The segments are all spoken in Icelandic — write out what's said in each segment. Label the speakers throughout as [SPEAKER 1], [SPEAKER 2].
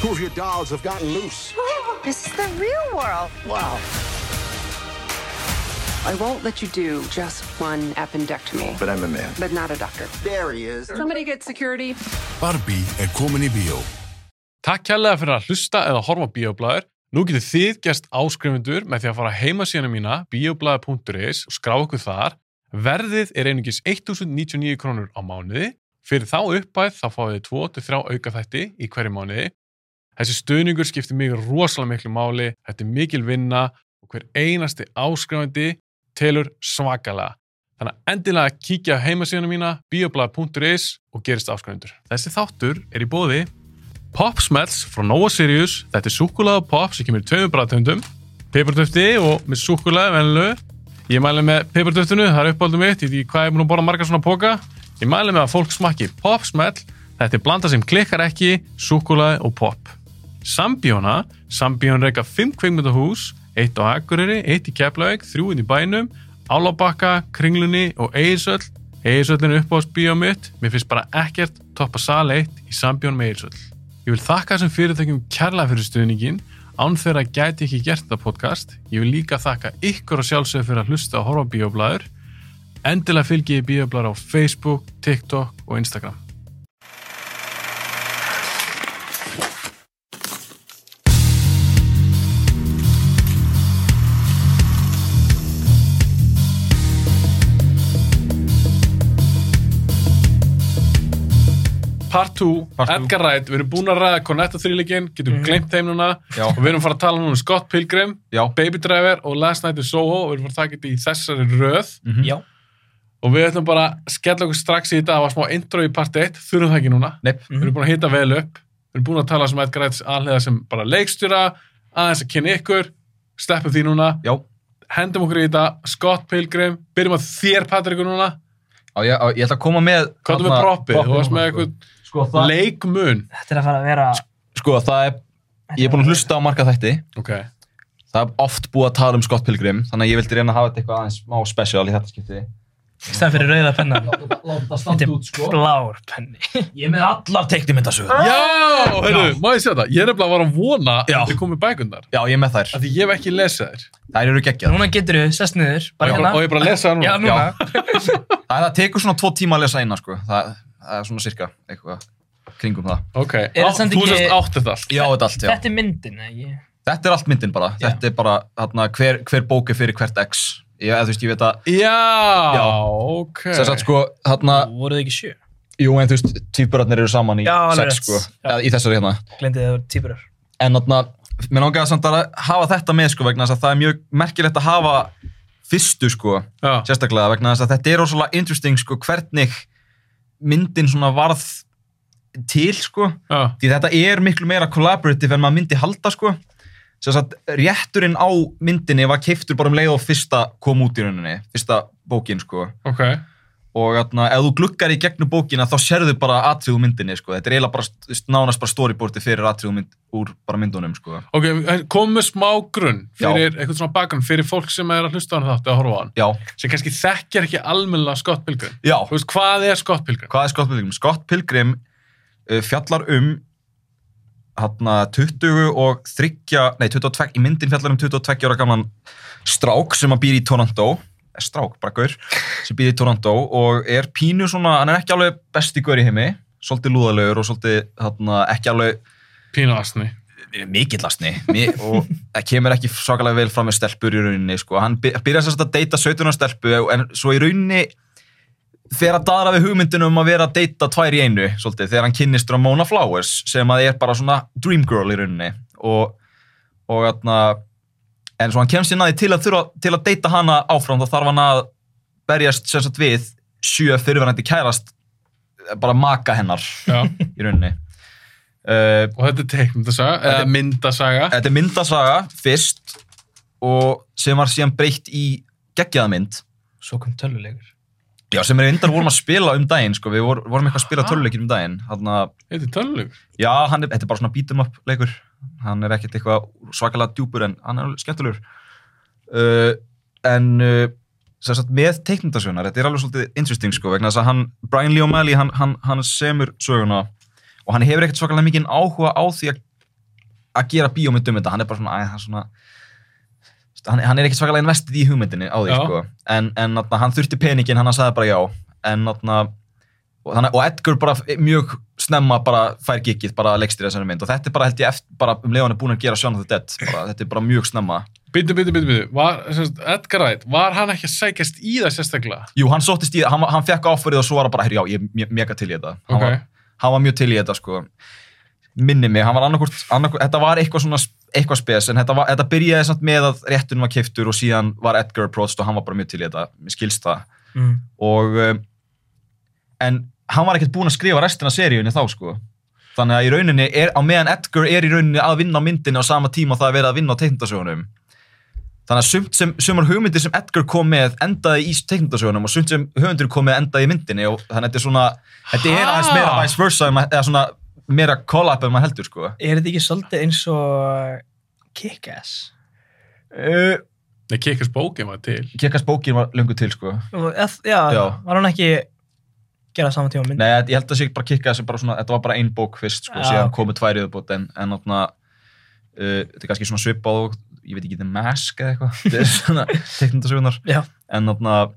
[SPEAKER 1] Two of your dolls have gotten loose.
[SPEAKER 2] This is the real world.
[SPEAKER 1] Wow.
[SPEAKER 2] I won't let you do just one appendectomy,
[SPEAKER 3] But I'm a man.
[SPEAKER 2] but not a doctor.
[SPEAKER 3] There he is.
[SPEAKER 2] Somebody get security.
[SPEAKER 4] Barbie er komin í bíó.
[SPEAKER 5] Takk kærlega fyrir að hlusta eða horfa á bíoblæður. Nú getur þið gerst áskrifundur með því að fara á heimasíðanum mína bioblæður.is og skrá okkur þar. Verðið er einungis 1099 krónur á mánuði. Fyrir þá uppæð þá fáið þið 2-3 aukaþætti í hverju mánuði. Þessi stuðningur skiptir mig rosalega miklu máli, þetta er mikil vinna og hver einasti áskrifandi telur svakalega. Þannig að endilega kíkja á heimasíðanum mína bioblæður.is og gerist áskrifundur. Þessi þáttur er í bóði Popsmells frá Nova Sirius Þetta er súkulega pop sem kemur í tveimur bræðtöndum Peppartöfti og með súkulega venlu Ég mæli með peppartöftinu, það er uppáldum mitt Í því hvað ég mun að borða margar svona póka Ég mæli með að fólk smakki Popsmell Þetta er blanda sem klikkar ekki, súkulega og pop Sambjóna Sambjón reyka 5 kveikmyndahús Eitt á Akureyri, eitt í Keflavík Þrjúinn í bænum, Álabakka Kringlunni og Eirsöll Eirsöllin er uppáðsbíó mitt Mér finnst bara ekkert toppa sal 1 í Sambjón með Eirsöll Ég vil þakka þessum fyrirtækjum kærlega fyrir stuðningin án þeirra gæti ég ekki gert þetta podcast. Ég vil líka þakka ykkur og sjálfsögur fyrir að hlusta og horfa á bíoblæður. Endilega fylgi ég bíoblæður á Facebook, TikTok og Instagram.
[SPEAKER 6] Part
[SPEAKER 5] Part 2,
[SPEAKER 6] two. Mhm.
[SPEAKER 5] Edgar Wright, við erum búin að ræða Cornetto þrýleikinn, getum gleymt þeim núna
[SPEAKER 6] Já.
[SPEAKER 5] og við erum fara að tala núna um Scott Pilgrim,
[SPEAKER 6] Já.
[SPEAKER 5] Baby Driver og Last Night in Soho og við erum fara að taka þetta í þessari röð
[SPEAKER 6] Já.
[SPEAKER 5] og við ætlum bara að skella okkur strax í þetta það var smá intro í part 1, þurfum það ekki núna
[SPEAKER 6] Nei.
[SPEAKER 5] við erum búin að hita vel upp við erum búin að tala sem Edgar Wrights aðlega sem bara leikstjóra aðeins að kynna ykkur sleppum því núna,
[SPEAKER 6] Já.
[SPEAKER 5] hendum okkur í þetta Scott Pilgrim, byrjum að þér Patrikur núna,
[SPEAKER 6] Á, ég, á, ég ætla að koma með...
[SPEAKER 5] hvað er
[SPEAKER 6] þarna-
[SPEAKER 5] með proppið þú varst með eitthvað
[SPEAKER 6] Sko, það...
[SPEAKER 5] leikmun
[SPEAKER 7] Þetta er að fara að vera
[SPEAKER 6] Sko, það er... Ég er búin að hlusta á marga þætti.
[SPEAKER 5] ok,
[SPEAKER 6] Það er oft búið að tala um Scott Pilgrim, þannig að ég vildi reyna að hafa þetta eitthvað aðeins má special í þetta skipti.
[SPEAKER 7] Stæðan fyrir rauða pennan
[SPEAKER 8] Láta
[SPEAKER 7] Þetta
[SPEAKER 8] standa út,
[SPEAKER 7] er
[SPEAKER 8] sko.
[SPEAKER 7] blár penni
[SPEAKER 8] Ég er með allar
[SPEAKER 6] Ah!
[SPEAKER 8] teiknumyndasögur.
[SPEAKER 5] já, heyrðu, má ég segja það ég er nefnilega að vara að vona að þið komið bækundar
[SPEAKER 6] Já, ég er með þær.
[SPEAKER 5] af því ég hef ekki lesað þér
[SPEAKER 6] Þær eru geggjað.
[SPEAKER 5] Mm.
[SPEAKER 7] Núna getur þú sest niður
[SPEAKER 5] og
[SPEAKER 7] Bara
[SPEAKER 5] ég,
[SPEAKER 7] hérna
[SPEAKER 5] og ég bara lesa það
[SPEAKER 7] Já,
[SPEAKER 5] núna
[SPEAKER 7] núna
[SPEAKER 6] Það, það tekur svona tvo tíma að lesa eina, sko. Það, það er svona cirka eitthvað kringum það.
[SPEAKER 5] ok,
[SPEAKER 7] Er
[SPEAKER 5] Á,
[SPEAKER 7] þetta samt
[SPEAKER 5] þú
[SPEAKER 7] ekki-
[SPEAKER 5] sérst átt þetta allt
[SPEAKER 6] Já, þetta allt, já.
[SPEAKER 7] Þetta er myndin, ekki?
[SPEAKER 6] Þetta er allt myndin bara.
[SPEAKER 7] Já.
[SPEAKER 6] Þetta er bara hana, hver, hver bók er fyrir hvert X. Ég, eða, þú veist, ég veit að,
[SPEAKER 5] Já,
[SPEAKER 6] Já.
[SPEAKER 5] ok.
[SPEAKER 6] okay. sagt, sko, hana,
[SPEAKER 7] Voruð þið ekki sjö?
[SPEAKER 6] jú, en þú veist, týpurarnir eru saman í
[SPEAKER 7] Já, alveg
[SPEAKER 6] sex,
[SPEAKER 7] rétt.
[SPEAKER 6] sko.
[SPEAKER 7] Já.
[SPEAKER 6] Eða, í þessari hérna.
[SPEAKER 7] Glendið þið að það voru týpurar
[SPEAKER 6] En þarna, mér langaði samt að hafa þetta með, sko, vegna þess að það er mjög merkilegt að hafa fyrstu, sko,
[SPEAKER 5] Já.
[SPEAKER 6] sérstaklega, vegna þess að þetta er rosalega interesting, sko, hvernig myndin svona varð til, sko.
[SPEAKER 5] Já,
[SPEAKER 6] því þetta er miklu meira collaborative en maður myndi halda sko sem sagt, rétturinn á myndinni var keiftur bara um leið og fyrsta kom út í rauninni, fyrsta bókin sko
[SPEAKER 5] ok.
[SPEAKER 6] og atna, ef þú gluggar í gegnum bókina þá sérðu bara atriðu myndinni sko, þetta er eiginlega bara þú veist, nánast bara storyboardi fyrir atriðu mynd úr bara myndunum sko,
[SPEAKER 5] Ok, komu smá grunn
[SPEAKER 6] Já.
[SPEAKER 5] fyrir eitthvað svona bakgrunn, fyrir fólk sem er að hlusta á hann þátt eða horfa á hann,
[SPEAKER 6] já,
[SPEAKER 5] sem kannski þekkjar ekki almennilega Scott Pilgrim.
[SPEAKER 6] já
[SPEAKER 5] Þú veist, hvað er Scott Pilgrim?
[SPEAKER 6] hvað er Scott Pilgrim? Scott Pilgrim uh, fjallar um hana, 20 og 3, nei 22, í myndin fjallar um 22 ára gamlan strák sem að býr í Toronto Eh, strák, bara gaur, sem býr í Toronto og er pínu svona, hann er ekki alveg besti gaur í heimi, svolítið lúðalegur og svolítið hana, ekki alveg
[SPEAKER 5] Pínu asni.
[SPEAKER 6] mikillastni og það kemur ekki svakalega vel fram með stelpur í rauninni sko. hann by- byrjar sérst að deyta 17 ára stelpu en svo í rauninni fer að daðra við hugmyndunum um að vera að deyta tvær í einu svolítið, þegar hann kynnist Ramona Flowers sem að er bara svona dream girl í rauninni og, og atna, en svo hann kemst inn að því til að, þurfa, til að deyta hana áfram þá þarf hann að berjast sérst við sjö fyrirverandi kærast bara maka hennar
[SPEAKER 5] Já,
[SPEAKER 6] í rauninni uh,
[SPEAKER 5] og þetta er teikmyndasaga,
[SPEAKER 6] Þetta
[SPEAKER 5] eða
[SPEAKER 6] er-
[SPEAKER 5] myndasaga.
[SPEAKER 6] þetta er myndasaga fyrst og sem var síðan breytt í geggjaða mynd
[SPEAKER 7] Svo kom tölulegur
[SPEAKER 6] já, sem er yndar vorum að spila um daginn sko. við vor, vorum eitthvað að spila töluleikir um daginn Þarna,
[SPEAKER 5] Þetta er tölulegur.
[SPEAKER 6] já, hann er, þetta er bara svona beat'em up leikur hann er ekkert eitthvað svakalega djúpur en hann er alveg skemmtulegur uh, en uh, sem sagt, með teiknundasögunar, þetta er alveg svolítið interesting sko, vegna þess að hann, Brian Lee O'Malley hann, hann, hann semur söguna og hann hefur ekkert svakalega mikinn áhuga á því að að gera bíómynd um þetta hann er bara svona, æ, hann, er svona hann, hann er ekki svakalega investið í hugmyndinni á því
[SPEAKER 5] Já.
[SPEAKER 6] sko. en, en atna, hann þurfti peningin hann sagði bara já en, atna, og, þannig, og Edgar bara f- mjög snemma bara fær gigið bara leikstýra þessari mynd og þetta er bara held ég eftir, bara um leiðan er búin að gera Shaun of the Dead bara, þetta er bara mjög snemma
[SPEAKER 5] Bitu, bitu, bitu, bitu. Var, sem sagt, Edgar Wright, var hann ekki að sækjast í það sérstaklega?
[SPEAKER 6] Jú, hann sóttist í það, hann, var- hann fekk áfærið og svo var hann bara, herru, já, ég er me- mega til í þetta. Hann,
[SPEAKER 5] Ok.
[SPEAKER 6] var, hann var mjög til í þetta, sko. Minni mig, hann var annarkvort, annarkvort þetta var eitthvað svona, sp- eitthvað spes, en þetta, var, þetta byrjaði samt með að réttunum var keiftur og síðan var Edgar approached og hann var bara mjög til í þetta, mér skilst það.
[SPEAKER 7] Mm.
[SPEAKER 6] Og, um, en hann var ekkert búinn að skrifa restina af seríunni þá, sko. Þannig að í rauninni, er, á meðan Edgar er í rauninni að vinna á myndinni á sama tíma og það er verið að vinna á teiknindasögunum, Þannig að sumt sem, sumar hugmyndir sem Edgar kom með endaði í teiknundasögunum og sumt sem hugmyndir kom með endaði í myndinni og þannig að þetta er svona, þetta er
[SPEAKER 5] Ha?
[SPEAKER 6] aðeins meira vice versa, en ma- eða svona meira collab ef maður heldur sko.
[SPEAKER 7] Er þetta ekki svolítið eins og Kick-Ass?
[SPEAKER 6] Uh,
[SPEAKER 5] Nei, Kickers bókin var til.
[SPEAKER 6] Kekkas bókin var löngu til sko.
[SPEAKER 7] Og ef- Já,
[SPEAKER 6] Já.
[SPEAKER 7] var hann ekki gera saman tíma mynd?
[SPEAKER 6] Nei, ég held að sé bara kikka þessi bara svona, þetta var bara ein bók fyrst sko,
[SPEAKER 7] Já,
[SPEAKER 6] síðan
[SPEAKER 7] ok.
[SPEAKER 6] komu tvær yfirbútt en, en átna, uh, þetta er kannski svona svipað og, ég veit ekki, The Mask eða eitthvað, þetta er svona teiknundasögunar.
[SPEAKER 7] Já,
[SPEAKER 6] en þarna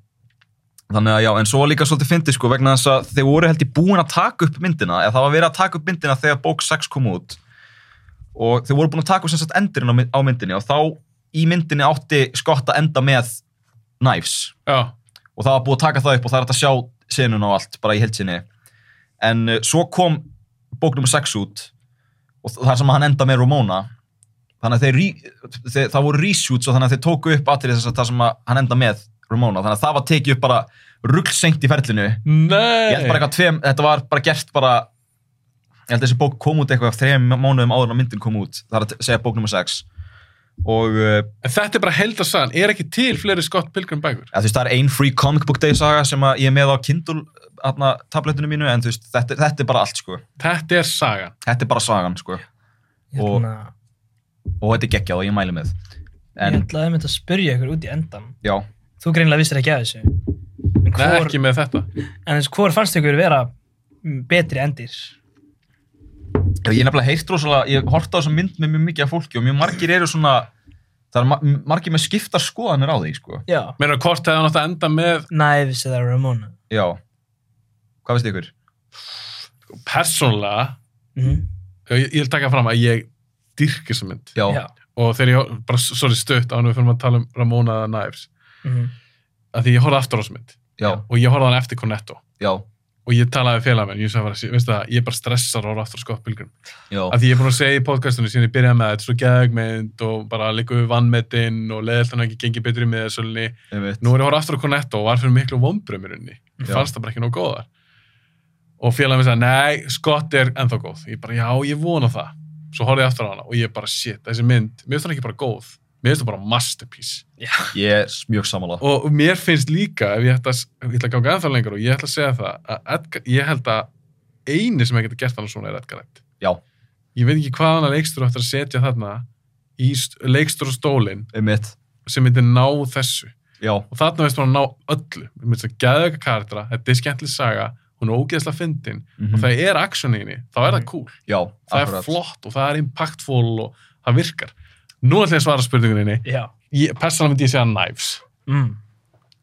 [SPEAKER 6] þannig að já, en svo var líka svolítið fyndið sko vegna þess að þeir voru held ég búin að taka upp myndina eða það var verið að taka upp myndina þegar bók 6 kom út og þeir voru búin að taka upp sem sagt endurinn á, my- á myndinni og þá í myndinni átti Scott að enda með Knives
[SPEAKER 5] Já,
[SPEAKER 6] og það var búið að taka það upp og það er hægt að sjá senun og allt, bara í heilsinni en uh, svo kom bók nr. 6 út og það er sem að hann enda með Ramona þannig að þeir, re- þeir, það voru reshoots og þannig að þeir tóku upp atrið þess að það sem að hann enda með Ramona, þannig að það var tekið upp bara ruggsengt í ferlinu
[SPEAKER 5] nei.
[SPEAKER 6] ég held bara eitthvað tveim, þetta var bara gert bara ég held að þessi bók kom út eitthvað þreim mánuðum áður en að myndin kom út það er að segja bók nr. 6 og uh,
[SPEAKER 5] En þetta er bara heldarsagan, er ekki til fleiri Scott Pilgrim bækur?
[SPEAKER 6] að, þú veist, það er ein free comic book day saga sem að ég er með á Kindle atna, tabletinu mínu en þú veist, þetta, þetta er bara allt sko.
[SPEAKER 5] Þetta er sagan.
[SPEAKER 6] þetta er bara sagan sko.
[SPEAKER 7] ég
[SPEAKER 6] Og-
[SPEAKER 7] ætla að-
[SPEAKER 6] og þetta er geggjað og ég mæli með
[SPEAKER 7] Hérna, ég
[SPEAKER 6] en
[SPEAKER 7] ætla að mynda að spyrja ykkur út í endan.
[SPEAKER 6] já,
[SPEAKER 7] Þú greinlega vissir ekki að þessu. En
[SPEAKER 5] Nei,
[SPEAKER 7] hvor,
[SPEAKER 5] ekki með þetta.
[SPEAKER 7] en þessu, hvor fannst ykkur vera mm, betri endir?
[SPEAKER 6] ég er nefnilega heyrt rosalega ég horta á þessa mynd með mjög mikið af fólki og mjög margir eru svona það er ma margir með skiptar skoðanir á því sko.
[SPEAKER 7] Já.
[SPEAKER 5] Meina hvort hefði hann átt að enda með
[SPEAKER 7] Knives eða Ramona.
[SPEAKER 6] já, hvað veist ykkur?
[SPEAKER 5] persónlega,
[SPEAKER 7] Mm.
[SPEAKER 5] ég, ég vil taka fram að ég dyrk þessa mynd.
[SPEAKER 6] já,
[SPEAKER 7] Já.
[SPEAKER 5] Og þegar ég, bara sorry stutt, ánum við fyrir að tala um Ramona eða Knives,
[SPEAKER 7] Mm.
[SPEAKER 5] að því ég horfði aftur á þessa mynd
[SPEAKER 6] já,
[SPEAKER 5] og ég horfði á hann eftir Cornetto
[SPEAKER 6] já,
[SPEAKER 5] og ég talaði félag minn, ég sagði bara, "Sí- veistu það, ég er bara stressar og aftur á Scott Pilgrim.
[SPEAKER 6] já,
[SPEAKER 5] að því ég er búin að segja í podcastinu síðan ég byrjaði með þetta, þetta er svo geðugmynd og bara líka við vannmetinn og leðilt hann ekki gengið betri með þessulni.
[SPEAKER 6] einmitt.
[SPEAKER 5] Nú er ég að horfa aftur á Cornetto og var fyrir miklu vombrömmurinni. Ég
[SPEAKER 6] Já.
[SPEAKER 5] fannst það bara ekki nóg góðar. Og félagin sagði, nei, Scott er ennþá góð. Ég bara, já, ég vona það. Svo horfði ég aftur á hana og ég bara, shit, þessi mynd, mér finnst það ekki bara góð. Mér finnst það bara masterpiece.
[SPEAKER 6] ég er mjög samála
[SPEAKER 5] Og mér finnst líka, ef ég ætla, að- ég ætla að ganga ennþá lengur og ég ætla að segja það, að Edgar, ég held að eini sem ég geti gert hann svona er Edgar Wright.
[SPEAKER 6] já,
[SPEAKER 5] Ég veit ekki hvað hana leikstur ættir að setja þarna í leikstur og stólinn
[SPEAKER 6] einmitt,
[SPEAKER 5] sem myndi ná þessu.
[SPEAKER 6] já,
[SPEAKER 5] Og þarna veist maður að ná öllu. Mér finnst það geðveika karaktera, þetta er skemmtileg saga, hún er ógeðslega fyndin
[SPEAKER 6] Mhm.
[SPEAKER 5] og
[SPEAKER 7] Mm.
[SPEAKER 5] það er action í henni, þá er það cool.
[SPEAKER 6] já
[SPEAKER 5] Það
[SPEAKER 6] akkurat.
[SPEAKER 5] er flott og það er impactful og það virkar. Nú ætla ég að svara spurninguninni.
[SPEAKER 7] Já.
[SPEAKER 5] Persónlega myndi ég segja Knives.
[SPEAKER 7] Mm.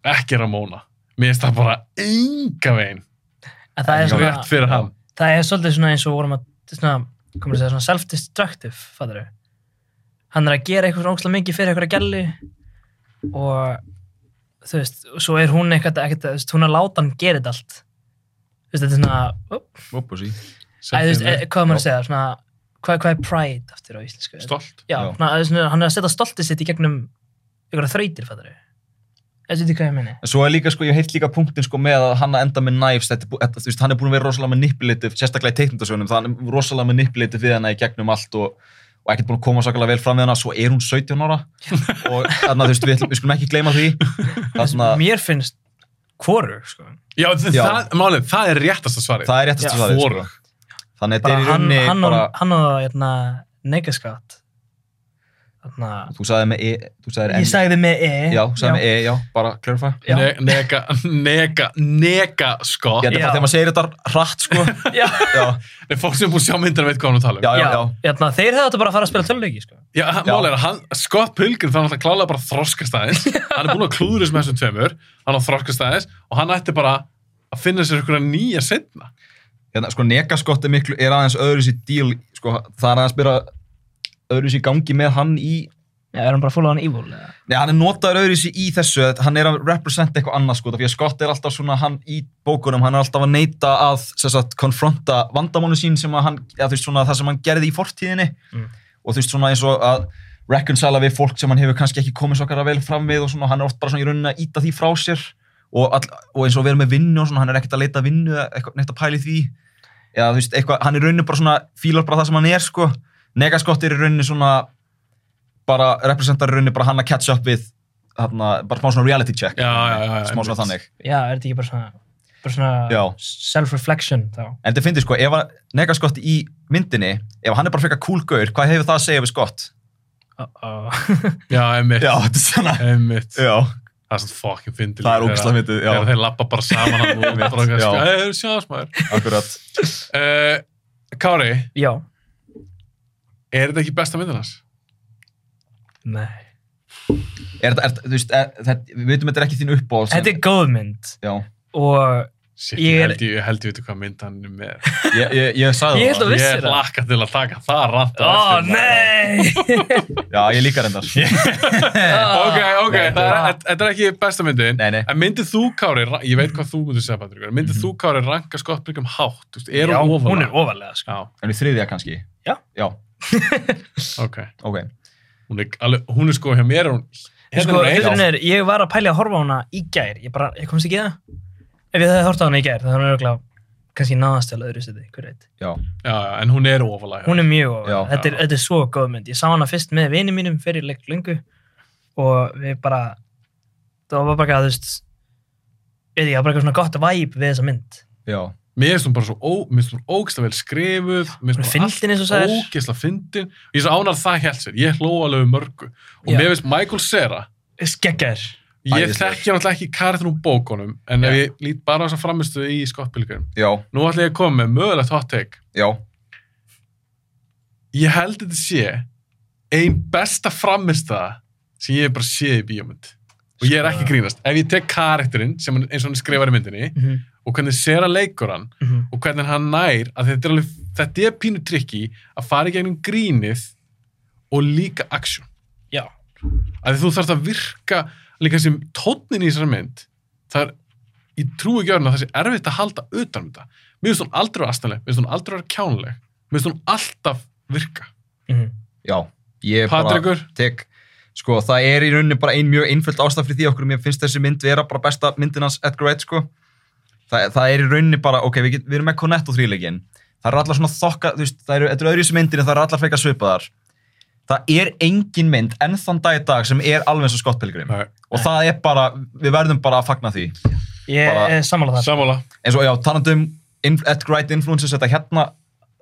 [SPEAKER 5] ekki Ramona mér finnst það bara enga veginn
[SPEAKER 7] En það er svona...
[SPEAKER 5] rétt fyrir hann
[SPEAKER 7] það er svolítið svona eins og vorum að svona, komum að segja svona self-destructive fattari. hann er að gera eitthvað svona ógslag mikið fyrir eitthvað gæli og þú veist, og svo er hún eitthvað, ekkert, þú veist, hún er að láta hann gera þetta allt þú veist, þetta er svona ó,
[SPEAKER 6] Oppusi.
[SPEAKER 7] æ, þú veist,
[SPEAKER 5] Settu
[SPEAKER 7] e, hvað er maður
[SPEAKER 6] Já.
[SPEAKER 7] að segja, svona hvað, hvað er pride aftur á íslensku
[SPEAKER 5] stolt
[SPEAKER 7] já,
[SPEAKER 6] Já.
[SPEAKER 7] Svona, það er svona, hann er að setja stoltið sitt í gegnum eitthvað þrautir fattari Þetta er hvað ég meini.
[SPEAKER 6] En svo er líka, sko, ég hef heilt líka punktin sko, með að hann að enda með knives, þetta, er bú- þetta, þú veist, hann er búin að vera rosalega manipulative, sérstaklega í teiknundasjónum, það er rosalega manipulative við hana í gegnum allt og, og ekkert búin að koma sakalega vel fram við hana, svo er hún 17 ára og þannig að þú veist, við, ætlum- við skulum ekki gleyma því. Þarna,
[SPEAKER 7] Mér finnst hvorur, sko.
[SPEAKER 5] já,
[SPEAKER 6] Já.
[SPEAKER 5] Það, málið, það er réttasta svarið
[SPEAKER 6] það er réttast
[SPEAKER 7] Já.
[SPEAKER 6] að svarið.
[SPEAKER 5] Hvorug.
[SPEAKER 6] Sko. Þannig að
[SPEAKER 7] Bara
[SPEAKER 6] þetta er í
[SPEAKER 7] hann,
[SPEAKER 6] rauninni
[SPEAKER 7] hann,
[SPEAKER 6] bara,
[SPEAKER 7] bara... hann og, hérna, negaskátt Þarna,
[SPEAKER 6] Þú sagði með E, þú sagði
[SPEAKER 7] ég sagði með E.
[SPEAKER 6] Já, þú sagði með E, já, bara clarify.
[SPEAKER 7] Já.
[SPEAKER 5] Ne nega, nega, nega skott.
[SPEAKER 6] Ég held að
[SPEAKER 7] Já.
[SPEAKER 6] bara þegar maður segir þetta hratt, sko.
[SPEAKER 7] Já,
[SPEAKER 6] já,
[SPEAKER 5] sko. Nei, fólk sem er búin að sjá myndina veit hvað hann er að tala um.
[SPEAKER 6] já, já,
[SPEAKER 7] já,
[SPEAKER 6] já.
[SPEAKER 7] Þarna, þeir hefðu þetta bara að fara að spila töluleiki, sko.
[SPEAKER 5] Já, já. mál er að hann, Scott Pilgrim þannig að klálega bara að þroskast aðeins. hann er búin að klúður þessum þessum tveimur, hann á að þroskast aðeins og hann ætti bara að finna sér ykkur nýja setna.
[SPEAKER 6] Hérna, sko, negaskott er miklu, er aðeins öðruvísi díl, sko, það er aðeins byrja öðruvísi í gangi með hann í,
[SPEAKER 7] Já, er hann bara full on evil? eða?
[SPEAKER 6] nei, hann er notaður öðruvísi í þessu, að hann er að representa eitthvað annað, sko, því að Scott er alltaf svona, hann í bókunum, hann er alltaf að neyta að, sem sagt, konfronta vandamónu sín sem að hann, eða þú veist, svona, það sem hann gerði í fortíðinni
[SPEAKER 7] Mm.
[SPEAKER 6] og þú veist, svona eins og að reconcila við fólk sem hann hefur kannski ekki komið svo vel fram við og svona, hann er oft bara svona í rauninni að íta því frá sér og, all, og eins og verið með vinnu og svona, hann er ekkert að leita að vinnu eða eitthvað, neitt að pæli því eða þú veist, eitthvað, hann er rauninni bara svona fílar bara það sem hann er, sko negaskottir er rauninni svona bara representar í rauninni bara hann að catch up við þarna, bara smá svona reality check
[SPEAKER 5] Já, já, já, já,
[SPEAKER 6] smá svona
[SPEAKER 5] einmitt.
[SPEAKER 6] þannig
[SPEAKER 7] Já, er þetta ekki bara svona, bara svona
[SPEAKER 6] Já.
[SPEAKER 7] self-reflection þá?
[SPEAKER 6] en þetta finnir sko, ef að negaskotti í myndinni ef hann er bara frekar cool gaur, hvað hefur það að segja við skott?
[SPEAKER 7] Uh-oh.
[SPEAKER 5] Já, einmitt.
[SPEAKER 6] Já, þetta er svona
[SPEAKER 5] Einmitt.
[SPEAKER 6] Já,
[SPEAKER 5] Það er svona fucking fyndilegt.
[SPEAKER 6] Það er ógeðslega fyndið, já.
[SPEAKER 5] Þegar þeir lappa bara saman hann og bara
[SPEAKER 6] Já.
[SPEAKER 5] kannski, hei, hey, sjáðast maður.
[SPEAKER 6] akkurat
[SPEAKER 5] Uh, Kári,
[SPEAKER 7] Já.
[SPEAKER 5] er þetta ekki besta myndin hans?
[SPEAKER 7] Nei.
[SPEAKER 6] er, þetta- er, þetta- þú veist, er, þetta, Við veitum þetta er ekki þín uppbóð
[SPEAKER 7] Þetta er góð mynd
[SPEAKER 6] Já,
[SPEAKER 7] og
[SPEAKER 5] Shit,
[SPEAKER 7] Ég
[SPEAKER 5] ég
[SPEAKER 7] er-
[SPEAKER 5] held ég, ég held ég veit hvað mynd hann er með.
[SPEAKER 6] ég, ég, ég sagði
[SPEAKER 7] Ég held að
[SPEAKER 6] það
[SPEAKER 7] við- Vissir
[SPEAKER 5] Ég
[SPEAKER 7] það?
[SPEAKER 5] laka til að taka það rant
[SPEAKER 7] Ó, nei!
[SPEAKER 6] Já, ég líka reyndar
[SPEAKER 5] Ok, ok,
[SPEAKER 6] Nei,
[SPEAKER 5] það er,
[SPEAKER 7] það-
[SPEAKER 5] þetta er ekki besta myndin.
[SPEAKER 6] Nei, nei.
[SPEAKER 5] En myndið þú, Kári, ra- ég
[SPEAKER 7] Mhm.
[SPEAKER 5] veit hvað þú myndir segja, Patrik, en myndið þú, Kári, ranka skottbyrgjum hátt, þú veist, er
[SPEAKER 7] Já,
[SPEAKER 5] hún
[SPEAKER 7] Hún
[SPEAKER 5] ofalega?
[SPEAKER 7] er ofalega, sko.
[SPEAKER 5] Já,
[SPEAKER 6] En við þriðja kannski
[SPEAKER 7] Já.
[SPEAKER 6] Já,
[SPEAKER 5] ok.
[SPEAKER 6] ok
[SPEAKER 5] Hún er, alveg, hún er sko hjá mér, er hún, hérna
[SPEAKER 7] Sko,
[SPEAKER 5] er hún eitt.
[SPEAKER 7] hluturinn er, ég var að pæli að horfa á hana í gær, ég bara, ég komst ekki í það. Ef ég hefði hort á hana í gær, þá er hún örgulega, kannski náðast til öðru seti, hver veit.
[SPEAKER 6] Já,
[SPEAKER 5] Já, já, en hún er ofalega.
[SPEAKER 7] Hún er mjög ofalega,
[SPEAKER 6] Já.
[SPEAKER 7] þetta, er- þetta er svo góð mynd. Ég sá hana fyrst með vini mínum fyrir leikt lungu og við bara, það var bara, eitthvað, þú veist, veit ekki, það var bara eitthvað svona gott væp við þessa mynd.
[SPEAKER 6] já
[SPEAKER 5] Mér finnst hún bara svo, ó, mér finnst hún ógeðslega vel skrifuð,
[SPEAKER 7] Hún
[SPEAKER 5] mér
[SPEAKER 7] er
[SPEAKER 6] Sko,
[SPEAKER 5] finnst hún
[SPEAKER 7] fyndin eins og
[SPEAKER 5] allt
[SPEAKER 7] sagðir.
[SPEAKER 5] ógeðslega fyndin. Ég svo ánar það held sér, ég hló alveg um mörgu. Og
[SPEAKER 7] Já.
[SPEAKER 5] mér finnst Michael Cera,
[SPEAKER 7] Skeggar.
[SPEAKER 5] ég
[SPEAKER 6] Æðislegur.
[SPEAKER 5] þekki hann alltaf ekki karðin úr bókunum, en ef ég lít bara á þessa framistuð í skottbylgjum,
[SPEAKER 6] Já,
[SPEAKER 5] nú ætla ég að koma með mögulegt hot take.
[SPEAKER 6] já
[SPEAKER 5] Ég held þetta sé ein besta framistaða sem ég hef bara séð í bíómynd. Og ég er ekki að grínast. Ef ég tek karakterinn, sem hann, eins og hann skrifar í myndinni,
[SPEAKER 7] Mhm.
[SPEAKER 5] og hvernig Sera leikur hann,
[SPEAKER 7] Mhm.
[SPEAKER 5] og hvernig hann nær, að þetta er, alveg, þetta er pínu trikki að fara í gegnum grínið og líka action.
[SPEAKER 7] Já.
[SPEAKER 5] Að þú þarfst að virka líka sem tónnin í þessari mynd, það er, ég trúi ekki á hana, það sé erfitt að halda utan um þetta. Mér finnst hún aldrei vera astanleg, mér finnst hún aldrei vera kjánleg, mér finnst hún alltaf virka.
[SPEAKER 7] Mhm.
[SPEAKER 6] Já, ég
[SPEAKER 5] Patrekur?
[SPEAKER 6] bara tek, sko, það er í rauninni bara ein mjög einföld ástæð fyrir því okkur, mér finnst þessi mynd vera bara besta myndin hans Edgar Wright, sko. Þa, það er í rauninni bara, ok, við, get, við erum með Cornetto þrýleikin, það eru allar svona þokka, þú veist, það eru, þetta eru öðru í þessu myndin en það eru allar frekar svipaðar. Það er engin mynd enn þann dag í dag sem er alveg eins og Scott Pilgrim.
[SPEAKER 5] Nei.
[SPEAKER 6] Og það er bara, við verðum bara að fagna því.
[SPEAKER 7] Ég
[SPEAKER 6] Bara-
[SPEAKER 7] er samanlega það.
[SPEAKER 5] Sammála.
[SPEAKER 6] eins og já, talandi um inf- Edgar Wright influences, þetta hérna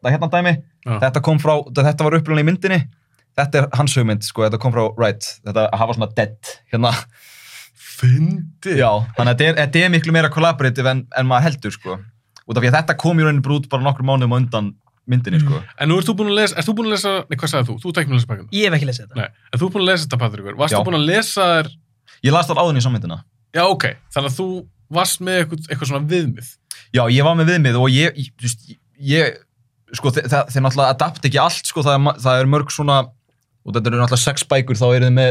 [SPEAKER 6] þetta hérna dæmi,
[SPEAKER 5] Já.
[SPEAKER 6] þetta kom frá þetta var upplunni í myndinni, þetta er hans hugmynd sko, þetta kom frá Wright, þetta að hafa svona dead, hérna,
[SPEAKER 5] Fyndi?
[SPEAKER 6] já, þannig að þetta er, þetta er miklu meira collaborative en, en maður heldur sko út af því að þetta kom í rauninni bara út bara nokkrum mánuðum á undan myndinni sko
[SPEAKER 5] En nú ert þú búin að lesa, ert þú búin að lesa, nei hvað sagðið þú? Þú ert ekki búin að lesa bækuna.
[SPEAKER 7] Ég hef ekki lesið þetta.
[SPEAKER 5] Nei, en þú ert búin að lesa þetta, Patrikur. Varst
[SPEAKER 6] Já.
[SPEAKER 5] þú búin að lesa þær,
[SPEAKER 6] ég las það áðun í sammyndina,
[SPEAKER 5] já ok, þannig að þú varst með eitthvað, eitthvað svona viðmið.
[SPEAKER 6] já, ég var með viðmið og ég, ég- þú veist, ég sko, þe- það, þeir náttúrulega adapt ekki allt sko, það er, ma- það er mörg svona og þetta eru náttúrulega sex bækur, þá eru þið með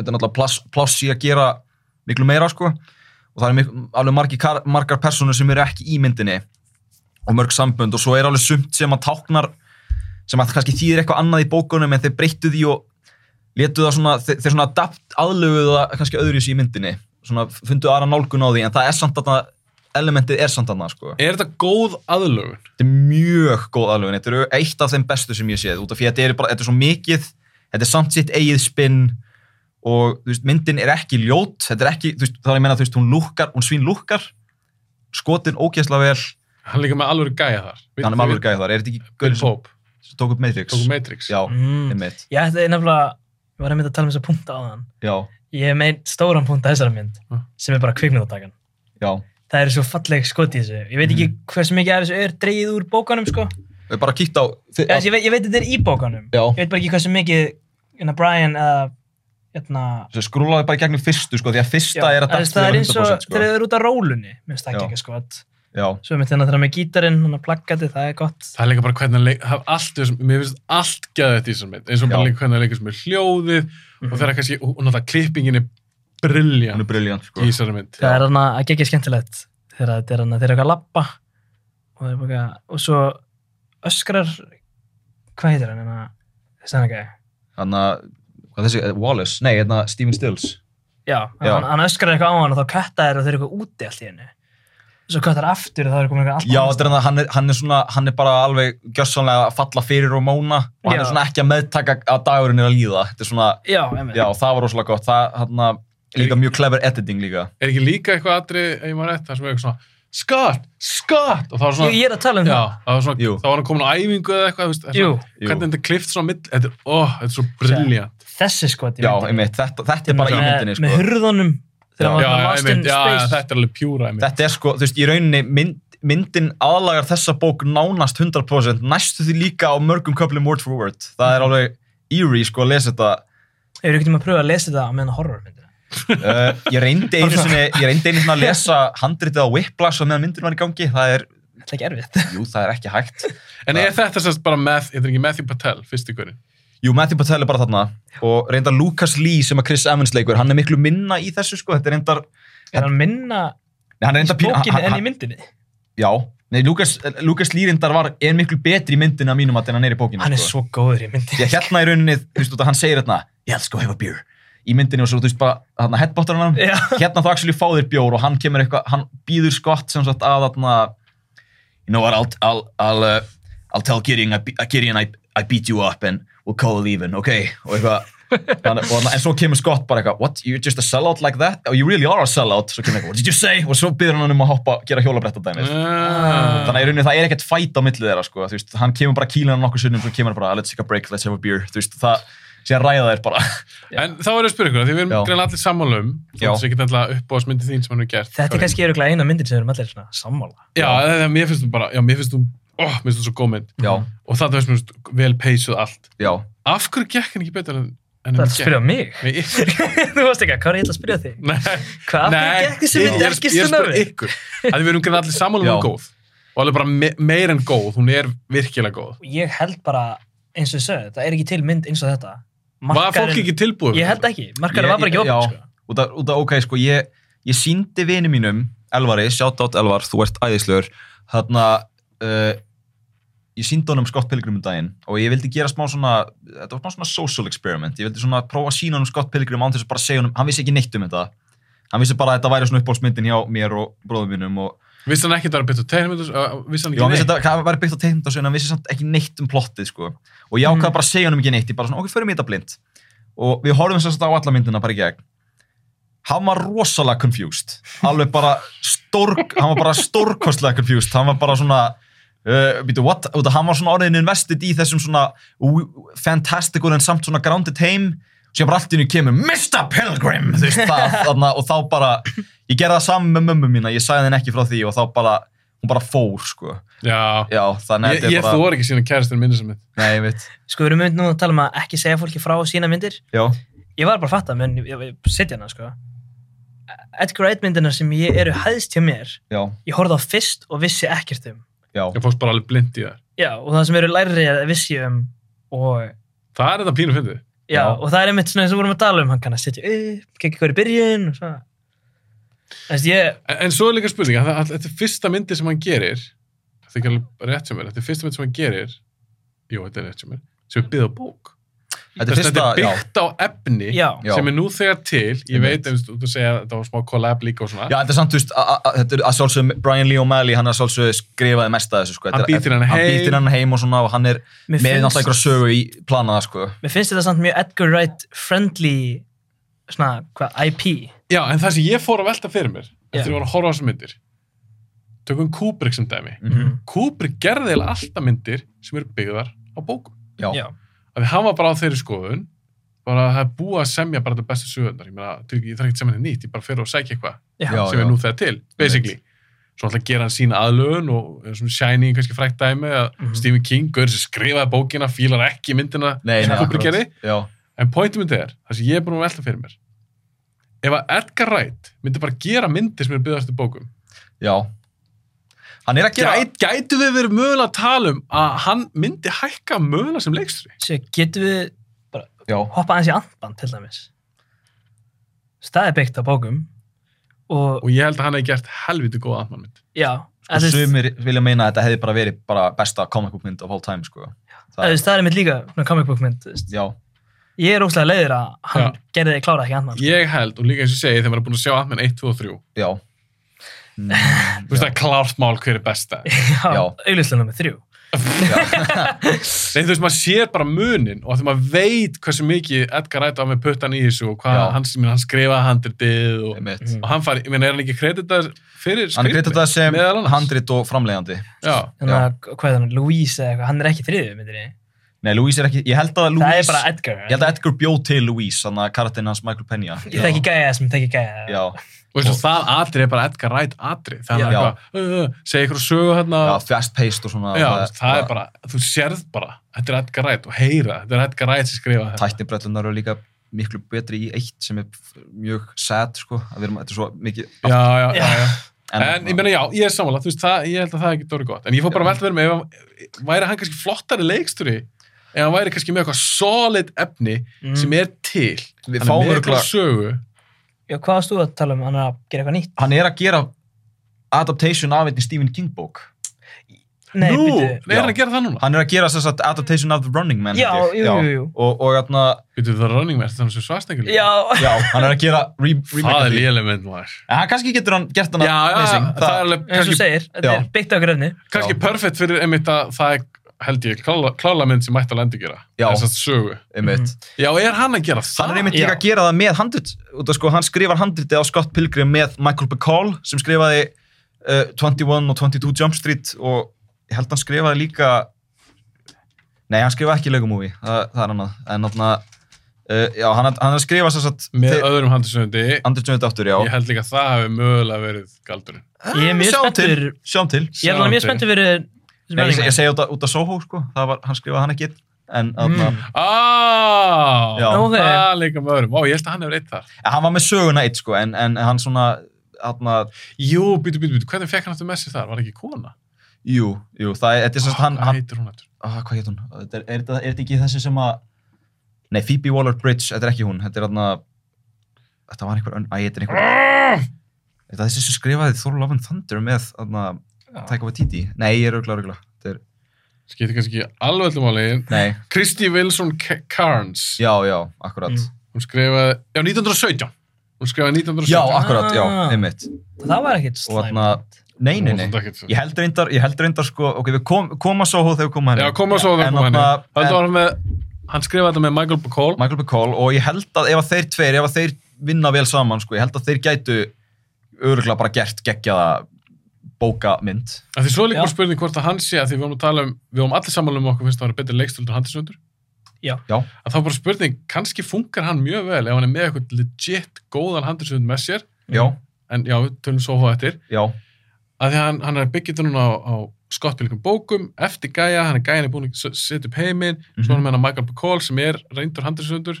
[SPEAKER 6] þetta er náttúrulega pláss, pláss í að gera miklu meira sko og það eru mik- alveg margi, kar- margar personur sem eru ekki í myndinni og mörg sambönd og svo er alveg sumt sem að táknar sem að kannski þýðir eitthvað annað í bókunum en þeir breyttu því og letu það svona, þeir, þeir svona adapt aðlöfuðu það kannski öðru í myndinni svona fundu aðra nálgun á því en það er samt þarna, elementið er samt þarna sko
[SPEAKER 5] Er þetta góð aðlögun?
[SPEAKER 6] þetta er mjög góð aðlögun, þetta er eitt af þeim bestu sem ég séð, út af því að þetta er, bara, þetta er svo mikið þetta er samt sitt eigið spinn og þú veist, myndin er ekki ljót þetta er ekki, þú veist, þá er ég meina, þú veist, hún lúkkar hún svín lúkkar, skotin ókjæsla vel,
[SPEAKER 5] Hann er líka með alveg gæja þar.
[SPEAKER 6] hann er alveg gæði þar er þetta ekki
[SPEAKER 5] Bill
[SPEAKER 6] gauðin sem
[SPEAKER 5] Pope,
[SPEAKER 6] sem tók upp Matrix?
[SPEAKER 5] tók Matrix.
[SPEAKER 6] Já,
[SPEAKER 7] Mm.
[SPEAKER 6] einmitt
[SPEAKER 7] Ég ætlaði nefnilega við varum einmitt að tala um þess að punta á þann
[SPEAKER 6] já,
[SPEAKER 7] ég mein stóran punta þessara mynd
[SPEAKER 5] Mm.
[SPEAKER 7] sem er bara kvikmyndatakan
[SPEAKER 6] já.
[SPEAKER 7] það er svo falleg skot í þessu ég veit
[SPEAKER 6] Mhm.
[SPEAKER 7] ekki hversu mikið af þessu er dreigið úr bókanum sko.
[SPEAKER 6] Við bara kýtt á... Þi,
[SPEAKER 7] ég, ég, veit, ég veit þetta er í bókanum
[SPEAKER 6] Já.
[SPEAKER 7] ég veit bara ekki hversu mikið hérna, Brian eða hérna,
[SPEAKER 6] Svo skrúlaði bara í gegnum fyrstu sko, því að fyrsta er að
[SPEAKER 7] það,
[SPEAKER 6] datt
[SPEAKER 7] það er
[SPEAKER 6] fyrir
[SPEAKER 7] eins og
[SPEAKER 6] 100% sko.
[SPEAKER 7] þegar þau eru út af rólunni minnst það
[SPEAKER 6] Já.
[SPEAKER 7] ekki skot
[SPEAKER 6] Já,
[SPEAKER 7] svo mitt hérna þegar með gítarinn, hann að plaggati það er gott
[SPEAKER 5] Það er líka bara hvernig að leika, allt, í þessum- mér finnst allt geða þetta í þessum mynd, eins og bara
[SPEAKER 6] Já.
[SPEAKER 5] líka hvernig að leika sem er hljóðið og þeirra kannski, og og náttúrulega klippingin er brilljant
[SPEAKER 6] hún er briljant sko.
[SPEAKER 5] í þessari mynd.
[SPEAKER 7] það er hann að gegja skemmtilegt þegar þetta er hann að þeir eru eitthvað að lappa og, þeir eru eitthvað- og svo öskrar hvað heitir hann hérna þess að hann ekki
[SPEAKER 6] Þannig að, hvað þessi, eh, Wallace? Nei, hérna Stephen Stills.
[SPEAKER 7] Já,
[SPEAKER 6] Já.
[SPEAKER 7] Hann, hann öskrar eitthvað á hann og þá kötta þeir og þeir eru eitthvað úti allt í henni. Svo kötta þeir aftur og þá eru komin eitthvað allt
[SPEAKER 6] Já,
[SPEAKER 7] annað
[SPEAKER 6] þetta er hann, hann, er, hann er svona, hann er bara alveg gjössanlega að falla fyrir og móna og hann
[SPEAKER 7] Já.
[SPEAKER 6] er svona ekki að meðtaka að dagurinn er að líða. Þetta er svona,
[SPEAKER 7] stað. Já, einmitt.
[SPEAKER 6] já, það var rosalega gott. Það, hann líka mjög clever editing líka.
[SPEAKER 5] Er ekki líka eitthvað atrið, ef ég maður rétt, það sem er eitthvað svona, Scott, Scott, og það var svona,
[SPEAKER 7] Ég, ég er að tala um
[SPEAKER 5] já, það var svona,
[SPEAKER 6] Jú.
[SPEAKER 5] þá var hann komin á æfingu eða eitthvað, þú veist, það er
[SPEAKER 7] Jú.
[SPEAKER 5] svona, hvernig þetta er klift svona mill, þetta er, ó, þetta er svo brilljant.
[SPEAKER 7] það. Þessi skot í
[SPEAKER 6] Já,
[SPEAKER 7] myndinni.
[SPEAKER 6] einmitt, þetta, þetta er bara í
[SPEAKER 7] Með-
[SPEAKER 6] myndinni,
[SPEAKER 7] Með
[SPEAKER 6] sko.
[SPEAKER 7] hurðunum
[SPEAKER 6] Já.
[SPEAKER 7] þegar
[SPEAKER 5] Já,
[SPEAKER 7] maður var
[SPEAKER 5] já,
[SPEAKER 7] lost in
[SPEAKER 5] einmitt, já, já,
[SPEAKER 7] space.
[SPEAKER 5] þetta er alveg pjúra, einmitt.
[SPEAKER 6] Þetta er sko, þú veist, í rauninni mynd, myndin aðlagar þessa bók nánast 100% næstu því líka á mörgum köflum word for word. Það er alveg eerie, sko, að lesa þetta.
[SPEAKER 7] Ég er ekkert um að pröfa að lesa þetta á meðan horrormyndina.
[SPEAKER 6] Uh, ég reyndi einu sinni, ég reyndi einu sinni að lesa handritið á Whiplash og meðan myndin var í gangi. Það er,
[SPEAKER 7] Þetta er ekki erfitt.
[SPEAKER 6] jú, það er ekki hægt.
[SPEAKER 5] En er þetta sérst bara með, þetta er ekki Matthew Patel, fyrst í hverju?
[SPEAKER 6] Jú, Matthew Patel er bara þarna og reyndar Lucas Lee sem að Chris Evans leikur, hann er miklu minna í þessu sko, þetta er reyndar
[SPEAKER 7] Er hann minna
[SPEAKER 6] Nei, hann er
[SPEAKER 7] í
[SPEAKER 6] reyndar pínu-
[SPEAKER 7] bókinni
[SPEAKER 6] hann-
[SPEAKER 7] enn í
[SPEAKER 6] hann-
[SPEAKER 7] myndinni?
[SPEAKER 6] Já, nei, Lucas, Lucas Lee reyndar var, er miklu betri í myndinu að mínum að hann er í bókinu
[SPEAKER 7] Hann er svo góður í myndinni.
[SPEAKER 6] Því að hérna í rauninni, þú veist, þú veist, hann segir hérna Yeah, let's go have a beer Í myndinu og svo, þú veist, bara, hérna, headbuttar hann
[SPEAKER 7] Já.
[SPEAKER 6] Hérna þú actually fá þér bjór og hann kemur eitthvað, hann býður skott sem sagt að, hérna You know what, I'll, I'll, I'll, uh, I'll tell Gideon, I, be- uh, Gideon I, I beat you up and we'll call it even, okay? Og eitthvað Þannig, og, þarna- en svo kemur Scott bara eitthvað what, you're just a sellout like that? Oh, you really are a sellout svo kemur eitthvað, what did you say? og svo byrður hann um að hoppa, gera hjólabretta dæmið
[SPEAKER 7] Ah.
[SPEAKER 5] Þannig
[SPEAKER 6] Þannig að í rauninni það er ekkert fæt á millið þeirra sko, þú veist, hann kemur bara kílan nokkur sunnum, svo kemur hann bara, let's take a break, let's have a beer, þú veist, það, síðan ræða þeir bara.
[SPEAKER 5] En þá er ég að spyrja ykkur, af því við erum
[SPEAKER 6] Já.
[SPEAKER 5] greinlega allir sammála um,
[SPEAKER 6] Já.
[SPEAKER 5] þannig að ég get alltaf uppbóðsmyndi þín sem hann hefur gert.
[SPEAKER 7] Þetta er kannski örugglega eina myndin sem við erum allir svona sammála.
[SPEAKER 5] Já, já. mér finnst þú bara, já, mér finnst þú, ó, mér finnst þú svo góð mynd.
[SPEAKER 6] Já,
[SPEAKER 5] Og það finnst mér svo vel peysuð allt.
[SPEAKER 6] já,
[SPEAKER 5] Af hverju gekk hann ekki betur en en
[SPEAKER 7] Það er
[SPEAKER 5] hann
[SPEAKER 7] að spyrja mig.
[SPEAKER 5] Nei,
[SPEAKER 7] Þú veist ekki að hvað er ég ætla að spyrja þig?
[SPEAKER 5] nei,
[SPEAKER 7] Hvað
[SPEAKER 5] nei,
[SPEAKER 7] gekk þessi
[SPEAKER 5] ég
[SPEAKER 7] mynd
[SPEAKER 5] er
[SPEAKER 7] ekki
[SPEAKER 5] ég er að
[SPEAKER 7] svona
[SPEAKER 5] spyrja
[SPEAKER 7] við?
[SPEAKER 5] ykkur. Af því við erum greinlega allir sammála um
[SPEAKER 6] Já.
[SPEAKER 5] hún góð. Og alveg bara me meir en góð, hún er virkilega góð.
[SPEAKER 7] ég held bara eins og ég sögðu, það er ekki til mynd eins og þetta
[SPEAKER 5] Var fólk ekki tilbúið?
[SPEAKER 7] ég held ekki, markarinn
[SPEAKER 6] Ég-
[SPEAKER 7] var bara ekki
[SPEAKER 6] ég-
[SPEAKER 7] opið
[SPEAKER 6] já.
[SPEAKER 7] sko.
[SPEAKER 6] út af, út af, ok, sko, ég, ég síndi vini mínum, Elvari, shout out Elvar, þú ert æðislegur, þarna, uh, ég síndi honum Scott Pilgrim um daginn og ég vildi gera smá svona, þetta var smá svona social experiment, ég vildi svona prófa að sína honum Scott Pilgrim án þess að bara segja honum, hann vissi ekki neitt um þetta, hann vissi bara að þetta væri svona uppbólsmyndin hjá mér og bróðum mínum og
[SPEAKER 5] Vissi hann ekki að það er betur tegnmyndus? Vissi hann
[SPEAKER 6] Já, hann
[SPEAKER 5] ekki
[SPEAKER 6] vissi að það var byggt á teiknumdásögun, hann vissi samt ekki neitt um plottið, sko. Og ég ákvaði bara að segja hann ekki neitt, ég bara svona, ok, förum í þetta blind. Og við horfum þess að á alla myndina bara í gegn. Hann var rosalega confused, alveg bara stór, hann var bara stórkostlega confused, hann var bara svona, uh, býtu, what, Út af- hann var svona orðin invested í þessum svona w- fantastical en samt svona grounded heim, sem bara allt í hennu kemur, Mr. Pilgrim, þú veist það, þarna, og þá bara, ég gerði það saman með mömmu mína, ég sagði henni ekki frá því og þá bara, hún bara fór, sko.
[SPEAKER 5] Já,
[SPEAKER 6] Já, þannig
[SPEAKER 5] ég,
[SPEAKER 6] að þetta
[SPEAKER 5] ég
[SPEAKER 6] er bara...
[SPEAKER 5] þor ekki sína kæristinu minni sem þetta.
[SPEAKER 6] Nei, ég veit.
[SPEAKER 7] sko, við erum mynd nú að tala um að ekki segja fólki frá sína myndir
[SPEAKER 6] Já,
[SPEAKER 7] ég var bara að fatta, menn ég, ég setja hana sko. Edgar Wright myndirna sem ég eru hæðst hjá mér
[SPEAKER 6] já,
[SPEAKER 7] ég horfði á fyrst og vissi ekkert um
[SPEAKER 6] já.
[SPEAKER 5] Ég fórst bara alveg blind í það.
[SPEAKER 7] já, og það sem eru lærri að vissi ég um og
[SPEAKER 5] Það er þetta pínu fyndið.
[SPEAKER 7] Já,
[SPEAKER 6] Já.
[SPEAKER 7] og það er einmitt svona eins og við vorum að tala um, hann kann að setja upp, kekja hver í byrjun og svona. Þess, ég,
[SPEAKER 5] En, en svo er líka spurning að það- að þetta er fyrsta myndi sem hann gerir þetta er ekki alveg rétt sem mér þetta er fyrsta myndi sem hann gerir jú, þetta er rétt sem mér sem er byggð á bók
[SPEAKER 6] Þetta er
[SPEAKER 5] Þess að
[SPEAKER 6] fyrsta,
[SPEAKER 5] þetta er
[SPEAKER 6] já.
[SPEAKER 5] byggt á efni
[SPEAKER 7] já,
[SPEAKER 6] Já.
[SPEAKER 5] sem er nú þegar til ég
[SPEAKER 6] Einmitt.
[SPEAKER 5] veit, eins og þú segja að þetta var smá collab líka og
[SPEAKER 6] Já,
[SPEAKER 5] svona
[SPEAKER 6] þetta er samt, þú veist, að- að- þetta er að sjálfsögum Brian Lee O'Malley, hann er að sjálfsögum skrifaði mest að þessu, sko. Þetta
[SPEAKER 5] Hann
[SPEAKER 6] er-
[SPEAKER 5] býtir hann
[SPEAKER 6] Hann
[SPEAKER 5] heim.
[SPEAKER 6] býtir hann heim og svona og hann er
[SPEAKER 7] Mér
[SPEAKER 6] með
[SPEAKER 7] finnst-
[SPEAKER 6] náttúrulega einhverja sögu í planaða, sko.
[SPEAKER 7] Mér finnst þetta samt mjög Edgar Wright friendly svona, hvað, IP
[SPEAKER 5] já, en það sem ég fór að velta fyrir mér
[SPEAKER 7] Já.
[SPEAKER 5] eftir að ég var að horfa á þessar myndir tökum Kubrick sem dæmi
[SPEAKER 6] Mhm.
[SPEAKER 7] Mhm.
[SPEAKER 5] Kubrick gerði eiginlega alltaf myndir sem eru byggðar á bókum
[SPEAKER 6] Já,
[SPEAKER 7] Já,
[SPEAKER 5] af því hann var bara á þeirri skoðun var bara það er búið að semja bara þetta bestu sögurnar ég, meina, til- ég þarf ekki að semja þetta nýtt, ég bara fer og sækja eitthvað
[SPEAKER 7] Já.
[SPEAKER 6] Já,
[SPEAKER 5] sem
[SPEAKER 6] já.
[SPEAKER 5] er nú þegar til, basically svo alltaf gera hann sína aðlögun og eins og Shining kannski frækt dæmi að
[SPEAKER 6] Mhm.
[SPEAKER 5] Stephen King, gaur sem skrifaði bókina fílar ekki myndina
[SPEAKER 6] Nei, nei,
[SPEAKER 5] sem Kubrick gerði
[SPEAKER 6] akkurat. Já,
[SPEAKER 5] en pointum þetta er, það sem ég er búin að velta fyrir mér ef að Edgar Wright myndi bara gera myndir sem eru byggðast í bókum
[SPEAKER 6] já. Hann er að gera
[SPEAKER 5] Gæt, gætu við verið mögulega að tala um að hann myndi hækka mögulega sem leikstri
[SPEAKER 7] Sér, getum við
[SPEAKER 6] Já,
[SPEAKER 7] hoppa aðeins í andband til dæmis Þess, það er byggt á bókum og,
[SPEAKER 5] og ég held að hann hefði gert helviti góða andmannmynd
[SPEAKER 7] já
[SPEAKER 6] og
[SPEAKER 7] en þú veist-
[SPEAKER 6] sumir vilja meina að þetta hefði bara verið bara besta comic book mynd of all time, sko.
[SPEAKER 7] en þú veist, það er mitt líka svona comic book mynd þú veist.
[SPEAKER 6] Já,
[SPEAKER 7] ég er óslega leiðir að hann
[SPEAKER 5] Já.
[SPEAKER 7] gerði þig klára ekki andband
[SPEAKER 5] ég held, og líka eins og ég segi þegar maður er búin að sjá andmann 1, 2 og 3
[SPEAKER 6] já. Mm,
[SPEAKER 5] þú veist það er klárt mál hver er besta Nei,
[SPEAKER 6] já.
[SPEAKER 7] auðvitað með sko. þrjú
[SPEAKER 5] þú veist maður sér bara munin og þegar maður veit hversu mikið Edgar Wright á með puttan í þessu og hvað
[SPEAKER 6] Já.
[SPEAKER 5] hann, ég meina, hann skrifaði handritið og,
[SPEAKER 6] Einmitt.
[SPEAKER 5] og hann fari, ég meina er hann ekki kreditað
[SPEAKER 6] Hann
[SPEAKER 5] fyrir
[SPEAKER 6] er
[SPEAKER 5] skrítmynd?
[SPEAKER 6] greitt þetta sem
[SPEAKER 5] Meðal annars.
[SPEAKER 6] handrit og framleiðandi.
[SPEAKER 5] Já.
[SPEAKER 7] þannig að hvað er hann, Louise eða eitthvað hann er ekki í þriðju myndinni
[SPEAKER 6] Nei, Louise er ekki, ég held að
[SPEAKER 7] það
[SPEAKER 6] Louise,
[SPEAKER 7] er bara Edgar
[SPEAKER 6] ég held að Edgar bjóð til Louise, þannig að karatinn hans Michael Pena.
[SPEAKER 7] ég þekki gæja sem þekki gæja
[SPEAKER 6] Já,
[SPEAKER 5] og veist, það atrið er bara Edgar Wright
[SPEAKER 6] Já.
[SPEAKER 5] atrið þannig að uh, uh, segja ykkur sögu hérna
[SPEAKER 6] já, fast paced og svona.
[SPEAKER 5] Já, það, það er bara, þú sérð bara þetta er Edgar Wright og heyra, þetta er Edgar Wright sem skrifa þetta
[SPEAKER 6] Tæknibrellunar eru líka miklu betri í eitt sem er f- mjög sad, sko. Að við erum, þetta er svo mikið...
[SPEAKER 5] Já, já, já, já. En, ég
[SPEAKER 6] meina...
[SPEAKER 5] meina, já, ég er samanlega, þú veist, það, ég held að það er ekki dóri gott. En ég fór bara að velta verið með, ef hann- væri hann kannski flottari leiksturi, ef hann væri kannski með eitthvað solid efni
[SPEAKER 7] Mm.
[SPEAKER 5] sem er til.
[SPEAKER 6] Mm. Við
[SPEAKER 5] Hann er
[SPEAKER 6] fáum
[SPEAKER 5] með
[SPEAKER 6] örugglega-
[SPEAKER 5] eitthvað sögu.
[SPEAKER 7] Já, hvað varst þú að tala um? Hann er að gera eitthvað nýtt?
[SPEAKER 6] Hann er að gera adaptation af einni Stephen King bók.
[SPEAKER 7] Nei,
[SPEAKER 5] Nú,
[SPEAKER 7] byrju.
[SPEAKER 5] er hann
[SPEAKER 6] Já.
[SPEAKER 5] að gera það núna?
[SPEAKER 6] Hann er að gera þess að adaptation af The Running Man.
[SPEAKER 7] Já,
[SPEAKER 6] held ég.
[SPEAKER 7] jú, jú, jú.
[SPEAKER 6] Og, og atna,
[SPEAKER 5] Býtu, það er running man, þannig sem svarstengur.
[SPEAKER 7] Já,
[SPEAKER 6] já, hann er að gera re remake.
[SPEAKER 5] Það
[SPEAKER 6] af
[SPEAKER 5] er
[SPEAKER 6] því.
[SPEAKER 5] léleg mynd maður.
[SPEAKER 6] En hann kannski getur hann gert hann
[SPEAKER 5] Já, já,
[SPEAKER 6] amazing.
[SPEAKER 5] það er alveg
[SPEAKER 7] eins og þú
[SPEAKER 5] kannski,
[SPEAKER 7] segir, þetta er
[SPEAKER 6] Já.
[SPEAKER 7] byggt á okkur efni.
[SPEAKER 5] kannski perfect fyrir einmitt að það er, held ég, klála, klála mynd sem mætti að lendi gera.
[SPEAKER 6] Já.
[SPEAKER 5] Þessast sögu.
[SPEAKER 6] einmitt.
[SPEAKER 5] Já, er hann að gera það?
[SPEAKER 6] Hann er einmitt
[SPEAKER 7] Ah, Já.
[SPEAKER 6] líka að gera það með handrit út af sko, hann skrifar handriti á Scott Pilgrim með Michael Bacall sem skrifaði uh, 21 og 22 Jump Street og ég held hann skrifaði líka nei, hann skrifaði ekki Lego Movie, það, það er annað en þarna, uh, já, hann, hann er að skrifa sér satt
[SPEAKER 5] Með öðrum handisöndi,
[SPEAKER 6] Andersson aftur, já
[SPEAKER 5] ég held líka að það hefur mögulega verið galdurinn.
[SPEAKER 7] Ég er mjög
[SPEAKER 6] Ah, Sjáum til,
[SPEAKER 7] spenntur,
[SPEAKER 6] sjáum til
[SPEAKER 7] ég er alveg mjög
[SPEAKER 5] Sjáum til.
[SPEAKER 7] spenntur fyrir
[SPEAKER 6] Nei, ég, ég
[SPEAKER 7] Running Man.
[SPEAKER 6] segi út af, út af Soho, sko, það var, hann skrifaði hann ekki einn, en
[SPEAKER 7] Mm.
[SPEAKER 6] þarna,
[SPEAKER 5] Á,
[SPEAKER 6] Já.
[SPEAKER 7] Ok.
[SPEAKER 5] það líka með öðrum. Ó, ég held að hann hefur eitt þar.
[SPEAKER 6] en hann var með söguna eitt, sko, en, en hann svona þarna,
[SPEAKER 5] Jú, býtu, býtu, býtu, hvernig fekk hann aftur með sér þar? Var ekki kona?
[SPEAKER 6] jú, jú, það er, þetta er sem
[SPEAKER 7] Ah,
[SPEAKER 6] sagt, hann,
[SPEAKER 5] Hvað
[SPEAKER 6] hann
[SPEAKER 5] heitir hún aftur?
[SPEAKER 6] ah, hvað hétt hún? Þetta Er, er, þetta- er þetta ekki þessi sem að Nei, Phoebe Waller-Bridge, þetta er ekki hún Þetta er hann Þetta var einhver önn Æ, þetta er einhver Er Þetta er þessi sem skrifaði Thor Love and Thunder með hann Taika Waititi Nei, ég er örgla, örgla Þetta er
[SPEAKER 5] Skiptir kannski ekki alveg öllum álegin.
[SPEAKER 6] Nei,
[SPEAKER 5] Kristi Wilson K- Carnes.
[SPEAKER 6] já, já, akkurat
[SPEAKER 5] Hún skrifaði, já, 1917. Hún skrifaði 1917.
[SPEAKER 6] Já, akkurat, já,
[SPEAKER 7] Ah.
[SPEAKER 6] einmitt
[SPEAKER 7] Það var ekkit
[SPEAKER 6] Og hérna,
[SPEAKER 7] slæmt.
[SPEAKER 6] hann Nei, nei,
[SPEAKER 5] Hún var
[SPEAKER 6] nei
[SPEAKER 5] samt ekkert svo-
[SPEAKER 6] Ég held reyndar, ég held reyndar sko Ok, við kom, koma svo hóð þegar við koma henni
[SPEAKER 5] Já, koma svo að það
[SPEAKER 6] En
[SPEAKER 5] koma henni.
[SPEAKER 6] þarna-
[SPEAKER 5] Hann
[SPEAKER 6] en-
[SPEAKER 5] var með, hann skrifaði þetta með Michael Bacall.
[SPEAKER 6] Michael Bacall og ég held að ef að þeir tveir, ef að þeir vinna vel saman, sko, ég held að þeir gætu öruglega bara gert geggjaða bókamynd.
[SPEAKER 5] Af Því svo er líka
[SPEAKER 7] Já.
[SPEAKER 5] bara spurning hvort að hann sé að því við vorum að tala um, við vorum allir sammála um að okkur finnst að það vera betri leikstöldur handisöndur.
[SPEAKER 6] Já,
[SPEAKER 5] að þá er bara spurning, kannski funkar hann mjög vel ef hann er með eitthvað legit góðan handisöfund með sér,
[SPEAKER 6] já,
[SPEAKER 5] en já, tölum svo hvað eftir,
[SPEAKER 6] já,
[SPEAKER 5] að því að hann, hann er byggjit núna á, á skottbylgum bókum, eftir gæja, hann er gæjan er búin að s- setja upp heiminn, svo
[SPEAKER 6] Mhm.
[SPEAKER 5] hann með hann Michael Bacall sem er reyndur handisöfundur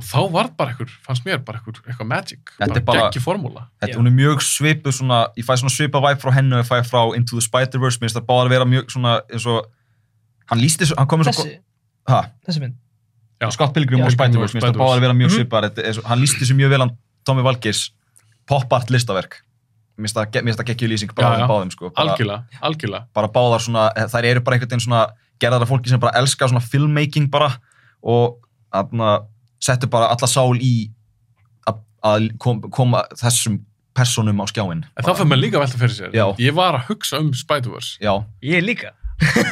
[SPEAKER 5] og þá var bara eitthvað, fannst mér bara eitthvað, eitthvað magic,
[SPEAKER 6] Þetta er
[SPEAKER 5] bara,
[SPEAKER 6] bara-
[SPEAKER 5] geggi formúla.
[SPEAKER 6] þetta,
[SPEAKER 7] Já.
[SPEAKER 6] hún er mjög svipu svona, ég fæ svona svipa væp frá hennu og ég fæ frá Into the Spider-Verse, mér finnst það báðar vera mjög svona, eins og, hann lísti, svo- hann komið svo,
[SPEAKER 7] Þessi,
[SPEAKER 6] hæ,
[SPEAKER 7] þessi mynd.
[SPEAKER 5] Já.
[SPEAKER 6] Scott Pilgrim
[SPEAKER 5] Já.
[SPEAKER 6] og Spider-Verse, mér finnst það báðar vera mjög
[SPEAKER 5] Mhm.
[SPEAKER 6] svipar, þetta er svo- hann lísti þessu mjög vel hann Tommy Valgeirs pop-art listaverk, mér finnst það ge- mér finnst það geggjuð lýsing bara á
[SPEAKER 5] Já,
[SPEAKER 6] þeim
[SPEAKER 5] já.
[SPEAKER 6] báðum, sko, bara-
[SPEAKER 5] Algjörlega, algjörlega.
[SPEAKER 6] bara báðar svona, eh, þær eru bara einhvern veginn svona gerðar af fólki sem bara elska svona filmmaking bara og aðna, settu bara alla sál í að- að kom, koma þessum personum á skjáin
[SPEAKER 5] En þá fyrir maður líka að velta fyrir sér.
[SPEAKER 6] Já.
[SPEAKER 5] Ég var að hugsa um Spider-Verse.
[SPEAKER 6] Já,
[SPEAKER 7] Ég líka.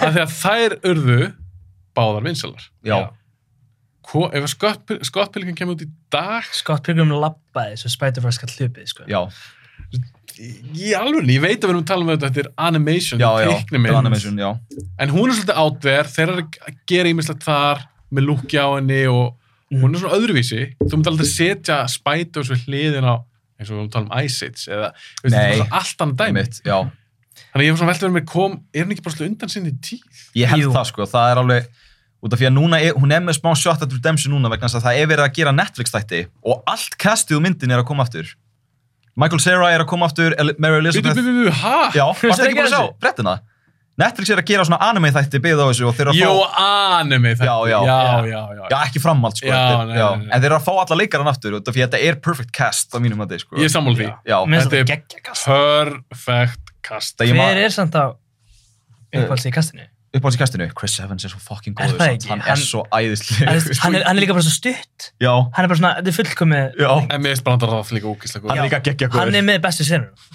[SPEAKER 5] Af því að þær urðu báðar vinsalar.
[SPEAKER 6] já,
[SPEAKER 7] Já.
[SPEAKER 5] Hvo- Ef skottbylgum kemur út í dag,
[SPEAKER 7] Scott Pilgrim labbaði svo Spider-Verse kall hlupið, sko.
[SPEAKER 6] já,
[SPEAKER 5] í alveg, ég veit að við erum að tala um þetta þetta er animation,
[SPEAKER 6] já, já,
[SPEAKER 5] teiknimynd
[SPEAKER 6] já, animation, já,
[SPEAKER 5] en hún er svolítið out there þeir eru að gera ímislegt þar með lúkja á henni og,
[SPEAKER 6] Mhm.
[SPEAKER 5] hún er svona öðruvísi þú myndir aldrei setja Spiders við hliðin á eins og við vorum að tala um Ice Age eða þú veist, þetta
[SPEAKER 6] Nei.
[SPEAKER 5] er bara allt annað dæmi
[SPEAKER 6] Einmitt, já.
[SPEAKER 5] þannig að ég hef svona veltið verið mér kom er hann ekki bara svolítið undan sinni tíð
[SPEAKER 6] Ég held
[SPEAKER 7] Jú.
[SPEAKER 6] það sko, það er alveg út af því að núna, er, hún er með smá shot at redemption núna vegna þess að það er verið að gera Netflix þætti og allt castið og myndin er að koma aftur Michael Cera er að koma aftur El Mary
[SPEAKER 5] bítu,
[SPEAKER 6] Elizabeth
[SPEAKER 5] bítu, bítu, hæ?
[SPEAKER 6] Já, varstu
[SPEAKER 7] Veistu
[SPEAKER 6] ekki
[SPEAKER 7] ekki
[SPEAKER 6] búin að
[SPEAKER 7] þessu?
[SPEAKER 6] sjá frettina? Netflix er að gera svona anime þætti byggð á þessu og þeir eru að
[SPEAKER 5] Jó,
[SPEAKER 6] fá
[SPEAKER 5] anime þetta
[SPEAKER 6] Já, já.
[SPEAKER 5] já, já, já.
[SPEAKER 6] Já, ekki framhald sko
[SPEAKER 5] Já,
[SPEAKER 6] þetta er-
[SPEAKER 5] nei, nei, nei.
[SPEAKER 6] En þeir eru að fá alla leikarann aftur út af því að þetta er perfect cast á mínum að sko
[SPEAKER 5] ég er sammála því
[SPEAKER 6] Já,
[SPEAKER 7] Mér finnst
[SPEAKER 5] þetta
[SPEAKER 7] þetta
[SPEAKER 5] er- perfect kast
[SPEAKER 6] þetta ég
[SPEAKER 7] Hver
[SPEAKER 6] maður
[SPEAKER 7] er samt á upphalds í kastinu?
[SPEAKER 6] uppáhalds í kastinu Chris Evans er svo fucking
[SPEAKER 7] Er
[SPEAKER 6] góður
[SPEAKER 7] það
[SPEAKER 6] samt.
[SPEAKER 7] ekki?
[SPEAKER 6] Hann er
[SPEAKER 7] Hann-
[SPEAKER 6] svo
[SPEAKER 7] Hann er- hann
[SPEAKER 6] æðislegur
[SPEAKER 7] er, hann er líka bara svo stutt.
[SPEAKER 6] Já,
[SPEAKER 7] Hann er bara svona, þetta er fullkomið.
[SPEAKER 6] já
[SPEAKER 5] en mér finnst bara það líka ókýrslega
[SPEAKER 6] Hann er
[SPEAKER 5] góð
[SPEAKER 6] líka geggja
[SPEAKER 7] Hann er með bestu senur.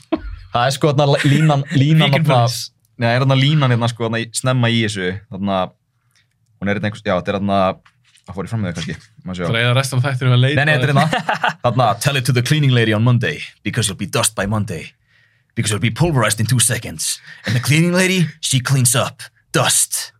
[SPEAKER 6] Það er sko þarna línan, línan
[SPEAKER 7] Vegan
[SPEAKER 6] þarna,
[SPEAKER 7] Police.
[SPEAKER 6] Nei, það er þarna línan hérna sko þarna í- snemma í þessu þarna, hún er hérna einhvers, já, þetta er þarna það fór ég fram með þau kannski maður sjá.
[SPEAKER 5] það er eða restan þættir við að leita
[SPEAKER 6] Nei, nei, þetta er hérna þarna, tell it to the cleaning lady on Monday because you'll be dust by Monday because you'll be pulverized in two seconds and the cleaning lady, she cleans up dust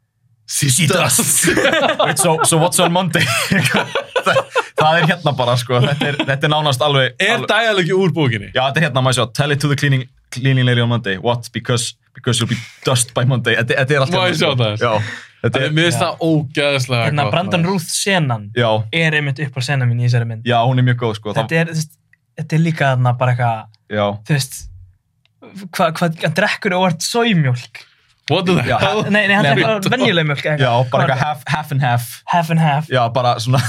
[SPEAKER 6] She, dusts Wait, so, so what's on Monday? það, það er hérna bara sko þetta er, þetta er nánast alveg
[SPEAKER 5] er
[SPEAKER 6] alveg-
[SPEAKER 5] dæalegi úr bókinni
[SPEAKER 6] Já, þetta er hérna, maður sjá, tell it to the cleaning, cleaning lady on Monday. What? Because, because you'll be dust by Monday. Þetta, þetta er allt.
[SPEAKER 5] Má
[SPEAKER 6] hérna,
[SPEAKER 5] ég sjá
[SPEAKER 6] sko.
[SPEAKER 5] það?
[SPEAKER 6] Já, þetta
[SPEAKER 5] Mér
[SPEAKER 6] er,
[SPEAKER 5] finnst það ógæðislega
[SPEAKER 7] Þannig að Hérna Brandon Ruth senan
[SPEAKER 6] já,
[SPEAKER 7] er einmitt upphalds senan mín í þessari mynd.
[SPEAKER 6] já, hún er mjög góð, sko. Það,
[SPEAKER 7] Þetta er, þú veist, þetta er líka þarna bara eitthvað,
[SPEAKER 6] já,
[SPEAKER 7] þú veist, hvað, hva, hann drekkur óvart sóimjólk.
[SPEAKER 5] What the
[SPEAKER 6] Já.
[SPEAKER 5] hell?
[SPEAKER 7] Nei, nei, hann
[SPEAKER 6] Nei,
[SPEAKER 7] drekkur bara venjuleg mjólk. eða
[SPEAKER 6] já, bara
[SPEAKER 7] Hvað er
[SPEAKER 6] eitthvað half, half and half.
[SPEAKER 7] það? Half and half.
[SPEAKER 6] Já, bara svona,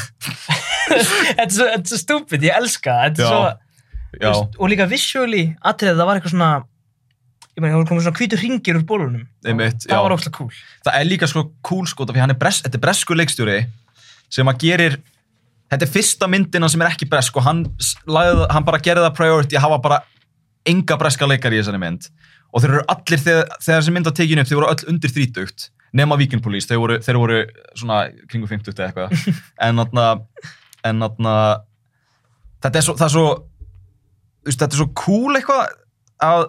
[SPEAKER 7] Þetta er svo, þetta er svo stúpid, ég elska það. Þetta
[SPEAKER 6] Já.
[SPEAKER 7] er svo, þú
[SPEAKER 6] já,
[SPEAKER 7] veist, og líka visually, atrið það var eitthvað svona, ég meina, það voru komið svona hvítur hringir úr bólunum.
[SPEAKER 6] einmitt, já.
[SPEAKER 7] Það var ókslega cool.
[SPEAKER 6] Það er líka sko cool, sko, því hann er bres, þetta er bresku leikstjóri sem að gerir, þetta er fyrsta myndina sem er ekki bresk og hann, s- lagði, hann bara gerði það priority að hafa bara enga breska leikar í þessari mynd og þeir eru allir þegar, þegar þessi mynd var tekin upp þeir voru öll undir þrítugt nema Weekend Police, þeir voru, þeir voru svona kringu 50 eða eitthvað en þarna en þarna þetta er svo, það er svo þú veist, þetta er svo cool eitthvað að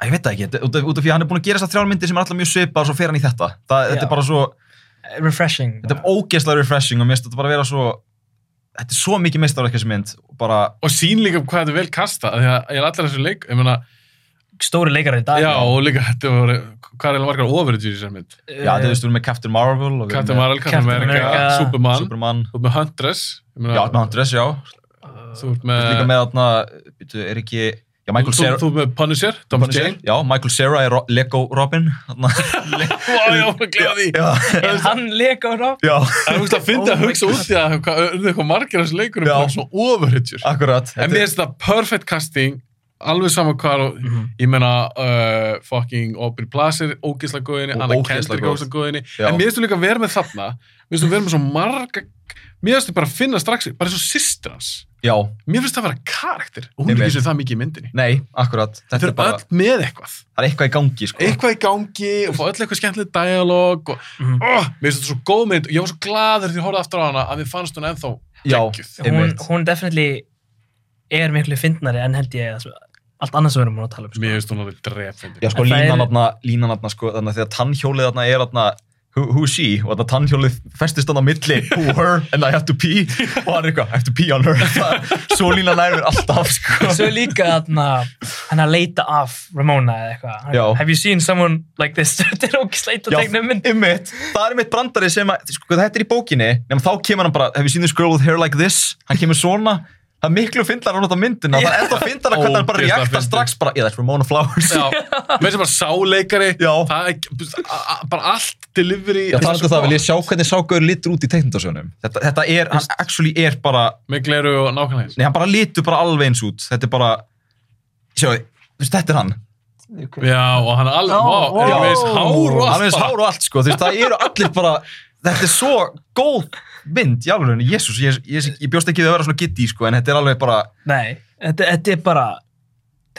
[SPEAKER 6] að ég veit það ekki, þetta- út af, út af því að hann er búin að gera þessar þrjár myndir sem er alltaf mjög svipað og svo fer hann í þetta það, þetta
[SPEAKER 7] Já.
[SPEAKER 6] er bara svo,
[SPEAKER 7] Refreshing.
[SPEAKER 6] þetta er ógeðslega refreshing og mér finnst þetta bara að vera svo þetta er svo mikið meistarverk þessi mynd og bara,
[SPEAKER 5] og sín líka um hvað þetta er vel kasta af því að ég er allar þessu leik ég meina,
[SPEAKER 7] stóri leikarar í dag.
[SPEAKER 5] já, og líka þetta voru hvað er eiginlega margar overage í þessar mynd
[SPEAKER 6] já, þú veist, við erum með Captain Marvel og við erum
[SPEAKER 5] Captain
[SPEAKER 6] með
[SPEAKER 5] Marvel, Captain
[SPEAKER 7] Captain
[SPEAKER 5] America,
[SPEAKER 7] America,
[SPEAKER 5] Superman
[SPEAKER 6] Superman
[SPEAKER 5] þú ert með Huntress ég meina,
[SPEAKER 6] Já, með Andres, já.
[SPEAKER 7] Uh,
[SPEAKER 5] þú ert
[SPEAKER 6] Líka
[SPEAKER 5] með,
[SPEAKER 6] með þarna, býtu, er ekki... Já, Michael
[SPEAKER 5] þú,
[SPEAKER 6] Cera.
[SPEAKER 5] þú ert með Punisher Tom
[SPEAKER 6] Punisher.
[SPEAKER 5] Jane
[SPEAKER 6] Já, Michael Cera er Ro- Lego Robin. þarna.
[SPEAKER 5] Vá, já, ég glemði því
[SPEAKER 6] já,
[SPEAKER 7] En hann leika á rátt.
[SPEAKER 6] já,
[SPEAKER 5] Það er úrst að finna að hugsa út í að hvað urðu eitthvað margir af þessu leikurum
[SPEAKER 6] Já. Ah,
[SPEAKER 5] bara svona overhitjur.
[SPEAKER 6] akkurat.
[SPEAKER 5] En mér finnst þetta perfect casting, alveg saman hvað, og,
[SPEAKER 6] Mhm.
[SPEAKER 5] ég meina uh, fucking Aubrey Placer, ógisla góðinni,
[SPEAKER 6] Ó-
[SPEAKER 5] Anna
[SPEAKER 6] ógeðslega
[SPEAKER 5] Kendrick,
[SPEAKER 6] góð.
[SPEAKER 5] ógisla góðinni.
[SPEAKER 6] Já.
[SPEAKER 5] En mér finnst þú líka að vera með þarna, mér finnst þú vera með svo marga, mér finnst þú bara að finna strax, bara eins og systir hans.
[SPEAKER 6] Já,
[SPEAKER 5] Mér finnst það að vera karakter, og hún er
[SPEAKER 6] Einmitt.
[SPEAKER 5] ekki sem það mikið í myndinni.
[SPEAKER 6] nei, akkurat. Þetta
[SPEAKER 5] Þau
[SPEAKER 6] er
[SPEAKER 5] eru
[SPEAKER 6] bara,
[SPEAKER 5] öll með eitthvað.
[SPEAKER 6] það er eitthvað í gangi, sko.
[SPEAKER 5] Eitthvað í gangi og fá öll eitthvað skemmtileg dialog og
[SPEAKER 7] Mhm.
[SPEAKER 5] oh, mér finnst þetta svo góð mynd og ég var svo gladur því að horfa aftur á hana að mér fannst hún ennþá
[SPEAKER 6] Já,
[SPEAKER 5] geggjuð.
[SPEAKER 7] Hún,
[SPEAKER 6] einmitt.
[SPEAKER 7] hún definitely er miklu fyndnari en held ég að svo- allt annað sem við erum búin að tala um.
[SPEAKER 5] Mér finnst hún alveg drefindi.
[SPEAKER 6] Já, sko,
[SPEAKER 7] En
[SPEAKER 6] línan
[SPEAKER 7] það er-
[SPEAKER 6] þarna, línan þarna, sko, þannig að þegar tannhjólið þarna er þarna, who, who is she? Og þarna tannhjólið festist þarna á milli, who her, and I have to pee. Og hann er eitthvað, I have to pee on her. Það- Svo línan nærfir alltaf, sko.
[SPEAKER 7] Svo er líka þarna, hann að leita af Ramona eða eitthvað. Hann-
[SPEAKER 6] Já.
[SPEAKER 7] Have you seen someone like this? Þetta er ógislega
[SPEAKER 6] Já,
[SPEAKER 7] að tegna mynd.
[SPEAKER 6] Einmitt, það er einmitt brandari sem að, sko, þetta er í bókinni, nema þá kemur hann bara, have you seen this girl with hair like this? Hann kemur svona, það er miklu fyndar að nota myndina, það er ennþá fyndar að hvernig hann bara
[SPEAKER 5] Ógeðslega
[SPEAKER 6] reakta
[SPEAKER 5] fyndið.
[SPEAKER 6] strax bara, yeah, that's Ramona Flowers.
[SPEAKER 5] Já, með sem bara sáleikari
[SPEAKER 6] Já.
[SPEAKER 5] það er ekki- a- a- bara allt delivery
[SPEAKER 6] Já, talandi um það, vil ég sjá hvernig sákaur litur út í teiknundasjónum. Þetta, þetta er, hann actually er bara,
[SPEAKER 5] með gleru og nákvæmlega eins.
[SPEAKER 6] nei, hann bara litur bara alveg eins út. Þetta er bara, sjáu, þú veist, þetta er hann.
[SPEAKER 5] já, og hann er alveg oh, wow, er með þess hár og
[SPEAKER 6] Hann er
[SPEAKER 5] allt
[SPEAKER 6] eins
[SPEAKER 5] bara.
[SPEAKER 6] hár og allt, sko, þú veist, það eru allir bara, þetta er svo góð mynd, já, alveg, jésús, ég, ég, ég bjóst ekki við að vera svona gitti, sko, en þetta er alveg bara,
[SPEAKER 7] Nei, þetta, þetta er bara,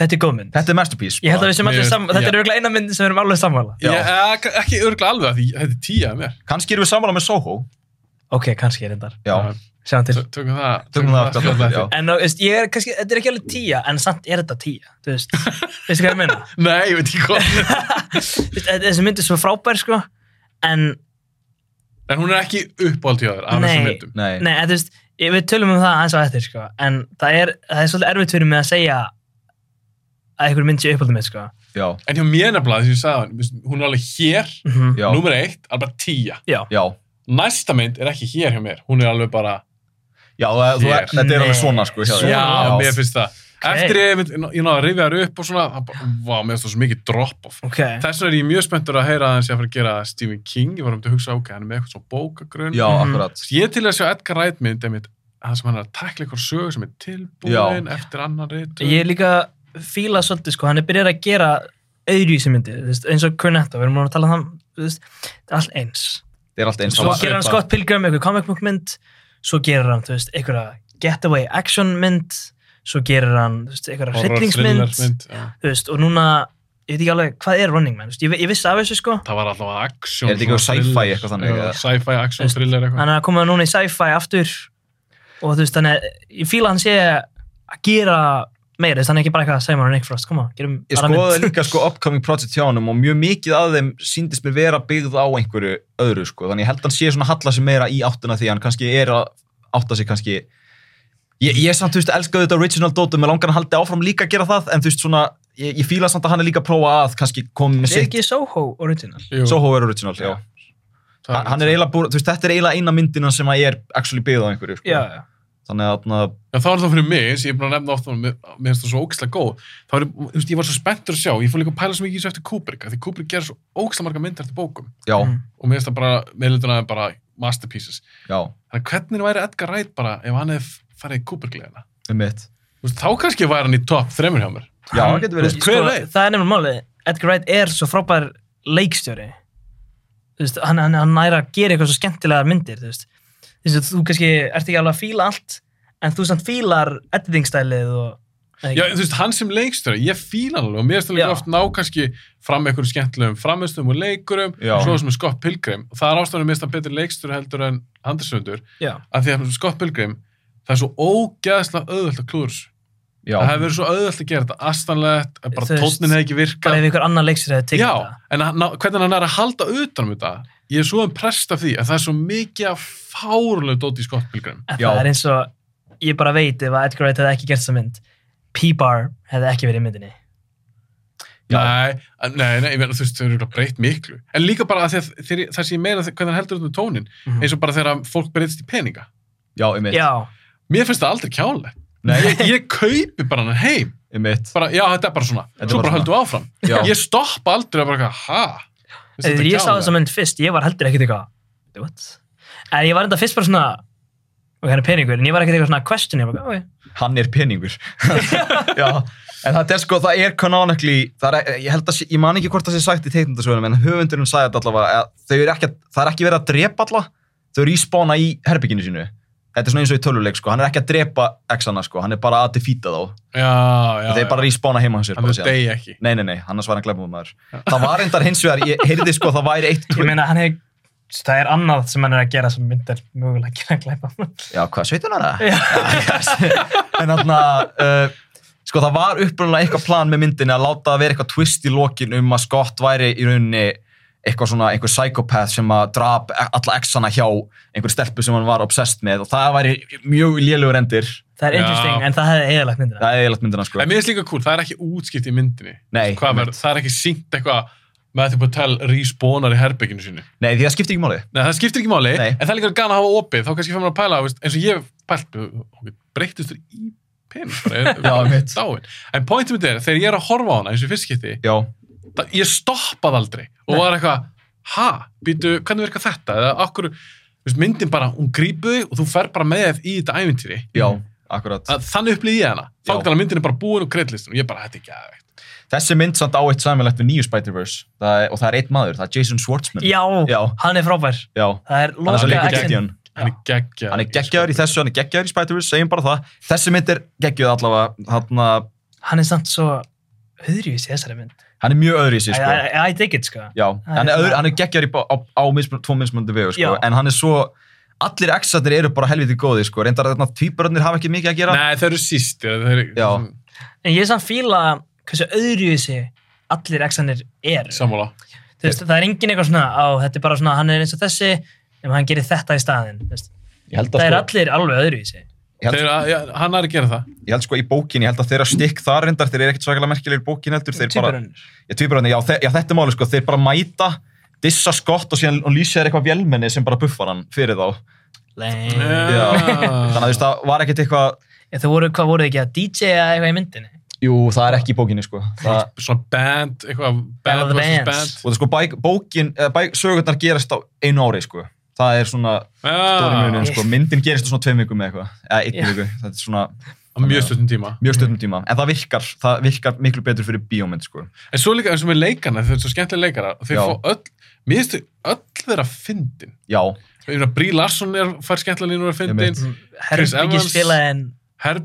[SPEAKER 7] þetta er góð mynd.
[SPEAKER 6] Þetta er masterpiece. sko.
[SPEAKER 7] Ég held að við sem allir
[SPEAKER 5] Mér-
[SPEAKER 7] saman, þetta
[SPEAKER 5] já.
[SPEAKER 7] er auðvitað eina mynd sem við erum alveg samanlega.
[SPEAKER 6] Já.
[SPEAKER 5] ég, ek- ekki örgla alveg að því þetta er tíja mér
[SPEAKER 6] Kanski erum við samanlega með Soho.
[SPEAKER 7] Ok, kannski er þetta.
[SPEAKER 6] Já.
[SPEAKER 7] Sjáum til.
[SPEAKER 5] Tö- tökum það
[SPEAKER 6] Tökum það aftur. aftur, Já.
[SPEAKER 7] En þú veist, ég er kannski, þetta er ekki alveg tíja, en samt er þetta tíja, þú veist, veistu hvað ég meina?
[SPEAKER 5] nei, ég veit ekki hvað
[SPEAKER 7] Þú veist, Þessi mynd er svo frábær, sko, en
[SPEAKER 5] En hún er ekki uppáhald hjá þér af þessum
[SPEAKER 7] Nei.
[SPEAKER 5] myndum.
[SPEAKER 6] Nei.
[SPEAKER 7] Nei, en þú veist, ég- við tölum um það aðeins á eftir, sko, en það er, það er svolítið erfitt fyrir mig að segja að einhver mynd sé uppáldum mitt, sko.
[SPEAKER 6] Já,
[SPEAKER 5] En hjá mér nefnilega, þess að ég sagði, hann, hún er alveg hér,
[SPEAKER 7] Mhm.
[SPEAKER 6] já,
[SPEAKER 5] nummer eitt, alveg tíja.
[SPEAKER 7] Já.
[SPEAKER 6] já.
[SPEAKER 5] Næsta mynd er ekki hér hjá mér, hún er alveg bara,
[SPEAKER 6] Já, það- þú,
[SPEAKER 5] Hér.
[SPEAKER 6] þetta er alveg
[SPEAKER 7] Nei.
[SPEAKER 6] svona, sko. hjá
[SPEAKER 5] já,
[SPEAKER 6] þér.
[SPEAKER 5] mér finnst það. Eftir ég, mynd, ég náði að rifja þér upp og svona, það bara, vá, mér finnst það svo mikið drop-off.
[SPEAKER 7] Ok.
[SPEAKER 5] Þess vegna er ég mjög spenntur að heyra að hann sé að fara að gera Stephen King, ég var um til að hugsa, ok, hann er með eitthvað svo bókagrunn.
[SPEAKER 6] Já,
[SPEAKER 7] Mhm.
[SPEAKER 6] akkurat.
[SPEAKER 5] Ég er til að sjá Edgar Wright mynd, einmitt, það sem hann er að tekla eitthvað sögur sem er tilbúin eftir annan reytur.
[SPEAKER 7] Ég er líka fíla svolítið sko, hann er byrjað að gera öðru í sem myndi, þú veist, eins og Cornetto, við erum múin að tala um það, þú veist, þetta er allt eins.
[SPEAKER 6] Það er allt eins.
[SPEAKER 7] Svo
[SPEAKER 5] Sama
[SPEAKER 7] gerir hann
[SPEAKER 5] svipað.
[SPEAKER 7] Scott Pilgrim, eitthvað comic book mynd, svo gerir hann, þú veist, eitthvað getaway action mynd, svo gerir hann, þú veist, eitthvað
[SPEAKER 5] Horror,
[SPEAKER 7] hryllingsmynd,
[SPEAKER 5] thrillermynd, já.
[SPEAKER 7] þú veist, og núna, ég veit ekki alveg, hvað er Running Man, þú veist, ég, ve- ég vissi af þessu sko,
[SPEAKER 5] það var alltaf action
[SPEAKER 6] Er þetta ekki
[SPEAKER 5] svona
[SPEAKER 6] á sci-fi
[SPEAKER 5] thriller.
[SPEAKER 6] eitthvað þannig,
[SPEAKER 5] Já,
[SPEAKER 6] eða?
[SPEAKER 5] sci-fi, action, thriller eitthvað
[SPEAKER 7] hann er að koma núna í sci-fi aftur og þú veist, þannig, að ég fíla að hann sé að gera meira, þú veist, hann er ekki bara eitthvað, Simon og Nick Frost, koma, gerum
[SPEAKER 6] Ég
[SPEAKER 7] aðra mynd.
[SPEAKER 6] skoðaði líka sko upcoming project hjá honum og mjög mikið af þeim síndist mér vera byggð á einhverju öðru sko. Þannig ég held hann sé svona að halla sig meira í áttuna því hann kannski er að átta sig kannski Ég, ég samt, þú veist, elskaði þetta original dótum með langar að haldi áfram líka að gera það en þú veist svona, ég, ég fíla samt að hann er líka að prófa að kannski koma með
[SPEAKER 7] Er
[SPEAKER 6] sitt
[SPEAKER 7] ekki Soho original?
[SPEAKER 5] Jú,
[SPEAKER 6] Soho er original, já.
[SPEAKER 5] það
[SPEAKER 6] Hann- Hann er eiginlega búin, þú veist, þetta er eiginlega eina myndina sem að ég er actually byggð á einhverju sko.
[SPEAKER 7] Já, já.
[SPEAKER 6] Þannig að, na,
[SPEAKER 5] Já, það var það fyrir mig, sem ég er búin að nefna oft mér mér finnst það svo ógislega góð það var, þú veist, ég var svo spenntur að sjá, ég fór líka að pæla svo mikið í þessu eftir Kubrick, af því Kubrick gerir svo ógislega marga myndar eftir bókum
[SPEAKER 6] já,
[SPEAKER 7] Mm.
[SPEAKER 5] og mér finnst það bara, mér lítið hann bara masterpieces,
[SPEAKER 6] já,
[SPEAKER 5] þannig að hvernig væri Edgar Wright bara ef hann hefði farið í Kubrick-legina
[SPEAKER 6] um mitt
[SPEAKER 5] Þú veist, þá kannski væri hann í topp þremur hjá mér
[SPEAKER 6] Já, það getur verið
[SPEAKER 5] Hver veit?
[SPEAKER 7] Það er nefnilega málið. Edgar Wright er svo frábær leikstjóri. Þú veist, hann, hann, hann næra að gera eitthvað svo skemmtilegar myndir, þú veist. Þú veist, þú kannski ert ekki alveg að fíla allt, en þú samt fílar editingstælið og... eða
[SPEAKER 5] Já,
[SPEAKER 7] ekki?
[SPEAKER 5] þú veist, hann sem leikstöri, ég fíla hann alveg og mér finnst það líka
[SPEAKER 7] Já.
[SPEAKER 5] oft ná kannski fram með einhverjum skemmtilegum framistum og leikurum
[SPEAKER 6] Já.
[SPEAKER 5] svo sem er Scott Pilgrim og það er ástæðan að mér finnst hann betur leikstöri heldur en Andersundur
[SPEAKER 7] Já.
[SPEAKER 5] af því að Scott Pilgrim, það er svo ógeðslega auðvöld að klúður þessu.
[SPEAKER 6] Já,
[SPEAKER 5] það hefur verið svo auðvöld að gera þetta astanlegt, bara
[SPEAKER 7] Þú veist,
[SPEAKER 5] tónnin hefði ekki virkað
[SPEAKER 7] Bara ef ykkur annar leikstjóri hefði tekið
[SPEAKER 5] Já,
[SPEAKER 7] þetta.
[SPEAKER 5] en hann, ná- hvernig hann er að halda utanum þetta ég er svo impressed af því að það er svo mikið af fárlega dóti í Scott Pilgrim
[SPEAKER 7] En
[SPEAKER 6] Já.
[SPEAKER 7] það er eins og ég bara veit ef að Edgar Wright hefði ekki gert þessa mynd, P-Bar hefði ekki verið í myndinni.
[SPEAKER 6] Já.
[SPEAKER 5] Nei, nei, nei, ég meina, þú veist, þau eru örugglega breytt miklu. En líka bara að þegar, þegar, það sem ég meina hvernig hann heldur utan um tónin,
[SPEAKER 7] Mhm.
[SPEAKER 5] eins og bara þegar fólk breytist í peninga.
[SPEAKER 6] já, um mitt
[SPEAKER 7] Já,
[SPEAKER 5] Mér finnst það aldrei kjánlega.
[SPEAKER 6] Nei,
[SPEAKER 5] Ég, ég kaupi bara hann heim.
[SPEAKER 6] um mitt
[SPEAKER 5] Bara, já, þetta er bara svona.
[SPEAKER 6] Þetta er
[SPEAKER 5] Svo
[SPEAKER 6] bara
[SPEAKER 5] bara höldum við áfram.
[SPEAKER 6] Já.
[SPEAKER 5] Ég stoppa aldrei að bara, eitthvað, ha? Finnst þetta
[SPEAKER 7] Þegar ég sá
[SPEAKER 5] kjánalegt?
[SPEAKER 7] þessa mynd fyrst, ég var heldur ekkert eitthvað "Wait, What? En ég var enda fyrst bara svona og hérna peningur, en ég var ekkert eitthvað svona question ég bara, "Ok."
[SPEAKER 6] hann er peningur já, en það er sko, það er canonically það er, ég held að, sé- ég man ekki hvort það sé sagt í teiknundasögunum, en höfundurinn sagði þetta allavega að þau eru ekki, að- það er ekki verið að drepa alla þau eru í spána í herbygginu sínu þetta er svona eins og í töluleik, sko, hann er ekki að drepa exana, sko, hann er bara að defeata þá
[SPEAKER 5] Já, já,
[SPEAKER 6] þeir
[SPEAKER 5] já.
[SPEAKER 6] bara í spána heima hans sér
[SPEAKER 5] Hann
[SPEAKER 6] bara
[SPEAKER 5] þau
[SPEAKER 6] síðan.
[SPEAKER 5] degi ekki.
[SPEAKER 6] nei, nei, nei, annars var hann glemum maður það var endar hins vegar, ég heyrði sko það væri eitt
[SPEAKER 7] Ég meina, hann hef, það er annað sem hann er að gera sem mynd er mögulega að gera að glæpa.
[SPEAKER 6] Já, hvað, 17 ára? Já. en þarna, uh, sko það var upprunalega eitthvað plan með myndinni að láta það vera eitthvað twist í lokin um að Scott væri í rauninni eitthvað svona, einhver psychopath sem að drap alla exana hjá einhver stelpu sem hann var obsessed með og það væri mjög lélugur endir.
[SPEAKER 7] Það er
[SPEAKER 5] Já.
[SPEAKER 7] interesting, en það hefði eiginlegt myndina.
[SPEAKER 6] Það er eiginlega myndina, sko.
[SPEAKER 5] En mér finnst líka cool, það er ekki útskipt í myndinni.
[SPEAKER 6] Nei,
[SPEAKER 5] Hvað verður, það er ekki syngt eitthvað Matthew Patel respawnar í herbygginu sínu.
[SPEAKER 6] Nei, því það skipti ekki máli.
[SPEAKER 5] Nei, það skiptir ekki máli,
[SPEAKER 6] Nei.
[SPEAKER 5] en það er líka gana að hafa opið, þá kannski fyrir maður að pæla, veist, eins og ég hef pælt, ok, breytist þér í pening, bara er
[SPEAKER 6] Já, einmitt.
[SPEAKER 5] dáin. En pointum þetta er, þegar ég er að horfa á hana eins og fyrstskipti,
[SPEAKER 6] Já,
[SPEAKER 5] ég stoppað aldrei og var eitthvað, ha, býtu, hvernig virka þetta? Eða okkur, veist, myndin bara, hún grípu þig og þú fer bara með þig í þetta æfintýri.
[SPEAKER 6] já, akkurat.
[SPEAKER 5] Að Þannig upplýði ég hana. Þá
[SPEAKER 6] Já.
[SPEAKER 5] er myndin er bara búin og kreidlistin og ég bara, þetta er ekki aðeins.
[SPEAKER 6] Þessi mynd samt á eitt samanlegt við nýju Spider-Verse það er, og það er eitt maður, það er Jason Schwartzman.
[SPEAKER 7] Já,
[SPEAKER 6] Já.
[SPEAKER 7] hann er frábær.
[SPEAKER 6] Já.
[SPEAKER 7] Það er
[SPEAKER 6] Hann er svo
[SPEAKER 7] loka
[SPEAKER 6] leikur
[SPEAKER 5] action.
[SPEAKER 6] gegn
[SPEAKER 5] Hann er geggjaður.
[SPEAKER 6] hann er
[SPEAKER 5] í
[SPEAKER 6] geggjaður í þessu, hann er geggjaður í Spider-Verse, segjum bara það þessi mynd er geggjöð allavega hann,
[SPEAKER 7] Hann er samt svo höðrjus í þessari mynd.
[SPEAKER 6] hann er mjög öðru í sig sko.
[SPEAKER 7] I, I, I dig it, sko.
[SPEAKER 6] já, hann er, öðru, hann er geggjaður í, bá- á, á mismun, tvo mismunandi vegu sko.
[SPEAKER 7] Já.
[SPEAKER 6] en hann er svo, allir exatnir eru bara helviti góði sko. reyndar þarna tvíburarnir hafa ekki mikið að gera
[SPEAKER 5] Nei, þeir eru sístir. Þeir
[SPEAKER 6] Já.
[SPEAKER 5] eru
[SPEAKER 7] En ég er samt fíla hversu öðrjusi allir exanir eru.
[SPEAKER 5] sammála.
[SPEAKER 7] Þú veist, það er engin eitthvað svona á, þetta er bara svona, hann er eins og þessi ef hann gerir þetta í staðinn þú veist.
[SPEAKER 6] Ég held
[SPEAKER 7] það
[SPEAKER 6] að
[SPEAKER 7] er
[SPEAKER 6] sko,
[SPEAKER 7] allir alveg öðru í sig
[SPEAKER 6] ég held,
[SPEAKER 5] Þeir, að, ja, hann er að gera það.
[SPEAKER 6] ég held sko í bókinni, ég held að þeirra stikk þar reyndar, þeir eru ekkert svakalega merkilegir í bókinni heldur, þeir bara, ég tvíbröðin, já, þe- já þetta er máli sko, þeir bara mæta, dissa skott og síðan og lýsa þér eitthvað vélmenni sem bara buffar hann fyrir þá.
[SPEAKER 7] Lame.
[SPEAKER 6] Já.
[SPEAKER 5] Ah.
[SPEAKER 6] Þannig að þú veist, það var ekkert eitthvað,
[SPEAKER 7] Þau voru, hvað voru þið ekki að DJ-a eitthvað í myndinni?
[SPEAKER 6] jú, það er ekki í bókinni sko. Það,
[SPEAKER 5] Svona band, eitthvað
[SPEAKER 7] Battle of
[SPEAKER 5] band
[SPEAKER 7] the
[SPEAKER 5] versus
[SPEAKER 7] Bands.
[SPEAKER 5] band.
[SPEAKER 6] og það sko, bæk, bókin, eða bæk, sögurnar gerast á einu ári sko. Það er svona stóri munurinn
[SPEAKER 5] Já,
[SPEAKER 6] sko, myndin gerist á svona tveim vikum eða eitthvað, eða
[SPEAKER 7] Ah. Já. Mm.
[SPEAKER 6] einn viku, þetta er svona
[SPEAKER 5] á mjög stöttum tíma.
[SPEAKER 6] mjög stöðnum tíma, en það virkar, það virkar miklu betur fyrir bíómynd sko.
[SPEAKER 5] En svo líka eins og með leikana, þau eru svo skemmtilega leikara. og Þeir
[SPEAKER 6] Já.
[SPEAKER 5] fá öll, mér finnst þau öll þeirra fyndin.
[SPEAKER 6] Já,
[SPEAKER 5] Ég meina, Brí Larsson er, fær skemmtilega línur að fyndin. Chris Evans.
[SPEAKER 7] Herbyggis-félagin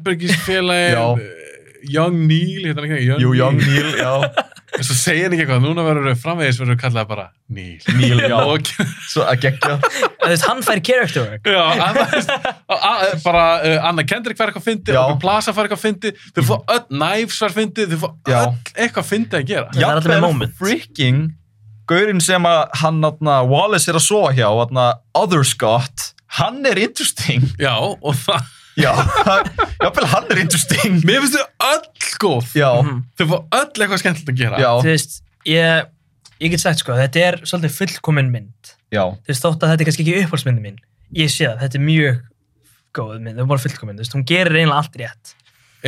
[SPEAKER 5] Herbergisfélagin,
[SPEAKER 6] Já.
[SPEAKER 5] eh, Young Neil, hérna ekki, Young
[SPEAKER 6] Jú, Young
[SPEAKER 5] Neil.
[SPEAKER 6] Neil, já,
[SPEAKER 5] En svo segja hann ekki eitthvað, núna verður þau framvegis, verður þau kallað bara Neil.
[SPEAKER 6] Neil, já,
[SPEAKER 5] Og
[SPEAKER 6] svo að gegja.
[SPEAKER 7] Þú veist, hann fær character work
[SPEAKER 5] Já, að það veist, að- að- bara uh, Anna Kendrick fær eitthvað fyndi,
[SPEAKER 6] Já. Mhm.
[SPEAKER 5] Aubrey Plaza fær eitthvað fyndi, þau fá öll Knives fær fyndi, þau fá
[SPEAKER 6] Já.
[SPEAKER 5] öll eitthvað fyndi að gera.
[SPEAKER 7] Já. er allir með moment.
[SPEAKER 6] freaking, gaurinn sem að hann, atna, Wallace er að sofa hjá, atna, Other Scott, hann er interesting.
[SPEAKER 5] Já, og það,
[SPEAKER 6] Já, jáfnvel hann er interesting.
[SPEAKER 5] mér finnst þau öll góð.
[SPEAKER 6] Já,
[SPEAKER 7] Mhm.
[SPEAKER 5] Þau fá öll eitthvað skemmtilegt að gera.
[SPEAKER 6] já,
[SPEAKER 7] Þú veist, ég, ég get sagt sko þetta er svolítið fullkomin mynd
[SPEAKER 6] já,
[SPEAKER 7] Þú veist, þótt að þetta er kannski ekki upphaldsmyndi mín Ég sé það, þetta er mjög góð mynd, það er bara fullkomin, þú veist, hún gerir eiginlega allt rétt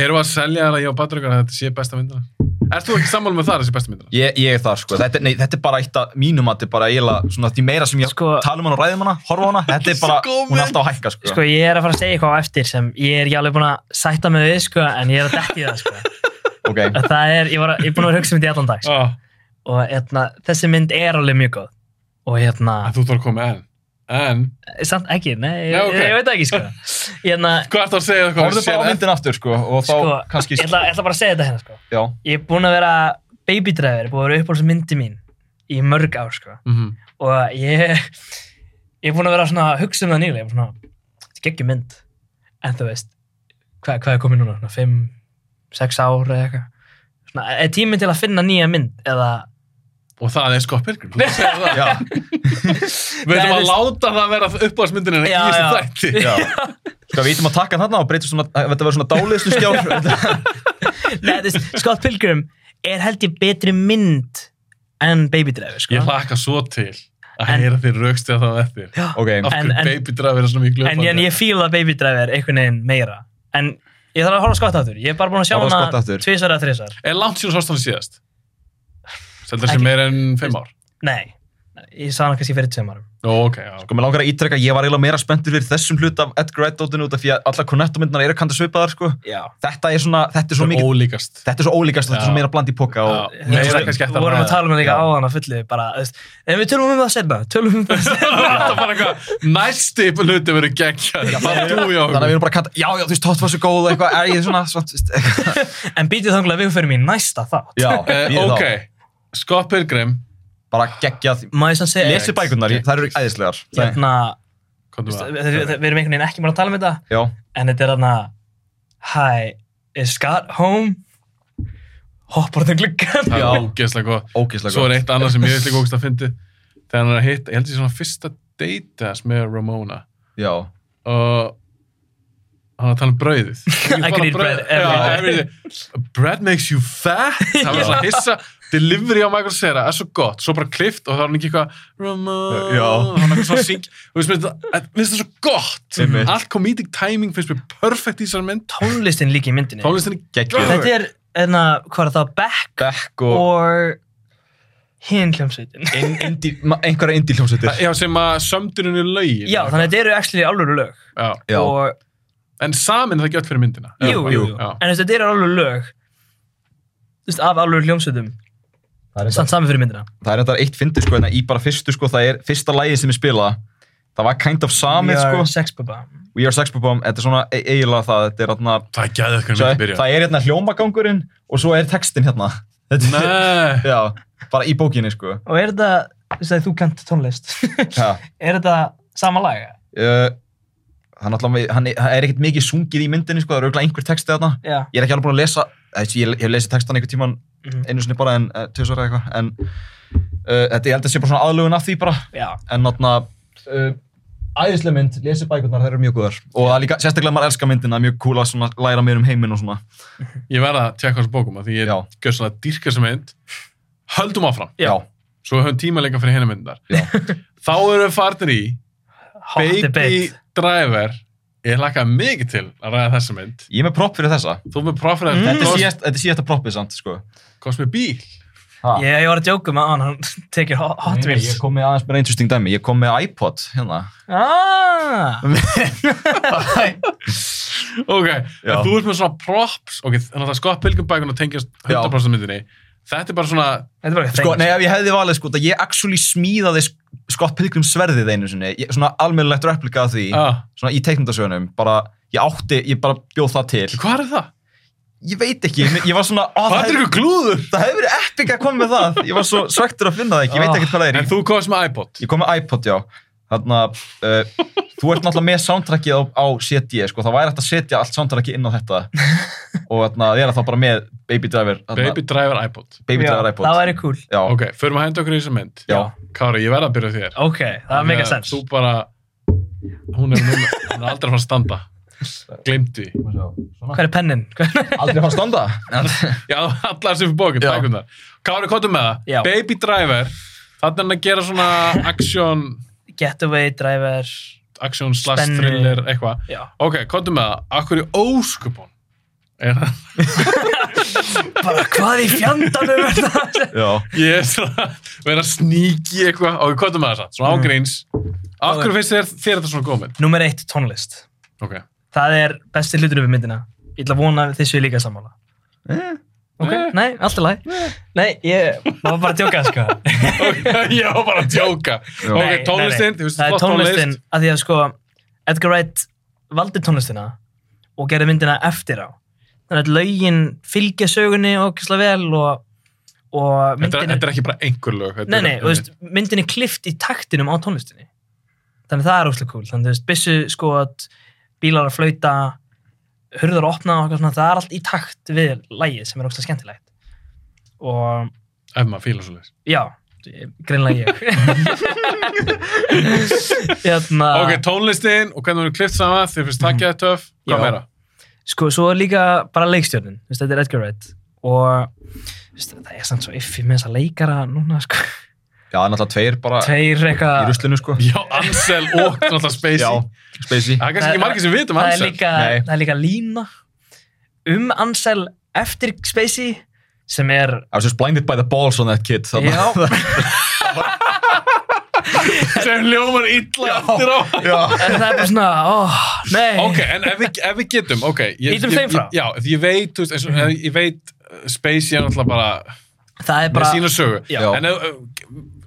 [SPEAKER 5] Erum við að selja það ég og Patrikar að þetta sé besta myndina? Erst þú ekki sammála með það að þetta sé besta myndina?
[SPEAKER 6] ég, ég er þar sko, þetta, er- nei, þetta er bara eitt að mínum að þetta er bara eiginlega, svona því meira sem ég
[SPEAKER 7] Sko-
[SPEAKER 6] tala um hana og ræðum hana, horfa á hana, þetta er
[SPEAKER 5] Svo
[SPEAKER 6] bara,
[SPEAKER 5] góð
[SPEAKER 6] hún er
[SPEAKER 5] mynd.
[SPEAKER 6] alltaf að hækka sko.
[SPEAKER 7] Sko, ég er að fara að segja eitthvað á eftir sem ég er ekki alveg búin að sætta með við sko, en ég er að detti það sko.
[SPEAKER 6] Ok,
[SPEAKER 7] Að Það er, ég, var, að- ég er búin að vera að hugsa um þetta í allan dag sko.
[SPEAKER 5] Ah,
[SPEAKER 7] og hérna, þessi mynd er alveg mjög góð og hérna,
[SPEAKER 5] en þú þarf að koma en. En,
[SPEAKER 7] samt ekki, nei, ég,
[SPEAKER 5] Já, ok.
[SPEAKER 7] ég, veit það ekki sko. hérna,
[SPEAKER 5] hvað ertu að segja eitthvað?
[SPEAKER 6] horfðu bara á myndin aftur sko, og þá
[SPEAKER 7] sko,
[SPEAKER 6] kannski,
[SPEAKER 7] ég ætla, ég ætla bara að segja þetta hérna sko.
[SPEAKER 6] já,
[SPEAKER 7] ég er búin að vera baby driver, búin að vera uppáhalds myndi mín í mörg ár sko.
[SPEAKER 5] Mhm.
[SPEAKER 7] og ég ég er búin að vera svona að hugsa um það nýlega ég er svona, þetta er geggjum mynd en þú veist, hvað, hvað er komið núna svona 5, 6 ár eða eitthvað svona, er tíminn til að finna nýja mynd eða,
[SPEAKER 5] Og það er Scott Pilgrim. Þú segir það.
[SPEAKER 6] já,
[SPEAKER 5] Við ætlum
[SPEAKER 7] Nei,
[SPEAKER 5] að
[SPEAKER 7] þú-
[SPEAKER 5] láta það vera uppáðsmyndinina í
[SPEAKER 7] Já,
[SPEAKER 5] þessu
[SPEAKER 7] já.
[SPEAKER 5] þætti.
[SPEAKER 6] já. Sko, við ítum að taka þarna og breytum svona, þetta verður svona dálislu skjár.
[SPEAKER 7] Nei, þú veist, Scott Pilgrim er held ég betri mynd en baby driver sko.
[SPEAKER 5] Ég hlakka svo til að
[SPEAKER 7] En-
[SPEAKER 5] heyra þér raukst eða það eftir.
[SPEAKER 7] Já.
[SPEAKER 6] ok,
[SPEAKER 7] En-
[SPEAKER 5] Af hverju
[SPEAKER 7] en-
[SPEAKER 5] baby drive vera svona miklu
[SPEAKER 7] en, en ég fíla Baby Driver einhvern veginn meira en ég þarf að horfa á skott aftur ég er bara búin að sjá
[SPEAKER 6] Horfa á Scott
[SPEAKER 7] hana
[SPEAKER 6] aftur.
[SPEAKER 7] tvisar eða þrisar
[SPEAKER 5] Er langt síðan sást hann síðast? Seldur
[SPEAKER 7] Ekki-
[SPEAKER 5] sem meira en fimm ár?
[SPEAKER 7] nei, ég sá hana kannski fyrir tveim árum
[SPEAKER 5] Ó, ok, já.
[SPEAKER 6] Sko, mér langar að ítrekka, ég var eiginlega meira spenntur fyrir þessum hlut af Edgar Wright-dótinu út af því að alla Cornetto-myndnar eru kandur svipaðar, sko.
[SPEAKER 7] já
[SPEAKER 6] Þetta er svona, þetta er svo
[SPEAKER 5] Svo
[SPEAKER 6] mikið,
[SPEAKER 5] ólíkast.
[SPEAKER 6] þetta er svo ólíkast, þetta er
[SPEAKER 5] Já.
[SPEAKER 6] svo meira bland í poka og...
[SPEAKER 5] Já. Meira kannski eftir
[SPEAKER 7] við
[SPEAKER 5] að
[SPEAKER 7] vorum
[SPEAKER 5] ræða.
[SPEAKER 7] að tala um það líka
[SPEAKER 6] Já.
[SPEAKER 7] á hana fullu bara, þú veist, en við tölum um það setna tölum um það setna
[SPEAKER 5] Þetta var eitthvað næsti hluti verið geggjað. Það er búið á
[SPEAKER 6] Þannig að við erum bara að kanta, já, já, þú veist, tótt var svo góð og eitthvað, er ég svona, svona, þú veist, eitthvað.
[SPEAKER 7] en býtið þanglega við fyrir mín næsta þátt
[SPEAKER 6] Já,
[SPEAKER 5] Eh,
[SPEAKER 6] býðu
[SPEAKER 5] Ok,
[SPEAKER 6] þá.
[SPEAKER 5] Scott Pilgrim.
[SPEAKER 6] Bara geggjað,
[SPEAKER 7] má ég sann segja
[SPEAKER 6] lesi bækurnar,
[SPEAKER 5] gegn-
[SPEAKER 6] það eru æðislegar. Það-
[SPEAKER 7] hérna,
[SPEAKER 5] Komdu
[SPEAKER 7] við
[SPEAKER 5] með
[SPEAKER 7] við- við- við erum einhvern veginn ekki búin að tala um þetta
[SPEAKER 6] Já,
[SPEAKER 7] en þetta er þarna hi, is Scott home hoppar út um gluggan
[SPEAKER 5] Það
[SPEAKER 6] Já.
[SPEAKER 5] er ógeðslega góð.
[SPEAKER 6] ógeðslega
[SPEAKER 5] Svo er
[SPEAKER 6] góð.
[SPEAKER 5] eitt annað sem ég veist líka ógeðslega að fyndi. Þegar hann er að hitta, ég held ég svona fyrsta date hans með Ramona.
[SPEAKER 6] Já,
[SPEAKER 5] og hann var að tala um brauðið Ekki bara
[SPEAKER 7] can eat
[SPEAKER 5] brauð-
[SPEAKER 7] bread every
[SPEAKER 5] Já,
[SPEAKER 7] day.
[SPEAKER 5] everything. bread makes you fat það var svona hissa delivery á Michael Cera er svo gott, svo bara klift og þá er hann ekki eitthvað Ramon,
[SPEAKER 6] Já.
[SPEAKER 5] hann er eitthvað svona syng og finnst mér þetta- að- mér finnst það svo gott
[SPEAKER 6] Einmitt.
[SPEAKER 5] allt comedic timing finnst mér perfect í þessar mynd
[SPEAKER 7] tónlistin líka í myndinni
[SPEAKER 5] tónlistinni
[SPEAKER 6] Geggjuð.
[SPEAKER 7] Þetta er, enna, hvað er það, Beck
[SPEAKER 6] Beck og
[SPEAKER 7] or hinn hljómsveitin.
[SPEAKER 6] In- indie- ma- einhverja indie hljómsveitir.
[SPEAKER 5] Já, sem að sömduninu lögin
[SPEAKER 7] Já, þannig að þetta eru actually alvöru lög.
[SPEAKER 5] Já.
[SPEAKER 6] Já,
[SPEAKER 7] Og,
[SPEAKER 5] en samin er það ekki öll fyrir myndina
[SPEAKER 7] jú, jú, jú.
[SPEAKER 5] Já.
[SPEAKER 7] En þú veist, þetta eru alvöru lög, þú veist, af alvöru hljómsveitum,
[SPEAKER 6] það er
[SPEAKER 7] samt sami fyrir myndina.
[SPEAKER 6] það er þetta eitt fyndið sko, en í bara fyrstu sko, það er fyrsta lagið sem ég spila það var kind of samið sko
[SPEAKER 7] Sex Bubba.
[SPEAKER 6] We are sex bomb, þetta er svona e- eiginlega það þetta er hérna,
[SPEAKER 5] það er gæðið hvernig myndi
[SPEAKER 6] svo,
[SPEAKER 5] byrja
[SPEAKER 6] það er hérna hljómagangurinn og svo er textin hérna þetta, er-
[SPEAKER 5] Nei,
[SPEAKER 6] já, bara í bókinni sko
[SPEAKER 7] Og er þetta, þú veist, að þú kent tónlist,
[SPEAKER 6] ja.
[SPEAKER 7] er þetta sama laga?
[SPEAKER 6] uh, hann, allan, hann, hann er ekkert mikið sungið í myndinni sko, það eru auðvitað einhver texti þarna
[SPEAKER 7] Já.
[SPEAKER 6] ég er ekki alveg búin að lesa ég, ég, ég hef lesið textan einhver tíman
[SPEAKER 7] Mhm.
[SPEAKER 6] einu sinni bara en uh, tvisar eða eh, eitthvað en uh, þetta ég held að sé bara svona aðlugun af því bara
[SPEAKER 7] Já.
[SPEAKER 6] en náttúrulega uh, æðislega mynd, lesi bækurnar, þær eru mjög góðar og það er líka, sérstaklega maður elskar myndina, það er mjög cool að svona læra meir um heiminn og svona
[SPEAKER 5] Ég verða að tjekka þessu bókum að því ég
[SPEAKER 6] Já.
[SPEAKER 5] gjör svona dýrka sem mynd. Höldum áfram.
[SPEAKER 7] Já.
[SPEAKER 5] Svo við höfum tíma lengur fyrir henni myndar.
[SPEAKER 6] Já.
[SPEAKER 5] Þá erum við farnir í
[SPEAKER 7] Hot
[SPEAKER 5] Baby
[SPEAKER 7] debate.
[SPEAKER 5] Driver. Ég hlakka mikið til að ræða þessa mynd.
[SPEAKER 6] Ég er með propp fyrir þessa
[SPEAKER 5] Þú með profil að
[SPEAKER 6] Mm. Þetta er síðast- þetta er síðasta proppið samt, sko
[SPEAKER 5] komst með bíl.
[SPEAKER 6] Ha.
[SPEAKER 7] Ég, ég var að djóka með hann, hann tekir ho- Hot
[SPEAKER 6] Nei, Ég
[SPEAKER 7] Wheels.
[SPEAKER 6] kom með aðeins meira interesting dæmi, ég kom með iPod hérna
[SPEAKER 7] Ah,
[SPEAKER 5] Ok,
[SPEAKER 6] Já.
[SPEAKER 5] en þú ert með svona props. Ok, þannig að það skoða pilgumbækun og tengjast 100% myndinni. Þetta er bara svona,
[SPEAKER 7] þetta er bara
[SPEAKER 6] Sko,
[SPEAKER 7] eitthvað.
[SPEAKER 6] nei, ef ég hefði valið, sko, það ég actually smíðaði sk- Scott Pilgrim sverðið einu sinni, ég, svona almennilegt replika af því,
[SPEAKER 5] ah,
[SPEAKER 6] svona í teiknundasögunum, bara, ég átti, ég bara bjóð það til.
[SPEAKER 5] hvað er það?
[SPEAKER 6] Ég veit ekki, ég, ég var svona, á,
[SPEAKER 5] Hvað er ykkur glúður?
[SPEAKER 6] það hefur verið epic að koma með það, ég var svo svektur að finna það ekki, ég veit ekkert hvað það er.
[SPEAKER 5] Ah, En þú komst með iPod.
[SPEAKER 6] Ég kom með iPod, já, þarna, uh, þú ert náttúrulega með soundtrackið á, á CD, sko, það væri hægt að setja allt soundtrackið inn á þetta og þarna, ég er þá bara með Baby Driver, þarna,
[SPEAKER 5] Baby Driver iPod.
[SPEAKER 6] Baby Driver
[SPEAKER 7] Já, Það
[SPEAKER 6] iPod.
[SPEAKER 7] væri cool.
[SPEAKER 6] Já,
[SPEAKER 5] Ok, förum að henda okkur í þessa mynd.
[SPEAKER 6] já,
[SPEAKER 5] Kári, ég verða að byrja á þér.
[SPEAKER 7] Ok, það var mega
[SPEAKER 5] Því að
[SPEAKER 7] sens.
[SPEAKER 5] Þú bara, hún er, núna, hún er aldrei að fara að standa. Glemdi.
[SPEAKER 7] Hvað er pennin?
[SPEAKER 6] aldrei fannst standa.
[SPEAKER 5] Já, allar sem fyrir bókun,
[SPEAKER 6] Já.
[SPEAKER 5] takum það. Kári, kottum með það.
[SPEAKER 7] Já.
[SPEAKER 5] Baby Driver, þannig hann að gera svona action,
[SPEAKER 7] Getaway, driver.
[SPEAKER 5] action slash
[SPEAKER 7] Spennu.
[SPEAKER 5] thriller, eitthvað.
[SPEAKER 7] Já.
[SPEAKER 5] Ok, kottum með það. Akkur í óskupun. Er það?
[SPEAKER 7] Bara hvað í fjandanum er það?
[SPEAKER 6] Já.
[SPEAKER 5] Ég er svona, vera sníki eitthvað. Ok, kottum með það satt, svona ágríns. Akkur finnst þér, þér þetta svona góð mynd?
[SPEAKER 7] Númer eitt, tónlist.
[SPEAKER 5] Ok.
[SPEAKER 7] Það er besti hlutur við myndina. Ég ætla að vona að þið séu líka sammála. Ok,
[SPEAKER 5] Eh.
[SPEAKER 7] nei, alltaf læg. Nei, ég það var bara að djóka, sko.
[SPEAKER 5] Ok, Ég var bara að djóka.
[SPEAKER 7] Nei,
[SPEAKER 5] Ok,
[SPEAKER 7] nei,
[SPEAKER 5] tónlistin,
[SPEAKER 7] nei.
[SPEAKER 5] þú veist,
[SPEAKER 7] það er
[SPEAKER 5] flott
[SPEAKER 7] tónlistin,
[SPEAKER 5] tónlist.
[SPEAKER 7] að því að sko Edgar Wright valdi tónlistina og gerði myndina eftir á þannig að lögin fylgja sögunni og kysla vel og, og
[SPEAKER 5] Þetta er,
[SPEAKER 7] myndin
[SPEAKER 5] þetta er ekki bara einhver lög. þetta
[SPEAKER 7] nei,
[SPEAKER 5] er-
[SPEAKER 7] nei, og þú veist, myndin er klift í taktinum á tónlistinni þannig að það er óslega cool þannig að þú veist, byssu skot bílar að flauta hurðar að opna og eitthvað svona, það er allt í takt við lægið sem er óslega skemmtilegt og
[SPEAKER 5] Ef maður fílar svo leiðis.
[SPEAKER 7] Já, greinlega ég Hérna
[SPEAKER 5] Ok, tónlistin og hvernig hún er klift saman, þið finnst takkjaði töff,
[SPEAKER 7] Mhm.
[SPEAKER 5] hvað
[SPEAKER 7] Já.
[SPEAKER 5] meira?
[SPEAKER 7] Sko, svo er líka bara leikstjórnin þú veist, Þetta er Edgar Wright og þú veist, það er samt svo iffi með þessa leikara núna, sko
[SPEAKER 6] Já, það er náttúrulega tveir bara
[SPEAKER 7] Tveir
[SPEAKER 6] í
[SPEAKER 7] eitthvað
[SPEAKER 6] ruslinu, sko.
[SPEAKER 5] Já, Ansel og náttúrulega Spacey.
[SPEAKER 6] Spacey.
[SPEAKER 5] Það er kannski ekki margir sem veit um
[SPEAKER 7] það, er
[SPEAKER 5] Ansel.
[SPEAKER 7] líka,
[SPEAKER 6] Nei.
[SPEAKER 7] það er líka lína um Ansel eftir Spacey sem er
[SPEAKER 6] I was just blinded by the balls on that kid. Þarna.
[SPEAKER 7] Já.
[SPEAKER 5] Sem ljómar illa eftir á.
[SPEAKER 6] Já.
[SPEAKER 7] en það er bara svona, ó, nei
[SPEAKER 5] Ok, en ef við, ef við getum, ok. ég-
[SPEAKER 7] Ítum
[SPEAKER 5] ég-
[SPEAKER 7] þeim frá.
[SPEAKER 5] ég- Já, því ég veit, þú veist, eins og- ég- ég veit, uh, Spacey er náttúrulega bara
[SPEAKER 7] það er
[SPEAKER 5] með
[SPEAKER 7] bara,
[SPEAKER 5] sína sögu.
[SPEAKER 7] Já.
[SPEAKER 5] En ef, uh,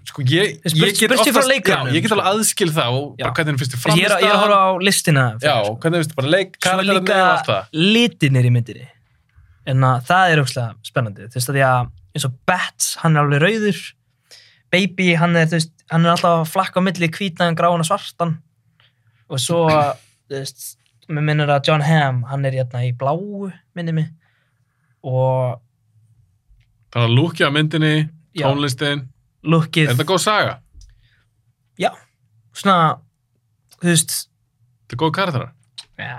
[SPEAKER 5] sko, ég,
[SPEAKER 7] Spurt-
[SPEAKER 5] ég get
[SPEAKER 7] spurt ég frá
[SPEAKER 5] oftast, já,
[SPEAKER 7] leikarunum,
[SPEAKER 5] ég get
[SPEAKER 7] sko.
[SPEAKER 5] alveg aðskil það og
[SPEAKER 7] Já.
[SPEAKER 5] bara hvernig henni finnst þið
[SPEAKER 7] ég er, að- ég er að horfa
[SPEAKER 5] framist
[SPEAKER 7] á listina sko.
[SPEAKER 5] Já, hvernig finnst þið bara leik,
[SPEAKER 7] svo
[SPEAKER 5] karakterarnir
[SPEAKER 7] líka
[SPEAKER 5] og allt það.
[SPEAKER 7] litinir í myndinni en að það er ógslag spennandi þú veist að því að eins og Bats hann er alveg rauður Baby hann er, þú veist, hann er alltaf að flakka á milli hvítan, gráan og svartan og svo þú veist, mér minnir að John Hamm hann er hérna í bláu minni mig og
[SPEAKER 5] Þannig að lúkja myndinni,
[SPEAKER 7] Já.
[SPEAKER 5] tónlistin, er
[SPEAKER 7] lukkið
[SPEAKER 5] þetta góð saga?
[SPEAKER 7] svona þú veist
[SPEAKER 5] Þetta er góð karakterar?
[SPEAKER 7] ja,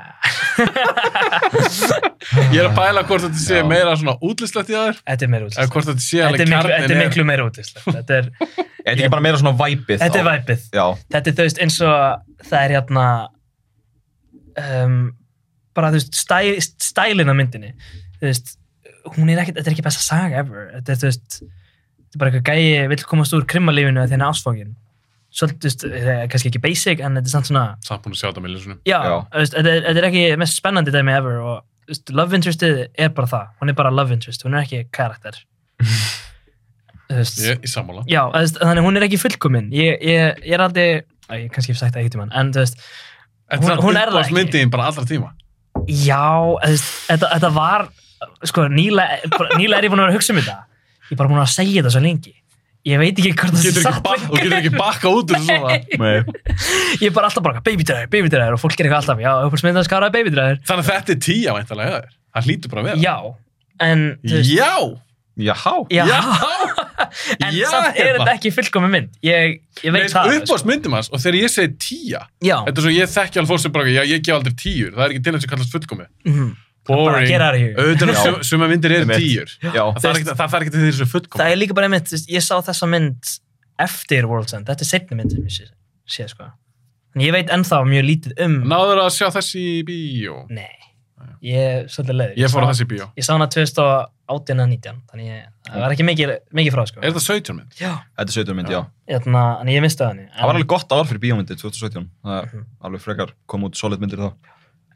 [SPEAKER 5] Ég er að pæla hvort þetta sé
[SPEAKER 6] Já.
[SPEAKER 5] meira svona útlistlegt í þær
[SPEAKER 7] þetta er meira
[SPEAKER 5] eða
[SPEAKER 7] útlist
[SPEAKER 5] hvort þetta sé
[SPEAKER 7] þetta
[SPEAKER 5] alveg
[SPEAKER 7] er miklu, þetta er
[SPEAKER 5] kjarnin
[SPEAKER 7] miklu meira útlist þetta er,
[SPEAKER 6] Þetta er ekki bara meira svona væpið.
[SPEAKER 7] þetta er væpið
[SPEAKER 6] Já.
[SPEAKER 7] þetta er þú veist eins og það er hérna um, bara þú veist stæ, stælin á myndinni þú veist hún er ekkert, þetta er ekki besta saga ever þetta er þú veist þetta er bara eitthvað gæi vill komast úr krimmalífinu að þenni ásfókin svolítið, þú veist, það er kannski ekki basic en þetta er samt svona
[SPEAKER 5] Samt búin að sjá þetta með ljósunum.
[SPEAKER 7] já,
[SPEAKER 6] Já.
[SPEAKER 7] þú veist, þetta, er, þetta er ekki mest spennandi dæmi ever og þú veist, love interestið er bara það hún er bara love interest, hún er ekki karakter þú veist
[SPEAKER 5] Ég er í sammála.
[SPEAKER 7] Já, þú veist, þannig hún er ekki fullkomin ég, ég, ég er aldrei, Æ, ég kannski hef sagt það eitt um hann en þú veist,
[SPEAKER 5] Þetta
[SPEAKER 7] Hún-
[SPEAKER 5] er
[SPEAKER 7] hún er það
[SPEAKER 5] uppáhalds
[SPEAKER 7] ekki.
[SPEAKER 5] myndin bara allra tíma.
[SPEAKER 7] já þú veist, þetta, þetta var sko, nýla, bara- nýla er ég búin að vera að hugsa um þetta ég er bara búin að segja þetta svo lengi ég veit ekki hvort það
[SPEAKER 5] Getur ekki
[SPEAKER 7] satt
[SPEAKER 5] bak- Þú getur ekki bakka út úr þessu svona.
[SPEAKER 6] Nei.
[SPEAKER 7] ég er bara alltaf bara baby driver, baby driver og fólk er eitthvað alltaf, já, upphaldsmyndan skaraði baby driver
[SPEAKER 5] Þannig að þetta er tíja væntalega hjá þér. Það hlýtur bara að vera.
[SPEAKER 7] já, en þú veist,
[SPEAKER 5] Já!
[SPEAKER 6] Jáhá.
[SPEAKER 7] Já. en
[SPEAKER 6] Já,
[SPEAKER 7] samt er
[SPEAKER 6] hérna.
[SPEAKER 7] þetta ekki fullkomi mynd ég, ég veit það sko.
[SPEAKER 5] uppáðsmyndum hans og þegar ég segi tíja
[SPEAKER 7] Já,
[SPEAKER 5] þetta er svo ég þekki alveg fólk sem bara ég, ég gef aldrei tíur, það er ekki til þess að kallast fullkomi
[SPEAKER 7] mhm. bara að gera þær í hug.
[SPEAKER 5] auðvitað er
[SPEAKER 6] Já.
[SPEAKER 5] sum- sumar myndir eru
[SPEAKER 6] Einmitt.
[SPEAKER 5] tíur
[SPEAKER 6] Já.
[SPEAKER 5] það þarf ekki- það þarf ekki til þess að fullkomi
[SPEAKER 7] það er líka bara einmitt þú veist, ég sá þessa mynd eftir World's End þetta er setni mynd sem ég sé, sé sko. en ég veit ennþá mjög lítið um
[SPEAKER 5] náður að sjá þessi í bíó
[SPEAKER 7] nei, ég er svolítið leiður
[SPEAKER 5] ég fór á þessi í bíó,
[SPEAKER 7] ég sá hana 2018 eða 19 þannig ég, það var ekki mikið, mikið frá sko.
[SPEAKER 5] er þetta 17 mynd?
[SPEAKER 7] já,
[SPEAKER 6] Þetta er 17 mynd, já.
[SPEAKER 7] Þarna, en ég misti það henni
[SPEAKER 6] Það var
[SPEAKER 7] en,
[SPEAKER 6] alveg gott ár fyrir bíómyndir 2017. Það er alveg frekar kom út solid myndir þá.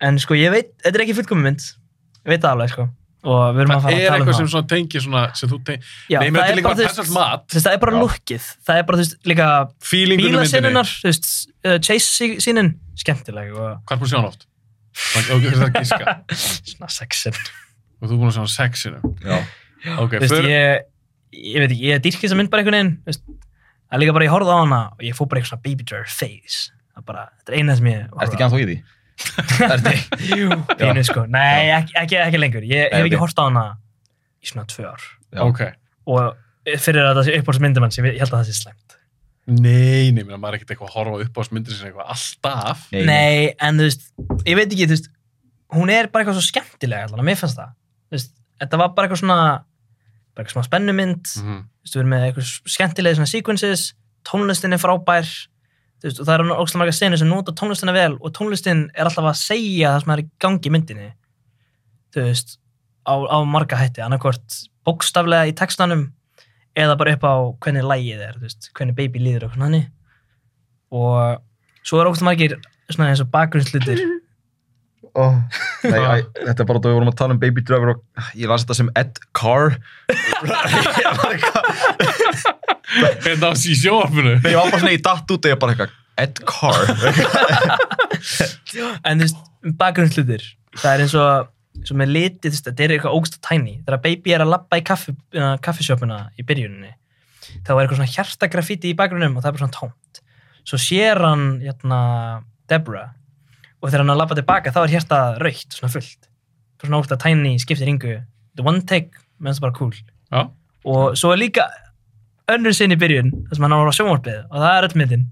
[SPEAKER 7] en sko ég veit, þetta er ekki fullkomi mynd ég veit það alveg sko. og við erum að
[SPEAKER 5] það
[SPEAKER 7] fara
[SPEAKER 5] er
[SPEAKER 7] að
[SPEAKER 5] eitthvað
[SPEAKER 7] tala um
[SPEAKER 5] sem
[SPEAKER 7] það
[SPEAKER 5] svona tengir svona sem þú tengir,
[SPEAKER 7] Já,
[SPEAKER 5] nei, ég meina,
[SPEAKER 7] það
[SPEAKER 5] þetta
[SPEAKER 7] er
[SPEAKER 5] er líka
[SPEAKER 7] bara,
[SPEAKER 5] bara
[SPEAKER 7] þú veist-
[SPEAKER 5] persónalt mat
[SPEAKER 7] Þú veist, það er bara
[SPEAKER 6] Já.
[SPEAKER 7] lukkið, það er bara þú veist, líka
[SPEAKER 5] feelingunum myndinni,
[SPEAKER 7] bílasinnunar, þú veist, uh, chase sí- sínin skemmtileg og
[SPEAKER 5] hvað er búin að sjá hann oft? og þú er að gíska
[SPEAKER 7] svona sexin
[SPEAKER 5] og þú er búin að sjá hann sexinu
[SPEAKER 6] Já.
[SPEAKER 5] ok,
[SPEAKER 7] Þú veist,
[SPEAKER 5] för,
[SPEAKER 7] ég, ég veit ekki, ég dýrki þessa mynd bara einhvern veginn þú veist. það er líka bara, ég horfði á hana og ég fór bara eitthvað svona baby to her face það er bara, þetta er eina sem ég horfði
[SPEAKER 6] Ertu ekki ennþá í því? Ertu
[SPEAKER 7] Jú, pínu sko, nei, ekki, ekki, ekki lengur ég
[SPEAKER 6] Nei,
[SPEAKER 7] hef ekki
[SPEAKER 6] ok.
[SPEAKER 7] horfði á hana í svona tvö ár
[SPEAKER 6] Já.
[SPEAKER 5] ok
[SPEAKER 7] og fyrir að það sé uppáhaldsmyndum hans, ég held að það sé slæmt
[SPEAKER 5] nei, nei, minna, maður er ekkert eitthvað að horfa upp á myndir sem eitthvað alltaf
[SPEAKER 6] Nei, nei.
[SPEAKER 7] Nei, en þú veist, ég veit ekki, þú veist, hún er bara eitthvað svo skemmtilega allan, að mér fannst það. Þú veist, þetta var bara eitthvað svona, bara eitthvað svona spennumynd, mm.
[SPEAKER 5] Mhm.
[SPEAKER 7] þú veist, við erum með eitthvað skemmtilega svona sequences, tónlistin er frábær, þú veist, og það eru ógstlega marga senur sem nota tónlistina vel og tónlistin er alltaf að segja það sem er í gangi í myndinni, þú veist, á, á marga hætti, annarkvort bókstaflega í textanum eða bara upp á hvernig lægið er, þú veist, hvernig baby líður og hvernig hann og svo er ógstlega margir svona eins og bakgrunnslutir
[SPEAKER 6] Oh, nei æ, þetta er bara að við vorum að tala um Baby Driver og ég las þetta sem Ed Carr.
[SPEAKER 5] er það í sjóarfinu?
[SPEAKER 6] Nei, ég var bara svona í datt út og ég bara eitthvað, Ed Carr.
[SPEAKER 7] en þú veist, bakgrunnslutir það er eins og, eins og með liti þú veist, þetta er eitthvað ógsta tæni þegar baby er að labba í kaffi, uh, kaffisjöpuna í byrjuninni þá er eitthvað svona hjartagrafíti í bakgrunnum og það er bara svona tómt svo sér hann jæna, Deborah og þegar hann er að labba tilbaka þá er hjarta raukt, svona fullt Bara svona ógsta tæni, skiptir yngu the one take, menn það bara cool
[SPEAKER 5] já,
[SPEAKER 7] og svo er líka önnur sinn í byrjun þar sem hann var á sjónvarpið og það er öll myndin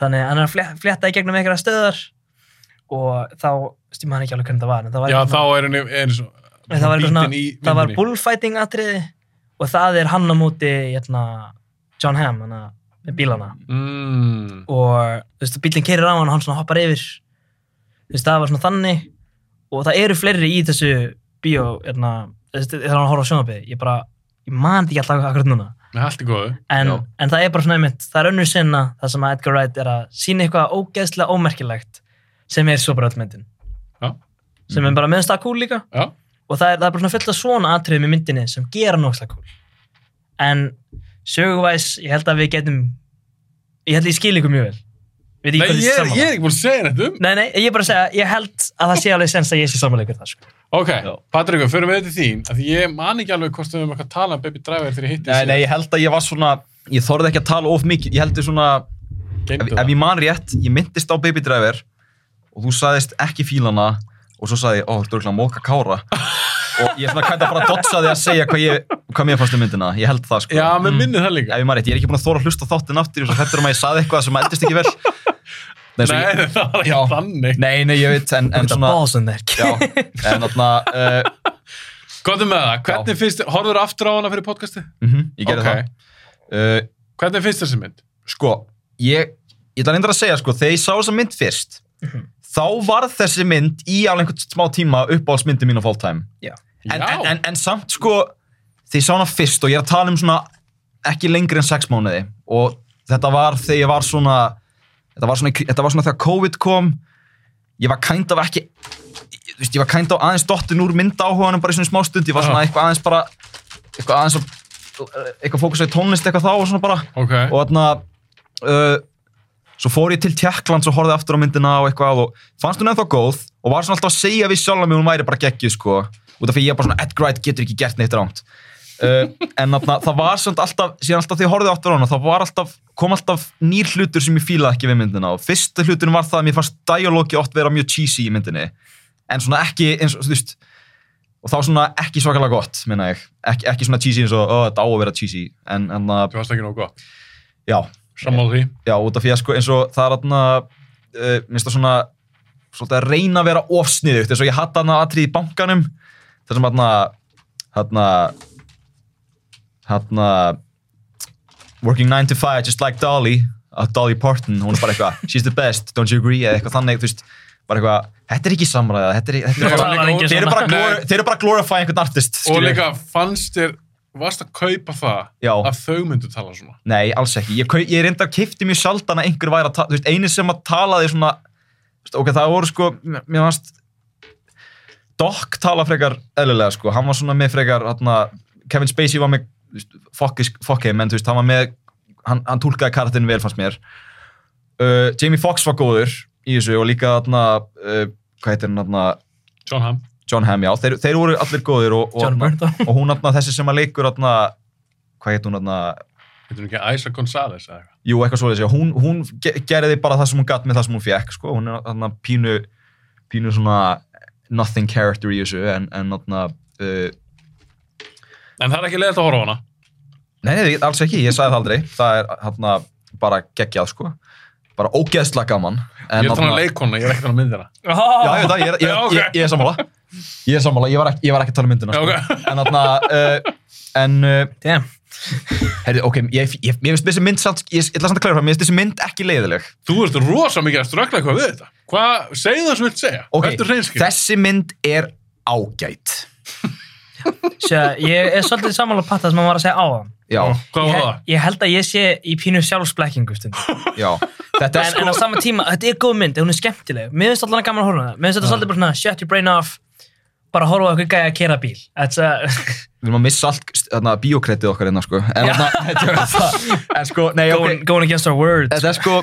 [SPEAKER 7] þannig að hann er að flétt- flétta í gegnum einhverja stöðar og þá stýma hann ekki alveg hvernig það var en það var,
[SPEAKER 5] já
[SPEAKER 7] eitthvað
[SPEAKER 5] þá
[SPEAKER 7] svona-
[SPEAKER 5] er henni er svo,
[SPEAKER 7] en það var, eitthvað
[SPEAKER 5] bítinn
[SPEAKER 7] svona,
[SPEAKER 5] í
[SPEAKER 7] það var
[SPEAKER 5] myndinni.
[SPEAKER 7] bullfighting atriði og það er hann á móti hérna, John Hamm hana, með bílana
[SPEAKER 5] mm,
[SPEAKER 7] og þú veist, bílinn keirir á hann og hann svona hoppar yfir þú veist, það var svona þannig og það eru fleiri í þessu bíó hérna, þú veist, þegar hann horfa á sjónvarpið ég bara, ég man þetta ekki alltaf akkurat núna
[SPEAKER 5] með allt í góðu
[SPEAKER 7] en,
[SPEAKER 6] Já.
[SPEAKER 7] en það er bara svona einmitt, það er önnur sinna það sem að Edgar Wright er að sína eitthvað ógeðslega ómerkilegt sem er svo bara öll myndin
[SPEAKER 5] Já. Mhm.
[SPEAKER 7] sem er bara meðanstað cool líka
[SPEAKER 5] já,
[SPEAKER 7] og það er, það er bara svona fullt af svona atriðum í myndinni sem gera nógslega cool en söguvæs, ég held að við getum ég held að ég skil ykkur mjög vel Veit
[SPEAKER 5] nei,
[SPEAKER 7] hvort
[SPEAKER 5] ég,
[SPEAKER 7] sé
[SPEAKER 5] er-
[SPEAKER 7] sammála.
[SPEAKER 5] ég er ekki búin að segja þetta um
[SPEAKER 7] Nei, nei, ég er bara að segja, ég held að það sé alveg sens að ég sé samanleikur það, sko.
[SPEAKER 5] Ok,
[SPEAKER 6] Já.
[SPEAKER 5] Patrik, fyrir við þetta þín að því ég man ekki alveg hvort við höfum eitthvað að tala um Baby Driver þegar ég hitti
[SPEAKER 6] nei, nei, ég held að ég var svona, ég þorði ekki að tala of mikið, ég heldur svona, ef,
[SPEAKER 5] Geymdu
[SPEAKER 6] ef
[SPEAKER 5] það.
[SPEAKER 6] ég man rétt, ég myndist á Baby Driver og þú sagðist ekki fílana og svo sagði ég, ó, þú erum móka kára og ég svona kænt að fara að dotsa því að segja hvað, ég, hvað mér fannst um myndina, ég held það sko.
[SPEAKER 5] Já, mér minnir það líka
[SPEAKER 6] Ef ég man rétt, ég er ekki búin að þóra að hlusta á þáttinn aftur, ég er svo hættur um að ég saði eitthvað sem eldist ekki vel. Nei, svo ég,
[SPEAKER 5] Nei, það var ekki
[SPEAKER 6] Já.
[SPEAKER 5] þannig
[SPEAKER 6] nei, nei, ég veit, en, en
[SPEAKER 7] Þetta
[SPEAKER 6] svona,
[SPEAKER 7] básunverk.
[SPEAKER 6] já, en þarna, uh,
[SPEAKER 5] Góðum með um það, hvernig finnst, horfður aftur á hana fyrir podcasti?
[SPEAKER 6] mhm, ég gerði
[SPEAKER 5] Ok.
[SPEAKER 6] það. Uh,
[SPEAKER 5] Hvernig finnst þessi mynd?
[SPEAKER 6] sko, ég ég ætla reyndar að segja, sko, þegar ég sá þessa mynd fyrst
[SPEAKER 5] Mhm.
[SPEAKER 6] þá varð þessi mynd í alveg einhvern smá tíma uppáhaldsmyndi mín of all time
[SPEAKER 7] Já.
[SPEAKER 6] en,
[SPEAKER 5] Já.
[SPEAKER 6] en, en, en samt, sko þegar ég sá hana fyrst og ég er að tala um svona ekki lengri en sex mánuði og þetta var þegar ég var svona þetta var svona, í kri- þetta var svona þegar COVID kom ég var kind of ekki þú veist, ég var kind of aðeins dottin úr mynd áhuganum bara í svona smá stund, ég var svona
[SPEAKER 5] Já.
[SPEAKER 6] eitthvað aðeins bara eitthvað aðeins að eitthvað fókusa í tónlist eitthvað þá og svona bara
[SPEAKER 5] Ok,
[SPEAKER 6] og þarna uh, svo fór ég til Tjekklands og horfði aftur á myndina og eitthvað og fannst hún ennþá góð og var svona alltaf að segja við sjálf að mér hún væri bara geggjuð sko út af því ég er bara svona Ed Wright getur ekki gert neitt rámt uh, en þarna, það var svona alltaf síðan alltaf því ég horfði aftur á hana þá var alltaf, kom alltaf nýr hlutur sem ég fílaði ekki við myndina og fyrsta hluturinn var það að mér fannst dialógi oft vera mjög cheesy í myndinni en svona ekki eins og þú veist og þá svona ekki svakalega gott, minna ég Ek, ekki svona cheesy eins og, ó, þetta á að vera cheesy en, en að,
[SPEAKER 5] Þú varst ekki nóg gott.
[SPEAKER 6] já,
[SPEAKER 5] Sammála því.
[SPEAKER 6] já, út af því að sko eins og það er aðna uh, minnst það svona svolítið að reyna að vera ofsniðugt eins og ég hatt aðna atrið í bankanum þar sem aðna aðna aðna working 9 to 5 just like Dolly að Dolly Parton, hún er bara eitthvað she's the best, don't you agree, eða eitthvað þannig þú veist, bara eitthvað, þetta er ekki samræða þetta er, þetta
[SPEAKER 5] Nei,
[SPEAKER 6] er
[SPEAKER 7] Það
[SPEAKER 5] og
[SPEAKER 6] bara,
[SPEAKER 7] var
[SPEAKER 5] líka-
[SPEAKER 7] engin
[SPEAKER 6] þeir eru bara,
[SPEAKER 7] svona-
[SPEAKER 5] Nei.
[SPEAKER 6] glor, þeir eru bara að glorify einhvern artist
[SPEAKER 5] Og
[SPEAKER 6] skilur.
[SPEAKER 5] líka, fannst þér, varst að kaupa það
[SPEAKER 6] Já.
[SPEAKER 5] að þau myndu tala svona?
[SPEAKER 6] Nei, alls ekki. Ég, kau- ég reyndar kifti mjög sjaldan að einhver væri að tala, þú veist, eini sem að talaði svona, þú veist, ok, það voru sko, mér mér fannst, Doc tala frekar eðlilega, sko, hann var svona með frekar, hann Kevin Spacey var með, þú veist, fuck, is- fuck him, en þú veist, hann var með, hann, hann tólkaði karatinn vel, fannst mér. Uh, Jamie Foxx var góður í þessu og líka, hann, uh, hvað heitir hann, hann,
[SPEAKER 5] John Hamm.
[SPEAKER 6] John Hamm, já, þeir, þeir voru allir góðir og, og,
[SPEAKER 7] John
[SPEAKER 6] þarna-
[SPEAKER 7] Bernthal.
[SPEAKER 6] og hún, hann, þessi sem að leikur, hann, hvað heit hún, hann,
[SPEAKER 5] Þetta er ekki Isaac Gonzalez eða eitthvað.
[SPEAKER 6] Jú, eitthvað svoleiðis, já, hún, hún ge- gerði bara það sem hún gatt með það sem hún fekk, sko, hún er þarna pínu, pínu svona nothing character í þessu, en, en þarna, uh,
[SPEAKER 5] En það er ekki leiðilegt að horfa á hana.
[SPEAKER 6] nei, nei, alls ekki, ég sagði það aldrei, það er þarna bara geggjað, sko, bara ógeðsla gaman.
[SPEAKER 5] Ég er þannig að leikona, ég er ekkert þannig að um myndina.
[SPEAKER 6] Já, ég veit það, ég, er- ég,
[SPEAKER 5] Já, ok.
[SPEAKER 6] ég, ég er sammála, ég er sammála, ég var ekki, ég var ekki að tala um myndina,
[SPEAKER 5] Já,
[SPEAKER 6] sko,
[SPEAKER 5] ok.
[SPEAKER 6] en þarna, uh, en, uh,
[SPEAKER 7] Damn.
[SPEAKER 6] herri, ok, ég, ég, ég finnst þessi mynd, samt- ég, ég ætla samt að klæra fram, ég finnst þessi mynd ekki leiðileg.
[SPEAKER 5] Þú ert rosa mikið að strökla eitthvað við þetta. Hvað, segðu það sem þú vilt segja.
[SPEAKER 6] Ok,
[SPEAKER 5] Þetta er reynskil.
[SPEAKER 6] þessi mynd er ágætt.
[SPEAKER 7] Sjá, ég er svolítið sammála patta sem hann var að segja á hann.
[SPEAKER 6] Já,
[SPEAKER 5] Hvað var
[SPEAKER 7] Ég,
[SPEAKER 5] það?
[SPEAKER 7] ég held að ég sé í pínu sjálfsblekkingu stundum.
[SPEAKER 6] já. Þetta er
[SPEAKER 7] En, en á
[SPEAKER 6] sko...
[SPEAKER 7] sama tíma, þetta er góð mynd, hún er skemmtileg. Mér finnst allan gaman að horfa á það. Mér finnst þetta svolítið bara svona, shut your brain off, bara horfa á okkur gæja að kera bíl. Þetta
[SPEAKER 6] Við erum að missa allt þarna, bíókreitið okkar hérna, sko. En, þarna, þetta er það. En sko, nei,
[SPEAKER 7] er
[SPEAKER 6] ok.
[SPEAKER 7] going against our words.
[SPEAKER 6] Þetta er sko...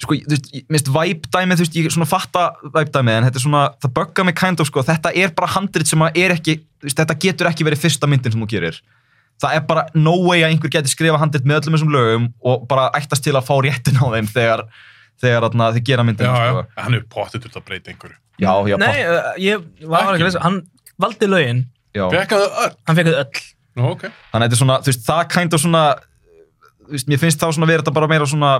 [SPEAKER 6] Sko, þú veist, ég- minnst væpdæmið, þú veist, ég svona fatta væpdæmið, en þetta er svona, það böggar mig kind of, sko, þetta er bara handrit sem að er ekki, þú veist, þetta getur ekki verið fyrsta myndin sem þú gerir. Það er bara no way að einhver geti skrifa handrit með öllum þessum lögum og bara ættast til að fá réttin á þeim þegar, þegar þarna, þið gera
[SPEAKER 5] Já,
[SPEAKER 6] myndina,
[SPEAKER 5] já.
[SPEAKER 6] sko.
[SPEAKER 5] Hann er pottið til að breyta einhverju.
[SPEAKER 6] Já, já,
[SPEAKER 7] Nei,
[SPEAKER 6] pott-
[SPEAKER 7] uh, ég var ekki
[SPEAKER 5] Ekki.
[SPEAKER 7] að lesa. Hann valdi lögin,
[SPEAKER 6] já.
[SPEAKER 5] Bekkaðu öll.
[SPEAKER 7] hann
[SPEAKER 6] Uh,
[SPEAKER 7] fekk þau öll.
[SPEAKER 5] Nú, ok.
[SPEAKER 6] þannig að þetta er svona, þú veist, það kind of svona þú veist, mér finnst þá svona verið þetta bara meira svona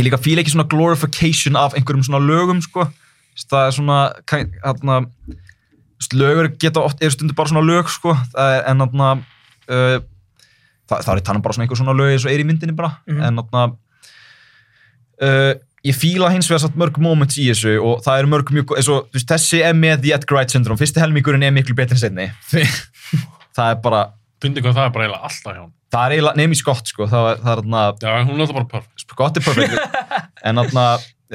[SPEAKER 6] ég líka fíla ekki svona glorification af einhverjum svona lögum, sko Þú veist, það er svona, kind- hérna þú veist, lögur geta oft, eru stundu bara svona lög, sko, það er- en hérna uh, það, það er tannan bara svona einhver svona lög eins og er í myndinni bara,
[SPEAKER 7] Mhm.
[SPEAKER 6] en hérna uh, ég fíla hins vegar satt mörg moments í þessu og það eru mörg mjög, gó- eins og, þú veist, þessi er með The Edgar Wright Syndrome, fyrsti helmingurinn er miklu betri en setni, það er bara
[SPEAKER 5] Fyndi hvað það er bara eiginlega alltaf hjá hann.
[SPEAKER 6] Það er eiginlega, nefnir Scott sko, það, var- það er þarna,
[SPEAKER 5] Já, hún er alltaf bara perfect.
[SPEAKER 6] Scott er perfect, en þarna,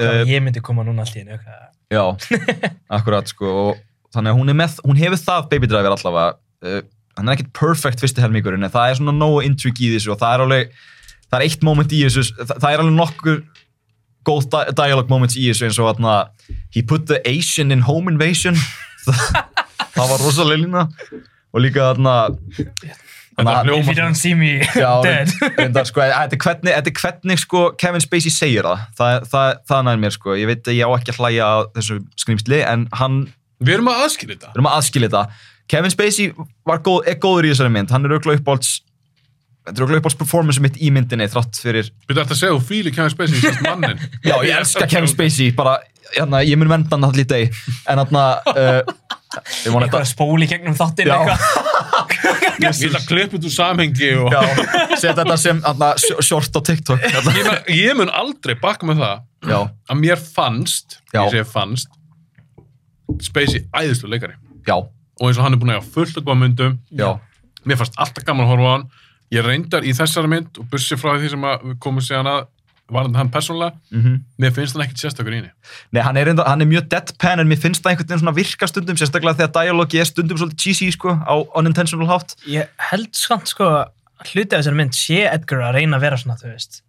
[SPEAKER 6] uh,
[SPEAKER 7] ég myndi koma núna allt í einu. eitthvað.
[SPEAKER 6] já, akkurat sko, og þannig að hún er með, hún hefur það Baby Driver allavega, uh, hann er ekkert perfect fyrsti helmingurinn, en það er svona nógu intrigue í þessu og það er alveg, það er eitt moment í þessu, það, það er alveg nokkur góð di- dialogue moments í þessu eins og þarna, he put the Asian in home invasion, það, það var rosalega lína, og líka þarna,
[SPEAKER 5] Þetta
[SPEAKER 6] þarna-
[SPEAKER 7] If you
[SPEAKER 5] hljóma.
[SPEAKER 7] don't see me
[SPEAKER 6] Já,
[SPEAKER 7] dead.
[SPEAKER 6] reyndar, sko, þetta er hvernig, þetta er hvernig sko, Kevin Spacey segir það það, það, það nær mér, sko. ég veit að ég á ekki að hlæja að þessu skrimsli, en hann við
[SPEAKER 5] Við erum að aðskilja þetta.
[SPEAKER 6] erum að aðskilja þetta Kevin Spacey var góð, er góður í þessari mynd hann er auðvitað uppáhalds þetta er auðvitað uppáhalds performance mitt í myndinni þrátt fyrir,
[SPEAKER 5] Við ætti að segja, þú fíli Kevin Spacey, sérst mannin.
[SPEAKER 6] já, ég elska Kevin Spacey bara, hérna, ég mun venda hann allir í deg en hann uh, ég vona þetta
[SPEAKER 7] Eitthvað að spóli gegnum þáttinn
[SPEAKER 6] Já.
[SPEAKER 7] eitthvað.
[SPEAKER 5] Ég vil að klippa út úr samhengi og...
[SPEAKER 6] já, setja þetta sem hérna, short á TikTok hérna.
[SPEAKER 5] Ég, men, ég mun aldrei bakka með það
[SPEAKER 6] já,
[SPEAKER 5] að mér fannst,
[SPEAKER 6] Já.
[SPEAKER 5] ég segi fannst Spacey æðislu leikari
[SPEAKER 6] já,
[SPEAKER 5] og eins og hann er búin að eiga fullt að góða myndum
[SPEAKER 6] já,
[SPEAKER 5] mér fannst alltaf gaman að horfa á hann ég reyndar í þessari mynd og bussi frá því sem að við komum síðan að varðandi hann persónulega,
[SPEAKER 6] mhm
[SPEAKER 5] mér finnst hann ekkit sérstakur í henni
[SPEAKER 6] Nei, hann er, enda, hann er mjög deadpan en mér finnst það einhvern veginn svona virka stundum sérstaklega þegar dialogi er stundum svolítið cheesy sko, á unintentional hátt
[SPEAKER 7] Ég held skant sko að hluti af þessari mynd sé Edgar að reyna að vera svona, þú veist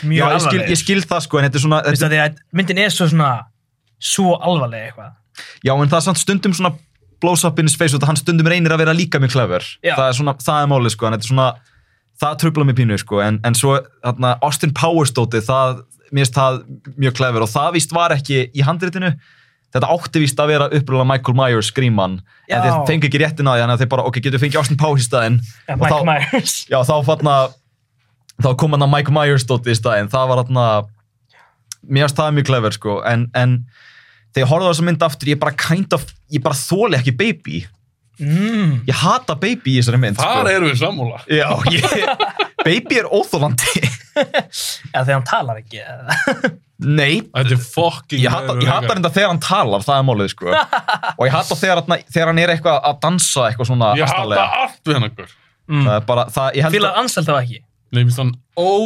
[SPEAKER 6] Já,
[SPEAKER 7] mjög
[SPEAKER 6] ég skil, ég
[SPEAKER 7] alvarleg
[SPEAKER 6] skil það sko en þetta er svona
[SPEAKER 7] Þú veist
[SPEAKER 6] þetta,
[SPEAKER 7] að því að myndin er svo svona svo alvarleg eitthvað
[SPEAKER 6] já, en það er samt stundum svona blows up in his face og hann stundum reynir að vera líka mjög clever
[SPEAKER 7] Já.
[SPEAKER 6] það er svona, það er málið sko en þetta er svona, það trubla mér pínu sko en, en svo, þarna, Austin Powers dótið það, mér finnst það mjög clever og það víst var ekki í handritinu þetta átti víst að vera uppröðlega Michael Myers skríman en
[SPEAKER 7] Já.
[SPEAKER 6] þeir fengi ekki réttin að því þannig að þeir bara, ok, getur fengið Austin Powers í staðinn
[SPEAKER 7] Ja,
[SPEAKER 6] Og
[SPEAKER 7] Mike
[SPEAKER 6] þá-
[SPEAKER 7] Myers.
[SPEAKER 6] Já, þá fann að þá kom hann að Mike Myers dótt í staðinn það var hann að mér varst það mjög clever sko en, en þegar ég horfði á þessa mynd aftur ég bara kind of, ég bara þóli ekki baby
[SPEAKER 7] Mm.
[SPEAKER 6] ég hata baby í þessari mynd
[SPEAKER 5] Þar
[SPEAKER 6] sko.
[SPEAKER 5] eru við sammúla.
[SPEAKER 6] Já, ég, baby er óþólandi
[SPEAKER 7] Já, þegar hann talar ekki. eða?
[SPEAKER 6] Nei,
[SPEAKER 5] Þetta er fucking...
[SPEAKER 6] ég hata, ég hata reynda þegar hann talar það er málið sko og ég hata þegar, hann- þegar hann er eitthvað að dansa eitthvað svona
[SPEAKER 5] Ég hata
[SPEAKER 6] asnalega.
[SPEAKER 5] allt við hennar gaur.
[SPEAKER 6] það er bara, það, ég held að
[SPEAKER 7] Fílar Ansel þá ekki.
[SPEAKER 5] Nei, minnst hann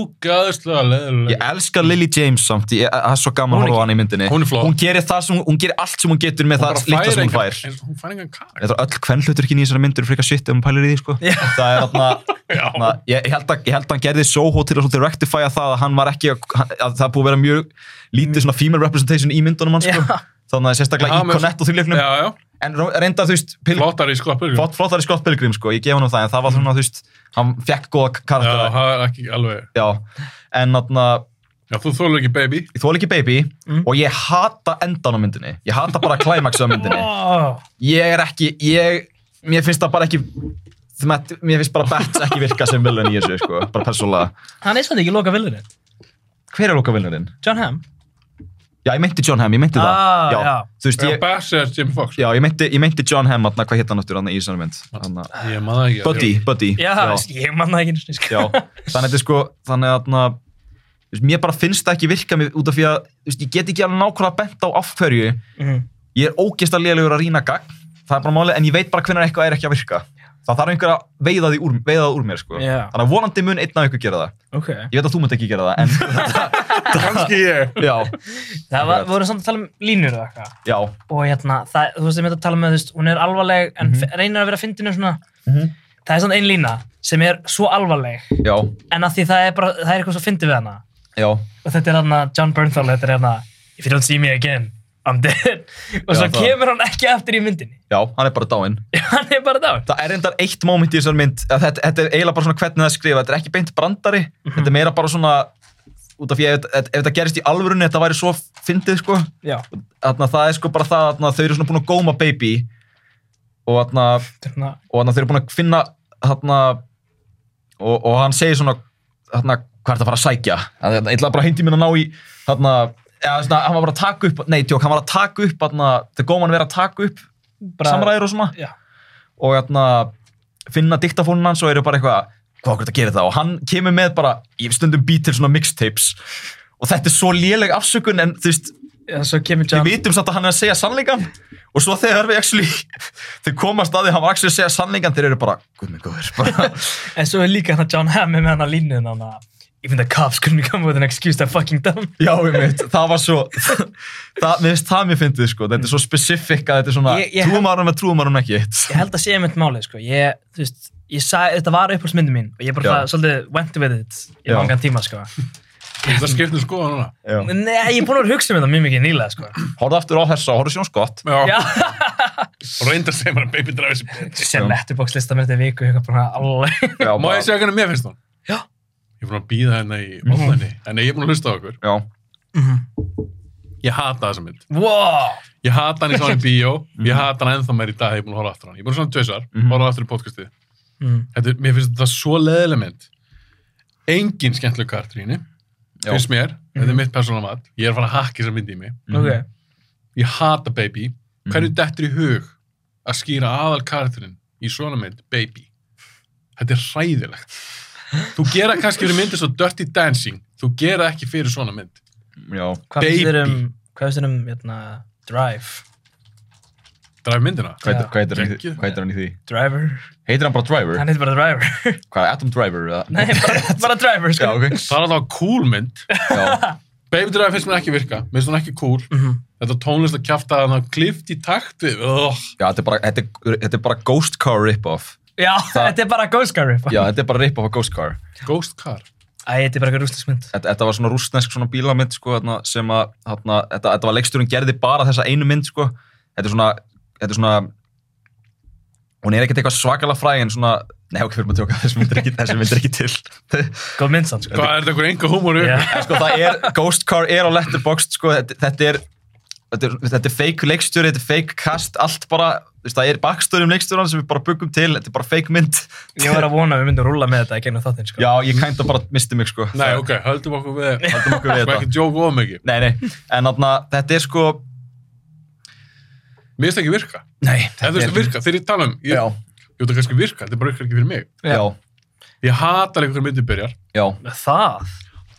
[SPEAKER 5] ógæðslega leðurlega.
[SPEAKER 6] Ég elska Lily James samt, ég- það er svo gaman að
[SPEAKER 7] Hún er
[SPEAKER 6] horfa á
[SPEAKER 7] ekki-
[SPEAKER 6] hann í myndinni.
[SPEAKER 5] hún er flott.
[SPEAKER 6] Hún gerir, það sem, hún gerir allt sem hún getur með það litla sem hún fær.
[SPEAKER 5] Hún fær engan karakter.
[SPEAKER 6] Þetta er öll kvennhluturkin í þessari myndur frekar shit ef hún pælir í því, sko.
[SPEAKER 7] Já.
[SPEAKER 6] Það er þarna,
[SPEAKER 5] Já.
[SPEAKER 6] þarna ég, ég, held að, ég held að hann gerði Soho til að svolítið rectifya það að hann var ekki, að, hann- að það er búið að vera mjög lítið svona female representation í myndunum hans, sko.
[SPEAKER 7] Já.
[SPEAKER 6] Þannig að sérstaklega
[SPEAKER 5] Já,
[SPEAKER 6] í
[SPEAKER 5] með-
[SPEAKER 6] Connect og því leiknum.
[SPEAKER 5] Já, já.
[SPEAKER 6] En ró- reyndar, þú veist, Pil-
[SPEAKER 5] Flottari í skoppur.
[SPEAKER 6] flott- flottari Scott Pilgrim, sko, ég gef hann það, en það var svona, þú veist, hann fekk góða
[SPEAKER 5] Já,
[SPEAKER 6] karaktera.
[SPEAKER 5] það er ekki alveg...
[SPEAKER 6] Já. En, þarna,
[SPEAKER 5] Já, þú þólur ekki baby.
[SPEAKER 6] ég þól ekki baby
[SPEAKER 7] Mm.
[SPEAKER 6] og ég hata endan á myndinni ég hata bara klimaksu á myndinni
[SPEAKER 7] Ó,
[SPEAKER 6] ég er ekki, ég mér finnst það bara ekki þmet- mér finnst bara Bats ekki virka sem viljun í þessu sko, bara persónulega
[SPEAKER 7] hann er svolítið ekki loka viljurinn.
[SPEAKER 6] hver er okkar viljunin?
[SPEAKER 7] John Hamm.
[SPEAKER 6] já, ég meinti John Hamm, ég meinti það
[SPEAKER 7] Ah, já.
[SPEAKER 6] þú veist,
[SPEAKER 5] Já,
[SPEAKER 6] ég,
[SPEAKER 5] Bass er Jimmy Fox.
[SPEAKER 6] já, ég, meinti, ég meinti John Hamm hann, hvað hétt hann áttur hann í þessari mynd hann,
[SPEAKER 5] Ég man það ekki.
[SPEAKER 6] Buddy, Buddy
[SPEAKER 7] Já, ég manna ekki einu sinni,
[SPEAKER 6] Já,
[SPEAKER 7] sko.
[SPEAKER 6] þannig að þetta er sko þannig að þarna, þú veist, mér bara finnst það ekki virka mér, út af því að þú veist, ég get ekki alveg nákvæmlega bent á af hverju
[SPEAKER 7] Mhm.
[SPEAKER 6] ég er ógeðslega lélegur að rýna gagn það er bara málið, en ég veit bara hvernig eitthvað er ekki að virka það þarf einhver að veiða því úr, veiða það úr mér sko.
[SPEAKER 7] Já.
[SPEAKER 6] þannig að vonandi mun einn af ykkur gera það
[SPEAKER 7] Ok.
[SPEAKER 6] ég veit að þú munt ekki gera það en,
[SPEAKER 5] Kanski ég.
[SPEAKER 6] já,
[SPEAKER 7] Það var, voru samt að tala um línur og eitthvað.
[SPEAKER 6] já,
[SPEAKER 7] og hérna, það, þú veist, ég myndi að tala með þú veist, hún er alvarleg en reynir að vera fyndinu svona það er svona ein lína sem er svo alvarleg
[SPEAKER 6] já,
[SPEAKER 7] en að því það er bara, það er eitthvað svo fyndi við hana
[SPEAKER 6] já
[SPEAKER 7] og þetta er hérna, John Bernthal, þetta er hérna if you don't see me again, I'm dead og
[SPEAKER 6] Já,
[SPEAKER 7] svo
[SPEAKER 6] það-
[SPEAKER 7] kemur hann ekki aftur í myndinni
[SPEAKER 6] já, hann er bara dáinn
[SPEAKER 7] hann er bara dáin
[SPEAKER 6] það er reyndar eitt móment í þessar mynd að þetta, þetta er eiginlega bara svona hvernig það er skrifað þetta er ekki beint brandari, þetta er meira bara svona út af því að ef, ef, ef þetta gerist í alvörunni þetta væri svo fyndið sko
[SPEAKER 7] já,
[SPEAKER 6] þarna, það er sko bara það að þau eru svona búin að góma baby og þarna,
[SPEAKER 7] þarna,
[SPEAKER 6] og þarna þau eru búin að finna þarna og, og hann segir svona þarna, hvað er það að fara að sækja Að þarna, ég ætlaði bara heimtíminn að ná í þarna, eða, svona, hann var bara að taka upp nei, tjók, hann var að taka upp þarna, þegar góman verið að taka upp
[SPEAKER 7] Bara-
[SPEAKER 6] samræður og svona
[SPEAKER 7] já,
[SPEAKER 6] og þarna, finna diktafónin hans og eru bara eitthvað hvað okkur þetta gerir það og hann kemur með bara ég stundum beat til svona mixtapes og þetta er svo léleg afsökun en þú veist
[SPEAKER 7] já, svo kemur John
[SPEAKER 6] við vitum samt að hann er að segja sannleikan og svo þegar við actually þeir komast að því að hann var actually að segja sannleikan þeir eru bara, guð mig góður bara,
[SPEAKER 7] en svo er líka hann John Hamm er með hann að línu hann even the cops couldn't come with an excuse they're fucking dumb
[SPEAKER 6] já, ég veit, það var svo það, mér finnst það mér fyndið sko þetta er svo specific að þetta er svona
[SPEAKER 7] Ég- ég-
[SPEAKER 6] trúum að hann með trúum að hann ekki eitt
[SPEAKER 7] ég held að sé einmitt málið sko. ég, þú veist, ég sa, þetta var upphaldsmyndin mín og ég bara
[SPEAKER 6] Já.
[SPEAKER 7] það, svolítið went with it í
[SPEAKER 6] Já.
[SPEAKER 7] langan tíma sko.
[SPEAKER 5] Það skiptir skoða um núna.
[SPEAKER 7] Nei, ég er búin að vera að hugsa um þetta mjög mikið nýlega sko.
[SPEAKER 6] horfðu aftur á þessa, horfðu sjón skott
[SPEAKER 5] Já.
[SPEAKER 7] Já.
[SPEAKER 5] Og reyndar segir maður að baby driver sem bitch.
[SPEAKER 7] sem letterbox lista mér þetta í viku ég var bara alveg
[SPEAKER 6] já,
[SPEAKER 5] Má ég
[SPEAKER 6] bara,
[SPEAKER 5] segja hvernig mér finnst hún?
[SPEAKER 7] Já.
[SPEAKER 5] Ég er búin að býða hérna í ofnæni. En ég er búin að hlusta á okkur.
[SPEAKER 6] já, Mhm.
[SPEAKER 5] Ég hata þessa mynd.
[SPEAKER 7] wow.
[SPEAKER 5] Ég hata hann í svona bíó. Ég hata hann ennþá meir í dag. Ég er búin að horfa aftur á hann. Ég er búin að svona tveisar. Horfa aftur í podcastið.
[SPEAKER 7] Mhm.
[SPEAKER 5] Þetta, er- mér finnst þetta svo leðileg mynd. Engin skemmtileg kartur í henni.
[SPEAKER 6] Já.
[SPEAKER 5] Finnst mér. Þetta er mitt persónulega mat. Ég er að fara að hakka þessa mynd í mig.
[SPEAKER 7] ok,
[SPEAKER 6] Mhm.
[SPEAKER 5] Ég hata baby. Hvernig dettur í hug að skýra aðal karakterinn í svona mynd baby? Þetta er hræðilegt. Þú gera kannski fyrir myndir svo Dirty Dancing. Þú gera ekki fyrir svona mynd.
[SPEAKER 6] já,
[SPEAKER 7] hvað finnst þér
[SPEAKER 5] Baby.
[SPEAKER 7] um hvað finnst þér um hérna, drive
[SPEAKER 5] Dræf myndina.
[SPEAKER 6] hvað heitir-
[SPEAKER 7] Já.
[SPEAKER 6] hvað heitir hann í-
[SPEAKER 5] Geggjuð.
[SPEAKER 6] hvað heitir hann í því
[SPEAKER 7] driver,
[SPEAKER 6] heitir hann bara Driver,
[SPEAKER 7] hann heitir bara driver
[SPEAKER 6] hvað er Adam Driver eða?
[SPEAKER 7] nei, bara, bara driver
[SPEAKER 6] já,
[SPEAKER 7] sko.
[SPEAKER 6] ok,
[SPEAKER 5] Það er alltaf cool mynd.
[SPEAKER 6] já,
[SPEAKER 5] Baby Drive finnst mér ekki virka. Mér finnst hún ekki cool.
[SPEAKER 6] Mhm.
[SPEAKER 5] Þetta tónlist að kjafta að hann klift í takt við. Oh,
[SPEAKER 6] já þetta, er bara, þetta, er, þetta er bara Ghost Car rip-off
[SPEAKER 7] já, þetta er bara ghost car rip
[SPEAKER 6] já, þetta er bara rip-off af Ghost Car
[SPEAKER 5] ghost car.
[SPEAKER 7] Æ, þetta er bara eitthvað rústismynd
[SPEAKER 6] þetta, þetta var svona rústnesk svona bílamynd sko, þarna, sem að þarna, þetta, þetta var leiksturinn gerði bara þessa einu mynd sko. þetta er svona þetta er svona hún er ekkert eitthvað svakalega fræg en svona nei ok, fyrir maður að tjóka, þessi mynd er ekki, þessi mynd er ekki til en
[SPEAKER 7] góð mynd sann sko.
[SPEAKER 5] Hvað er þetta einhver enga húmóru?
[SPEAKER 7] Já.
[SPEAKER 5] Yeah.
[SPEAKER 6] sko það er, Ghost Car er á Letterboxd sko, þetta, þetta er þetta er, þetta er fake leikstjóri, þetta er fake cast, allt bara, þú veist, það er bakstöri um leikstjóran sem við bara byggum til, þetta er bara fake mynd.
[SPEAKER 7] Ég var að vona að við myndum rúlla með þetta í gennum þáttinn, sko.
[SPEAKER 6] Já, ég kænta bara misti mig, sko.
[SPEAKER 5] Nei, ok, höldum okkur við það.
[SPEAKER 6] Haldum okkur við
[SPEAKER 5] Við ekki
[SPEAKER 6] þetta.
[SPEAKER 5] djóka of mikið.
[SPEAKER 6] Nei, nei, en þarna, þetta er sko...
[SPEAKER 5] Mér finnst það ekki virka.
[SPEAKER 6] Nei,
[SPEAKER 5] Ef þú veist að virka, þegar ég tala um, ég,
[SPEAKER 6] Já,
[SPEAKER 5] ég veit að kannski virka, þetta er bara virkar ekki fyrir mig.
[SPEAKER 6] já,
[SPEAKER 5] Ég hatar einhverjum myndið byrjar.
[SPEAKER 6] já.
[SPEAKER 7] Það?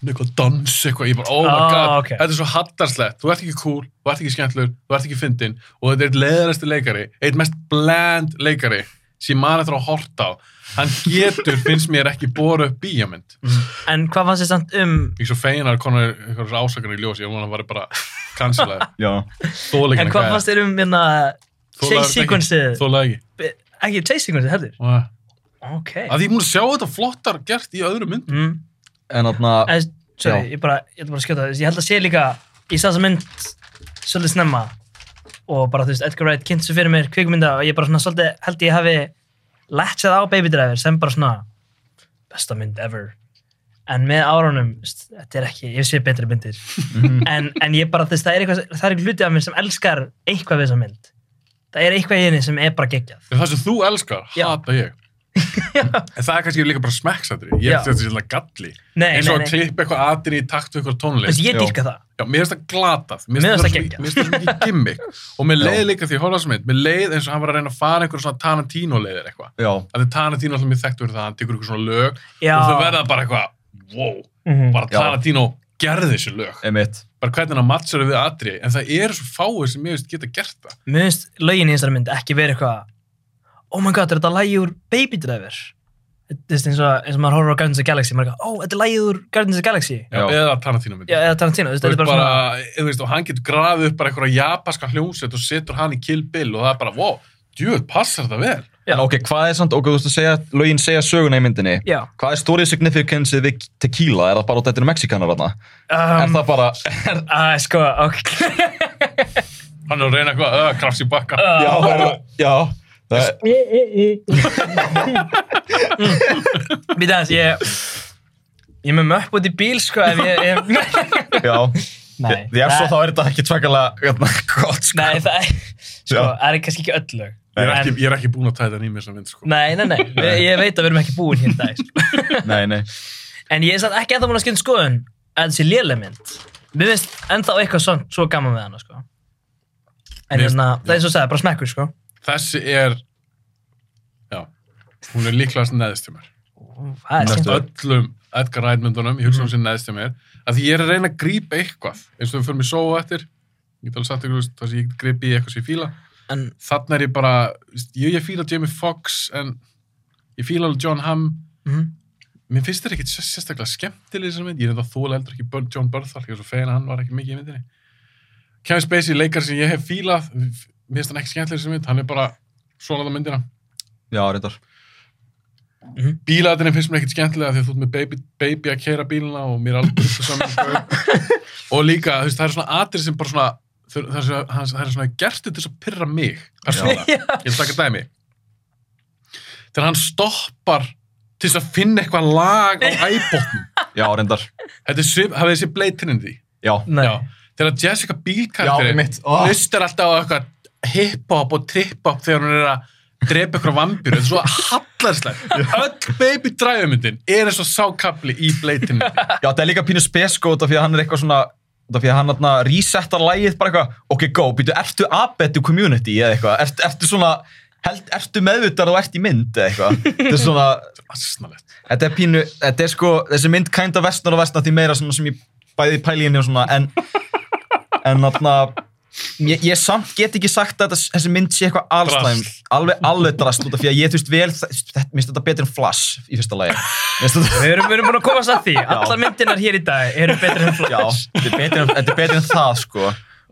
[SPEAKER 5] Eitthvað dans, eitthvað, ég bara, oh my
[SPEAKER 7] Ah,
[SPEAKER 5] god,
[SPEAKER 7] ok.
[SPEAKER 5] þetta er svo hattarslegt. Þú ert ekki cool, þú ert ekki skemmtlur, þú ert ekki fyndin og þetta er eitt leðalæsti leikari, eitt mest bland leikari sem maður eftir að horta á. Hann getur, finnst mér, ekki bóra upp bíjamynd.
[SPEAKER 7] Mm. En hvað fannst þið samt um...
[SPEAKER 5] Ég er svo fegin að konar einhverjum ásakarnir í ljós, ég vona að hann var bara cancelaði.
[SPEAKER 6] Já,
[SPEAKER 7] En hvað fannst þið um, hérna... Chase sequenceið?
[SPEAKER 5] Þólaði ekki.
[SPEAKER 7] Ekki chase sequenceið, heldur.
[SPEAKER 5] Nei.
[SPEAKER 7] Ok.
[SPEAKER 5] Að því ég múin að sjá þetta flottar gert í öðru mynd.
[SPEAKER 7] Mm.
[SPEAKER 6] en þarna,
[SPEAKER 7] En, sorry,
[SPEAKER 6] Já.
[SPEAKER 7] ég bara, ég ætla bara að skjóta það. Ég held að sé líka, ég sá þessa mynd svolítið snemma og bara, þú veist, Edgar Wright kynnt svo fyrir mér kvikmynda og ég bara svona svolítið, held ég hafi latchað á Baby Driver sem bara svona besta mynd ever. En með árunum, þú veist, þetta er ekki, ég sé betri myndir.
[SPEAKER 6] Mhm.
[SPEAKER 7] en, en ég bara, þú veist, það er eitthvað, það er eitthvað hluti af mér sem elskar eitthvað við þessa mynd. Það er eitthvað í henni sem er bara geggjað.
[SPEAKER 5] En það sem þú elskar,
[SPEAKER 7] Já.
[SPEAKER 5] hata ég. en það er kannski líka bara smekksættri. Ég
[SPEAKER 7] Já.
[SPEAKER 5] held þetta sérlega galli.
[SPEAKER 7] Nei,
[SPEAKER 5] Eins
[SPEAKER 7] nei,
[SPEAKER 5] og
[SPEAKER 7] nei.
[SPEAKER 5] að klippa eitthvað aðin í takt við eitthvað
[SPEAKER 7] Þú veist,
[SPEAKER 5] tónlist.
[SPEAKER 7] ég
[SPEAKER 6] Já.
[SPEAKER 7] dýrka það.
[SPEAKER 5] Já, mér finnst það glatað.
[SPEAKER 7] Mér finnst það
[SPEAKER 5] svo-
[SPEAKER 7] geggjað.
[SPEAKER 5] Mér finnst það svo mikið gimmick. Og mér leið líka því að horfa á þessa mynd. Mér leið eins og hann var að reyna að fara einhver svona Tarantino leiðir eitthvað.
[SPEAKER 6] já,
[SPEAKER 5] Að því Tarantino alltaf mér þekktur það, hann tekur eitthvað svona lög
[SPEAKER 7] Já.
[SPEAKER 5] og þau verða bara eitthvað, wow,
[SPEAKER 7] Mhm.
[SPEAKER 5] bara
[SPEAKER 6] Já.
[SPEAKER 5] Tarantino gerði þessi lög.
[SPEAKER 6] emitt.
[SPEAKER 5] Bara hvernig hann matchar við atri, en það eru svo fáið sem ég veist geta gert það.
[SPEAKER 7] Mér finnst lögin í þessari mynd ekki verið eitthvað Oh my god, er þetta lagi úr Baby Driver? Þú veist eins og, eins og maður horfður á Guardians of the Galaxy maður er eitthvað, ó, þetta er lagi úr Guardians of the Galaxy
[SPEAKER 5] Já,
[SPEAKER 6] Já.
[SPEAKER 5] eða Tarantino myndi.
[SPEAKER 7] Já, eða Tarantino, þú veist,
[SPEAKER 5] þú
[SPEAKER 7] þetta
[SPEAKER 5] veist
[SPEAKER 7] er bara
[SPEAKER 5] bara,
[SPEAKER 7] svona
[SPEAKER 5] þú veist, og hann getur grafið upp bara einhverja japanska hljómsveit og setur hann í Kill Bill og það er bara, wow, djöð, passar það vel
[SPEAKER 7] Já.
[SPEAKER 6] En ok, hvað er samt, ok, þú veist að segja, lögin segja söguna í myndinni.
[SPEAKER 7] Já,
[SPEAKER 6] Hvað er story significance við tequila? Er það bara út þetta eru mexikanar þarna? er
[SPEAKER 7] um,
[SPEAKER 6] það bara...
[SPEAKER 7] að sko, ok
[SPEAKER 5] hann er að reyna eitthvað, öða, krafs í bakka
[SPEAKER 6] já, er það, já. Það,
[SPEAKER 7] Býta þess, ég Ég er með möpp út í bíl, sko, ef ég, ég
[SPEAKER 6] já.
[SPEAKER 7] Nei,
[SPEAKER 6] Því ef svo þá er þetta ekki tvakalega gott, sko.
[SPEAKER 7] Nei, það er, sko,
[SPEAKER 6] Já.
[SPEAKER 7] það er kannski ekki öll lög
[SPEAKER 5] ég er ekki,
[SPEAKER 7] En-
[SPEAKER 5] ég er ekki búin að tæta hann í mér sem vind sko.
[SPEAKER 7] Nei, nei, nei, ég, ég veit að við erum ekki búin hér í dag, sko
[SPEAKER 6] Nei, nei.
[SPEAKER 7] En ég er satt ekki ennþá múin að skynna skoðun að þessi lélega mynd. Mér finnst ennþá eitthvað svona svo gaman með hana, sko. En
[SPEAKER 5] Mér finnst-
[SPEAKER 7] hérna, það er eins og segja, bara smekkur, sko.
[SPEAKER 5] þessi er já, hún er líklegast neðst til mér
[SPEAKER 7] Það er skemmt.
[SPEAKER 5] öllum Edgar Wright myndunum, ég hugsa hún sem neðst til mér að því ég er að reyna að grípa eitthvað eins og þau fyrir mig sóa eftir ég get alveg sagt ykkur, þú veist, það sem ég get gripið í eitthvað sem ég fíla
[SPEAKER 7] En,
[SPEAKER 5] þannig er ég bara, þú veist, jú, ég fíla Jamie Foxx en ég fíla alveg John Hamm
[SPEAKER 7] mm,
[SPEAKER 5] Mér finnst þetta ekkit sér- sérstaklega skemmtileg þessar mynd. Ég er þetta þóla heldur ekki Bur- John Berthal, ég er svo fegin að hann var ekki mikið í myndinni. Kevin Spacey, leikar sem ég hef fílað, f- mér finnst hann ekki skemmtileg þessar mynd, hann er bara svona á myndina.
[SPEAKER 6] Já, reyndar.
[SPEAKER 5] Bílaðinni finnst mér ekkit skemmtilega því að þú ert með baby, baby að keira bíluna og mér er aldrei upp saman. og líka, þú veist, það er svona atrið sem bara svona, þau- það er svona, það er svona gert þetta til þess að pyrra mig, persónulega. Ég vil taka dæmi. Þegar hann stoppar til þess að finna eitthvað lag á æbótnum.
[SPEAKER 6] Já, reyndar.
[SPEAKER 5] Þetta er svip, hafið þessi Blade Trinity.
[SPEAKER 6] Já.
[SPEAKER 7] nei.
[SPEAKER 5] Já. Þegar Jessica Biel karakterinn
[SPEAKER 6] einmitt. Oh.
[SPEAKER 5] hlustar alltaf á eitthvað hip-hop og trip-hop þegar hún er að drepa ykkur vampýru. Þetta er svo hallarslegt. Öll Baby Driver myndin er eins og sákabli í Blade Trinity.
[SPEAKER 6] Já, það er líka pínu spesko út af því að hann er eitthvað svona út af því að hann hann resetar lægið bara eitthvað, ok, go, býtu, ertu abetu community eða eitthvað, ert, ertu svona held, ertu meðvitað og ert í mynd eða eitthvað, þetta er svona
[SPEAKER 5] Asnalegt.
[SPEAKER 6] þetta er pínu, þetta er sko, þessi mynd kænda vestnar og vestnar því meira svona sem ég bæði í pælinni og svona, en en þarna ég, ég samt get ekki sagt að þetta- þessi mynd sé eitthvað allslæm,
[SPEAKER 5] Drasl.
[SPEAKER 6] alveg, alveg drast út af því að ég, þú veist, vel, þetta, minnst þetta betur en Flash í fyrsta lagi, minnst þetta
[SPEAKER 7] Við erum, við erum búin að komast að því. Allar myndinar hér í dag eru betri en
[SPEAKER 6] Já,
[SPEAKER 7] flash.
[SPEAKER 6] þetta er betur en, þetta er betur en það sko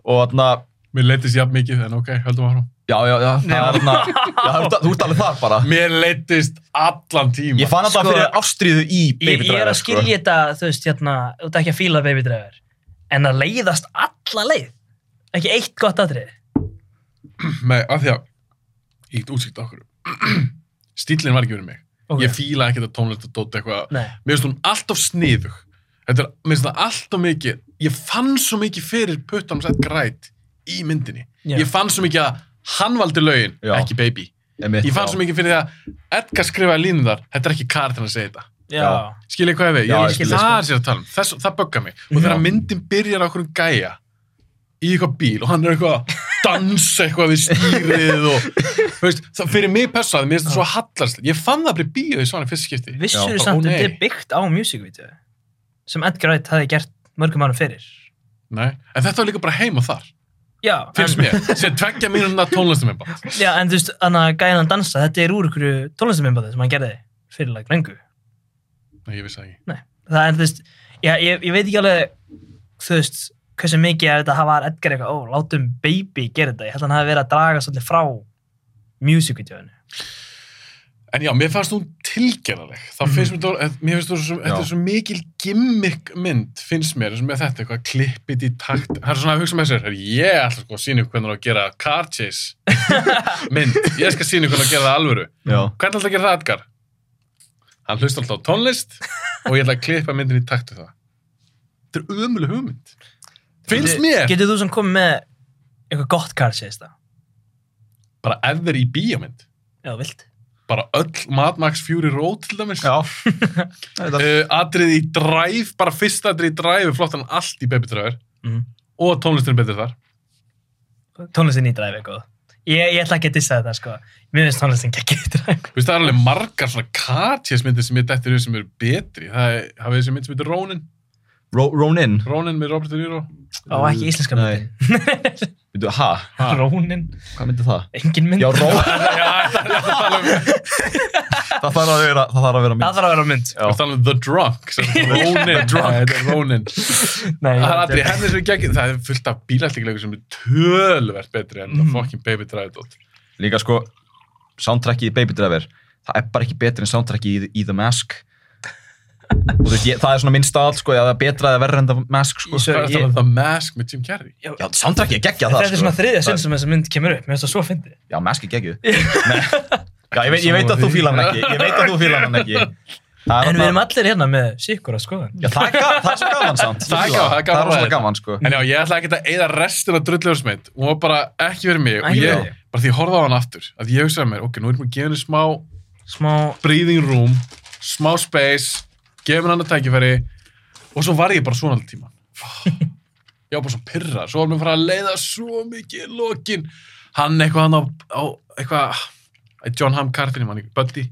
[SPEAKER 6] og þarna,
[SPEAKER 5] Mér leittist jafn mikið, en ok, höldum áfram.
[SPEAKER 6] já, já, já, það er þarna já, þú ert- þú ert alveg þar bara
[SPEAKER 5] Mér leittist allan tíma.
[SPEAKER 6] ég fann þetta
[SPEAKER 7] Sko,
[SPEAKER 6] fyrir ástriðu í Baby
[SPEAKER 7] Ég, ég er
[SPEAKER 6] Driver, sko.
[SPEAKER 7] að
[SPEAKER 5] sko.
[SPEAKER 7] skilja þetta, þú veist, hérna, þú ert ekki að fíla Baby Driver. En að leiðast alla leið. Ekki eitt gott atrið.
[SPEAKER 5] Með, af því að ég get útsýkt okkur. Stílinn var ekki verið mig.
[SPEAKER 7] Ok.
[SPEAKER 5] Ég fíla ekki þetta tónlist og dótt eitthvað.
[SPEAKER 7] Nei.
[SPEAKER 5] Mér finnst hún alltaf sniðug. Þetta er, mér finnst það alltaf mikið, ég fann svo mikið fyrir puttanum sett græt í myndinni
[SPEAKER 7] Já.
[SPEAKER 5] ég fann svo mikið að hann valdi lögin
[SPEAKER 6] Já.
[SPEAKER 5] ekki baby,
[SPEAKER 6] Einmitt,
[SPEAKER 5] ég fann
[SPEAKER 6] já.
[SPEAKER 5] svo mikið fyrir það að Edgar skrifaði línum þar, þetta er ekki karakterin að segja þetta
[SPEAKER 7] Já.
[SPEAKER 5] skilja hvað ég við,
[SPEAKER 6] Já,
[SPEAKER 5] ég
[SPEAKER 6] ég
[SPEAKER 5] skil
[SPEAKER 6] skil
[SPEAKER 5] það er sér að tala um Þess, það bögga mig, og þegar myndin byrjar á okkur gæja í eitthvað bíl og hann er eitthvað að dansa eitthvað við stýrið og þú veist, það fyrir mig personlega, mér finnst það svo hallast ég fann það bara í bíó í svona fyrst skipti
[SPEAKER 7] Vissur
[SPEAKER 5] Já.
[SPEAKER 7] þú samt
[SPEAKER 5] Ó,
[SPEAKER 7] að
[SPEAKER 5] nei.
[SPEAKER 7] þetta er byggt á music-vídeó sem Edgar Wright hafi gert mörgum árum fyrir.
[SPEAKER 5] Nei. en þetta var líka bara heima þar
[SPEAKER 7] Já,
[SPEAKER 5] finnst
[SPEAKER 7] en,
[SPEAKER 5] mér, sem tveggja mínúna tónlistum bara.
[SPEAKER 7] já, en þú veist, þannig að gæðan dansa, þetta er úr ykkur tónlistamimbaði sem hann gerði fyrir like lengu.
[SPEAKER 5] Nei, ég vissi það ekki
[SPEAKER 7] Nei, það er, þú veist, já, ég, ég veit ekki alveg, þú veist, hversu mikið að þetta hafa Edgar eitthvað, ó, látum baby gera þetta. Ég held að hann hafi verið að draga svolítið frá music-vídeóinu.
[SPEAKER 5] En já, mér fannst hún tilgerðaleg. Þá finnst mér, mm. mér finnst þú svo, þetta er
[SPEAKER 6] Mhm. Já.
[SPEAKER 5] svo mikil gimmick mynd, finnst mér, eins og með þetta, eitthvað klippið í takt. Það er svona að hugsa með sér, "Herri, ég ætla sko að sína ykkur hvernig á að gera car chase mynd. Ég skal sína ykkur hvernig á að gera það alvöru.
[SPEAKER 6] Já.
[SPEAKER 5] Hvernig ætla að gera það, Edgar? Hann hlusta alltaf á tónlist og ég ætla að klippa myndin í takt við það. Þetta er ömuleg hugmynd. Finnst mér,
[SPEAKER 7] Getur þú sem komið með eitthvað gott car chase það?
[SPEAKER 5] bara ef þeir í bíómynd,
[SPEAKER 7] Já, þú vilt.
[SPEAKER 5] bara öll Mad Max Fury Road til dæmis.
[SPEAKER 6] Já. Þetta-
[SPEAKER 5] uh, atrið í dræf, bara fyrst atrið í dræf er flott en allt í Baby Driver
[SPEAKER 7] Mhm.
[SPEAKER 5] og tónlistin er betur þar
[SPEAKER 7] Tónlistin í dræfi er góð. Ég, ég ætla ekki að dissa þetta, sko. Mér finnst tónlistin ekki í dræfi.
[SPEAKER 5] Þú veist, það er alveg margar svona kartjæsmyndir sem ég dættir sem eru betri það er það er þessi mynd sem heitir Ronin
[SPEAKER 6] Ro- Ronin.
[SPEAKER 5] Ronin með Robert De Niro
[SPEAKER 7] Ó, ekki íslenska
[SPEAKER 6] Nei.
[SPEAKER 7] myndin.
[SPEAKER 6] Veitu, ha?
[SPEAKER 5] Ha.
[SPEAKER 7] Rónin.
[SPEAKER 6] Hvað myndi það?
[SPEAKER 7] Engin mynd.
[SPEAKER 6] Já, ró. það
[SPEAKER 5] Já, það er að tala um
[SPEAKER 6] þarf að vera, það þarf að vera
[SPEAKER 7] Það
[SPEAKER 6] mynd.
[SPEAKER 7] þarf að vera mynd.
[SPEAKER 5] það er að tala um The Drunk sem er Ronin, Nei, þetta er Ronin
[SPEAKER 7] Nei,
[SPEAKER 5] það er
[SPEAKER 7] þetta
[SPEAKER 5] atrið henni sem er gegn það er fullt af bílættingleikur sem er tölvert betri en mm. fucking Baby Driver dót.
[SPEAKER 6] Líka sko, soundtrackið í Baby Driver, það er bara ekki betur en soundtrackið í, í The Mask. Og þú veist, ég, það er svona minn stað, sko, að það er betra eða verra en The Mask, sko.
[SPEAKER 7] Í
[SPEAKER 5] það
[SPEAKER 7] sögu.
[SPEAKER 5] er að tala um The Mask með Jim Carrey
[SPEAKER 6] Já, soundtrackið er geggjað sko. það,
[SPEAKER 7] Þetta er svona þriðja sinn sem þessi mynd kemur upp. Mér finnst það svo fyndið.
[SPEAKER 6] Já, Mask er geggjuð. Nei. Já, ég veit, ég veit að þú fílar hann ekki. Ég veit að þú fílar hann ekki. Það
[SPEAKER 7] En við erum
[SPEAKER 6] þarna-
[SPEAKER 7] allir hérna með síkur að skoða.
[SPEAKER 6] Já, það er, ga- það er svo gaman samt.
[SPEAKER 5] Það er gaman, það
[SPEAKER 6] Það er rosalega
[SPEAKER 5] er gaman ræðið.
[SPEAKER 6] gaman, sko.
[SPEAKER 5] En já, ég ætla ekki að eða restin af drulluðarsmynd og var bara ekki verið mig og
[SPEAKER 7] Ekki
[SPEAKER 5] ég,
[SPEAKER 7] fyrir þig.
[SPEAKER 5] bara því ég horfði á hann aftur að ég hugsaði mér, ok, nú erum við að gefa henni smá
[SPEAKER 7] Smá
[SPEAKER 5] breathing room, smá space gefa henni annar tækifæri og svo var ég bara svona alltaf tíma ég var bara svo pyrra, svo var mér að fara að leiða svo mikið í lokin hann eitthvað hann á, á eitthvað John Hamm Carpini, mann, Buddy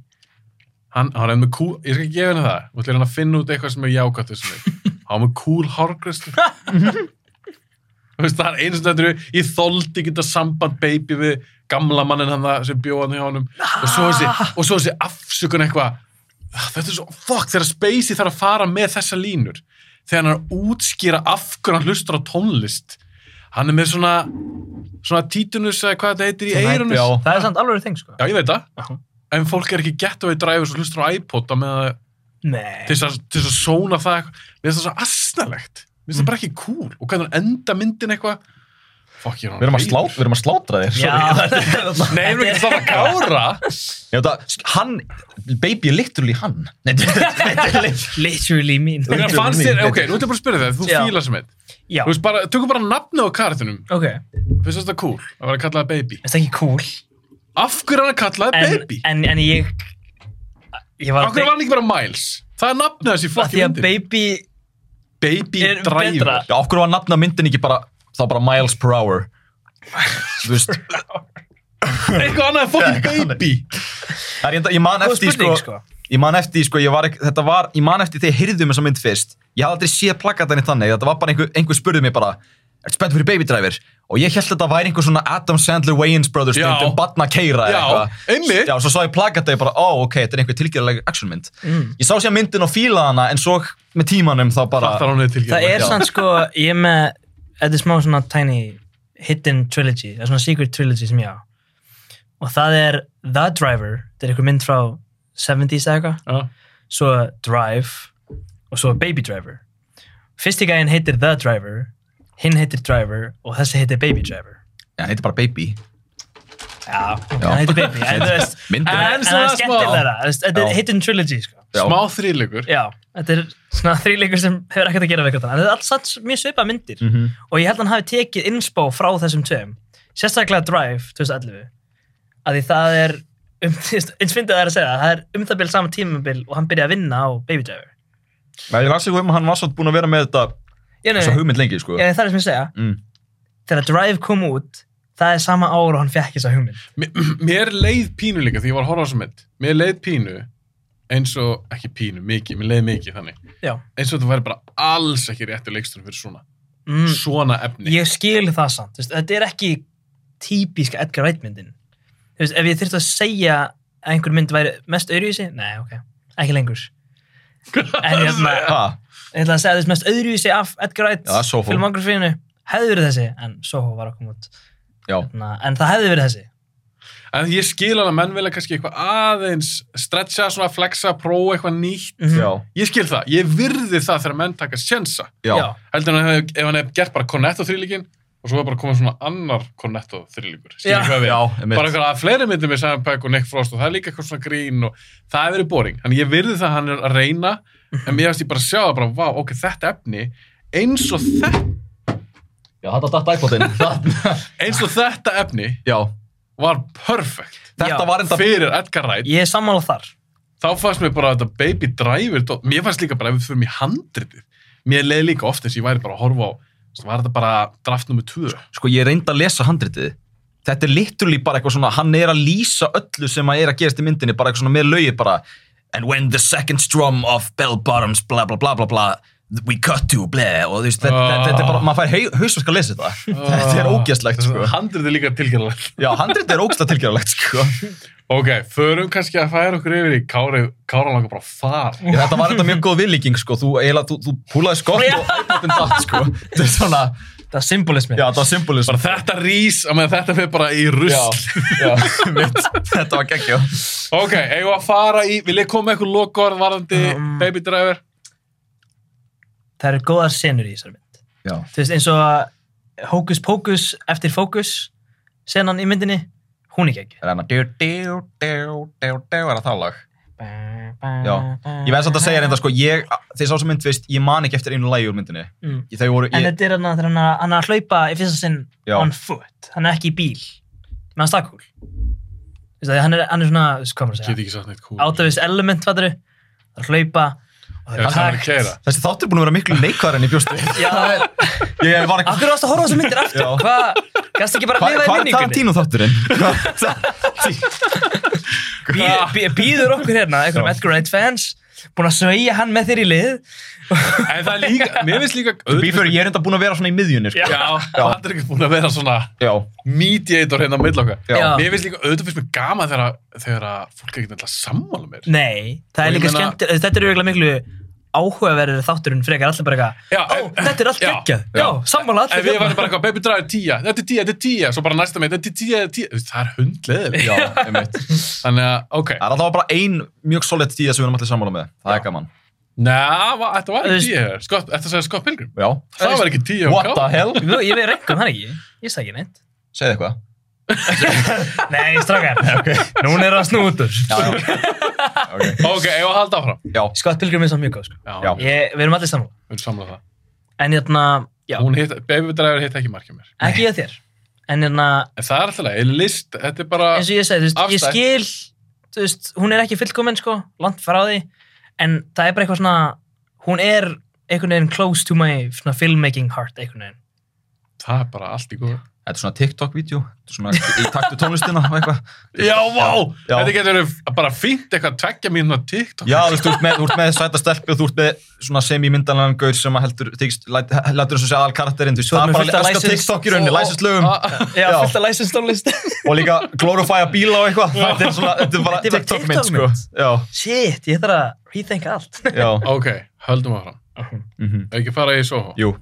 [SPEAKER 5] hann, hann er með cool, ég skal ekki gefa henni það þú ætlir hann að finna út eitthvað sem er jákvæmt þessum leik hann var með cool hárgræslu Þú veist, það er eins og þetta ég þoldi ekki þetta samband baby við gamla mannin hann það sem bjóð hann hjá honum og svo þessi, og svo þessi afsökun eitthvað Ah, þetta er svo, fuck, þegar Spacey þarf að fara með þessa línur þegar hann er að útskýra af hverju hann hlustar á tónlist hann er með svona svona títunus eða hvað þetta heitir í eirunus
[SPEAKER 6] já.
[SPEAKER 7] Það er samt alveg þing, sko.
[SPEAKER 5] Já, ég veit það.
[SPEAKER 7] Já.
[SPEAKER 5] En fólk er ekki gett að við dræfum svo hlustur á iPod með það
[SPEAKER 7] Nei.
[SPEAKER 5] til þess að, til þess að sóna það eitthvað. Mér finnst það svo asnalegt. Mér finnst það bara ekki cool. Og hvernig hann enda myndin eitthvað. Fuck, ég er hann.
[SPEAKER 6] Við erum að slá- við erum að slátra þér.
[SPEAKER 7] Já,
[SPEAKER 6] sorry.
[SPEAKER 5] Nei, við erum ekki að slá að kára.
[SPEAKER 6] Ég veit að, hann, baby er literally hann. Nei, þetta er literally...
[SPEAKER 7] literally mean.
[SPEAKER 5] Þannig að fannst þér, ok, nú ætlum ég bara að spyrja það. Þú
[SPEAKER 7] Já.
[SPEAKER 5] fílar sem eitt.
[SPEAKER 7] Já,
[SPEAKER 5] Þú veist bara, tökum bara nafni á karatunum.
[SPEAKER 7] ok.
[SPEAKER 5] Finnst þetta cool að vera að kalla það baby?
[SPEAKER 7] Þetta er ekki cool.
[SPEAKER 5] Af hverju er hann að kalla það
[SPEAKER 7] En,
[SPEAKER 5] baby?
[SPEAKER 7] en, en ég... Ég var
[SPEAKER 5] Af hverju var hann ekki bara Miles? Það er nafnið
[SPEAKER 7] Af
[SPEAKER 5] þessi
[SPEAKER 7] Því
[SPEAKER 5] fokki
[SPEAKER 7] að
[SPEAKER 5] myndin.
[SPEAKER 7] baby...
[SPEAKER 5] Baby
[SPEAKER 7] er
[SPEAKER 5] driver.
[SPEAKER 7] betra.
[SPEAKER 6] Já, okkur var nafna myndin ekki bara, þá bara miles per hour. Þú veist,
[SPEAKER 5] Eitthvað annað en fokkin baby.
[SPEAKER 6] það er enda, ég man
[SPEAKER 7] Góð
[SPEAKER 6] eftir,
[SPEAKER 7] spurning,
[SPEAKER 6] sko,
[SPEAKER 7] sko.
[SPEAKER 6] ég man eftir, sko, ég var ekki, þetta var, ég man eftir þegar ég heyrðum þessa mynd fyrst. Ég hafði aldrei séð plakatanir þannig, þetta var bara einhver, einhver spurði mig bara, ertu spennt fyrir Baby Driver? Og ég held að þetta væri einhver svona Adam Sandler Wayans Brothers
[SPEAKER 5] Já.
[SPEAKER 6] mynd um batna keira
[SPEAKER 5] Já, einmitt.
[SPEAKER 6] Já, svo sá ég plakatið bara, ó, ok, þetta er einhver tilgjörlega actionmynd.
[SPEAKER 5] Mm.
[SPEAKER 6] Ég sá sér myndin og fíla hana, en svo með tímanum þá bara...
[SPEAKER 5] Fattar hún er tilgjörð.
[SPEAKER 7] Það er
[SPEAKER 6] Já.
[SPEAKER 7] samt, sko, ég er með... Þetta er smá svona tiny hidden trilogy. Það er svona secret trilogy sem ég á. Og það er The Driver. Þetta er einhver mynd frá 70s eða eitthvað.
[SPEAKER 5] Já.
[SPEAKER 7] svo Drive og svo Baby Driver fyrsti gæinn heitir The Driver hinn heitir Driver og þessi heitir Baby Driver
[SPEAKER 6] Já, hann heitir bara Baby.
[SPEAKER 7] já, ok, hann heitir Baby en þú veist,
[SPEAKER 6] Myndin
[SPEAKER 7] en
[SPEAKER 6] er-
[SPEAKER 7] en það
[SPEAKER 5] svona
[SPEAKER 7] er
[SPEAKER 5] smá.
[SPEAKER 7] skemmtilega þetta
[SPEAKER 6] Já.
[SPEAKER 7] er hidden trilogy sko
[SPEAKER 6] Já.
[SPEAKER 5] smá þrýleikur
[SPEAKER 7] Já, þetta er svona þrýleikur sem hefur ekkert að gera við eitthvað. En þetta er alls alls mjög svipað myndir.
[SPEAKER 6] Mhm.
[SPEAKER 7] Og ég held að hann hafi tekið inspó frá þessum tveim. Sérstaklega Drive 2011. Að því það er, um, þú veist, eins fyndið að það er að segja, það er um það byrjað saman tímabil og hann byrjaði að vinna á Baby Driver.
[SPEAKER 6] Nei, Ég las ekki um að hann var svolítið búin að vera með þetta
[SPEAKER 7] Ég,
[SPEAKER 6] þessa hugmynd lengi, sko.
[SPEAKER 7] ég, það er sem ég segja.
[SPEAKER 6] Mm.
[SPEAKER 7] Þegar Drive kom út, það er sama ár og hann fekk þessa hugmynd.
[SPEAKER 5] M- mér leið pínu líka því ég var að horfa á þessa mynd mér leið pínu eins og, ekki pínu, mikið, mér leið mikið þannig
[SPEAKER 7] Já.
[SPEAKER 5] eins og þetta væri bara alls ekki réttu leikstunum fyrir svona
[SPEAKER 7] Mm.
[SPEAKER 5] svona efni
[SPEAKER 7] Ég skil það samt, þú veist, þetta er ekki típiska Edgar Wright myndin Þú veist, ef ég þyrfti að segja að einhver mynd væri mest öðruvísi, nei, ok, ekki lengur En ég ætla,
[SPEAKER 6] Ha,
[SPEAKER 7] ég ætla að segja þess mest öðruvísi af Edgar Wright
[SPEAKER 6] Já, Soho.
[SPEAKER 7] filmografínu hefði verið þessi, en Soho var að koma út
[SPEAKER 6] já.
[SPEAKER 7] Na, en það hefði verið þessi
[SPEAKER 5] en ég skil alveg að menn vilja kannski eitthvað aðeins stretcha, svona flexa, prófa eitthvað nýtt
[SPEAKER 7] Mhm.
[SPEAKER 6] já,
[SPEAKER 5] ég skil það, ég virði það þegar menn taka sjensa
[SPEAKER 6] já,
[SPEAKER 7] Já.
[SPEAKER 5] heldur en að hef- ef hann hef gert bara Cornetto þrýlíkin og svo er bara komið svona annar Cornetto þrýlíkur
[SPEAKER 7] Já.
[SPEAKER 6] Já, einmitt.
[SPEAKER 5] bara eitthvað að fleiri myndir með Simon Pegg og Nick Frost og það er líka eitthvað svona grín og það hefur verið boring, þannig ég virði það að hann er að reyna en mér finnst ég bara að sjá það bara, vá, ok, þetta efni eins og þetta,
[SPEAKER 6] já, þetta datt iPod-in.
[SPEAKER 5] eins og þetta efni
[SPEAKER 6] já,
[SPEAKER 5] var perfect
[SPEAKER 6] þetta
[SPEAKER 7] Já.
[SPEAKER 6] var enda...
[SPEAKER 5] fyrir Edgar Wright
[SPEAKER 7] Ég er sammála þar
[SPEAKER 5] þá fannst mér bara þetta baby driver dót. mér fannst líka bara ef við förum í handritið mér leiði líka oft eins og ég væri bara að horfa á var þetta bara draft nummer 2
[SPEAKER 6] Sko, ég reyndi að lesa handritið. Þetta er literally bara eitthvað svona, hann er að lýsa öllu sem að er að gerast í myndinni, bara eitthvað svona með lögi bara. And when the second strum of bell bottoms, bla bla bla bla bla, we cut to, ble, og þú veist, þetta,
[SPEAKER 5] Ah.
[SPEAKER 6] þetta er bara, maður fær hausverk að lesa þetta. þetta er ógæstlegt, sko.
[SPEAKER 5] handritið er líka tilgjörlega
[SPEAKER 6] Já, handritið er ógæstlegt tilgjörlegt, sko.
[SPEAKER 5] ok, förum kannski að færa okkur yfir í Kára, Kára langar bara far
[SPEAKER 6] Ég, þetta var þetta mjög góð villíking sko, þú, eiginlega, þú, þú púlaði skott og iPodin datt sko. Þetta er svona,
[SPEAKER 7] Það er symbolismi
[SPEAKER 6] já þetta var sko. symbolism.
[SPEAKER 5] bara þetta rís, að meðan þetta fyrir bara í rusl
[SPEAKER 6] Já, já, mitt, þetta var geggjó.
[SPEAKER 5] ok, eigum við að fara í vil ég koma með eitthvað lokaorð varðandi
[SPEAKER 7] Mm.
[SPEAKER 5] baby driver
[SPEAKER 7] Það eru góðar senur í þessari mynd
[SPEAKER 6] Já,
[SPEAKER 7] Þú veist, eins og að Hocus Pocus eftir Focus senan í myndinni, hún er ekki
[SPEAKER 6] er hann að djú, djú, djú, djú, djú, er það það lag? Já, ég verð samt að segja reynda sko, ég, þeir sá sem mynd, veist, ég man ekki eftir einu lagi úr myndinni.
[SPEAKER 7] Mm.
[SPEAKER 6] Þau voru,
[SPEAKER 7] En
[SPEAKER 6] ég,
[SPEAKER 7] þetta er hann að, hann að, hann að hlaupa í fyrsta sinn
[SPEAKER 6] Já.
[SPEAKER 7] on foot, hann er ekki í bíl með hans stakkúl Þú veist, hann er, hann er svona, þú veist, hvað maður að
[SPEAKER 5] get
[SPEAKER 7] segja
[SPEAKER 5] ekki sagt neitt cool
[SPEAKER 7] Átavis element, fattur að hlaupa og það
[SPEAKER 5] Ef
[SPEAKER 7] er
[SPEAKER 5] það er að
[SPEAKER 7] takt
[SPEAKER 5] keyra.
[SPEAKER 6] þessi þáttur er búin að vera miklu neikvar en ég bjóst við.
[SPEAKER 7] Já, það er-
[SPEAKER 6] Ég var
[SPEAKER 7] af
[SPEAKER 6] ekki,
[SPEAKER 7] hverju varst að horfa á þessu myndir aftur?
[SPEAKER 6] Já.
[SPEAKER 7] Hvað, gæst ekki bara
[SPEAKER 6] hvað
[SPEAKER 7] að
[SPEAKER 6] hva
[SPEAKER 7] lifa
[SPEAKER 6] hvað
[SPEAKER 7] í
[SPEAKER 6] er Tarantino þátturinn?
[SPEAKER 7] minningunni? Býður okkur hérna, einhverjum
[SPEAKER 6] Já.
[SPEAKER 7] Edgar Wright fans búin að sveigja hann með þér í lið
[SPEAKER 5] en það er líka, mér finnst líka
[SPEAKER 6] Bífur, ég er reynda búin að vera svona í miðjunni sko.
[SPEAKER 5] já, Patrik er búin að vera svona
[SPEAKER 6] Já,
[SPEAKER 5] mediator hérna á milli okkar
[SPEAKER 6] já,
[SPEAKER 7] Já.
[SPEAKER 5] mér finnst líka, auðvitað finnst mér gaman þegar, að- þegar að fólk er ekki nefnilega sammála mér
[SPEAKER 7] Nei, það er
[SPEAKER 5] Og ég
[SPEAKER 7] líka
[SPEAKER 5] meina-
[SPEAKER 7] skemmt Þetta er auðvitað miklu áhugaverðir þátturinn frekar allir bara
[SPEAKER 5] Já,
[SPEAKER 7] eitthvað Ó,
[SPEAKER 5] en-
[SPEAKER 7] þetta er allt
[SPEAKER 5] já,
[SPEAKER 7] geggjað Já, sammála
[SPEAKER 5] Ef
[SPEAKER 7] allir
[SPEAKER 5] ég væri
[SPEAKER 7] hérna.
[SPEAKER 5] bara eitthvað, baby driver 10, þetta er 10, þetta er 10, svo bara næsta með, þetta er 10, þetta er 10, Þú veist, það er hundleðið.
[SPEAKER 6] já, einmitt.
[SPEAKER 5] Þannig að, ok,
[SPEAKER 6] Það er alltaf bara ein mjög solid tíða sem við erum allir sammála með. Það er gaman.
[SPEAKER 5] næ, þetta
[SPEAKER 7] Þú
[SPEAKER 5] var ekki
[SPEAKER 7] veist-
[SPEAKER 5] 10, hér. Scott, þetta sagði Scott Pilgrim,
[SPEAKER 6] Já.
[SPEAKER 5] það var ekki 10 á
[SPEAKER 6] What the hell?
[SPEAKER 7] Jú, Ég veið reyngum hann ekki Ég sagði ekki neitt
[SPEAKER 6] Segð eitthvað.
[SPEAKER 7] Nei, strákar Núna er það snútur
[SPEAKER 6] Já, já. Okay.
[SPEAKER 5] Ok, ég var að halda áfram.
[SPEAKER 6] já.
[SPEAKER 7] Scott Pilgrim er svo mjög góð sko.
[SPEAKER 5] Já,
[SPEAKER 6] Já.
[SPEAKER 5] við
[SPEAKER 7] ég, Við erum allir saman
[SPEAKER 5] erum samlað það.
[SPEAKER 7] En hérna, já,
[SPEAKER 5] Hún hitt, baby driver hitt ekki markið mér.
[SPEAKER 7] ekki ég þér En hérna,
[SPEAKER 5] En það er alltaf leið, list, þetta er bara,
[SPEAKER 7] eins og ég segi, þú veist, ég
[SPEAKER 5] Ah, Afstætt.
[SPEAKER 7] skil Þú veist, hún er ekki fullkomin sko Langt frá því En það er bara eitthvað svona Hún er einhvern veginn close to my svona, filmmaking heart einhvern veginn
[SPEAKER 5] það er bara allt í góð.
[SPEAKER 6] Þetta er svona TikTok-vídeó. Þetta er svona í taktu tónlistina og eitthvað.
[SPEAKER 5] Já, vá,
[SPEAKER 6] Já.
[SPEAKER 5] þetta getur verið bara fínt eitthvað tveggja mínuna TikTok.
[SPEAKER 6] Já, þú veist, þú ert með, þú ert með sæta stelpi og þú ert með svona semi-myndanlegan gaur sem að heldur, þykist, læt- lætur þess að segja aðal karakterinn. Þú veist,
[SPEAKER 7] Svo
[SPEAKER 6] það
[SPEAKER 7] erum
[SPEAKER 6] er
[SPEAKER 7] við fullt
[SPEAKER 6] bara að
[SPEAKER 7] af
[SPEAKER 6] elska
[SPEAKER 7] license-
[SPEAKER 6] TikTok í rauninni,
[SPEAKER 7] og-
[SPEAKER 6] læsist lögum
[SPEAKER 5] Ah,
[SPEAKER 7] Já,
[SPEAKER 6] Já.
[SPEAKER 7] fullt af license tónlist
[SPEAKER 6] og líka glorifæja bíla og eitthvað. Þetta er svona, þetta er bara
[SPEAKER 7] Þetta er bara
[SPEAKER 6] TikTok-mynd, sko.
[SPEAKER 7] TikTok-mynd.
[SPEAKER 6] Já,
[SPEAKER 7] Shit, ég þarf að rethinka allt
[SPEAKER 6] já.
[SPEAKER 5] Ok, höldum áfram.
[SPEAKER 6] Mhm.
[SPEAKER 5] Ef Ekki fara í Soho.
[SPEAKER 6] Jú,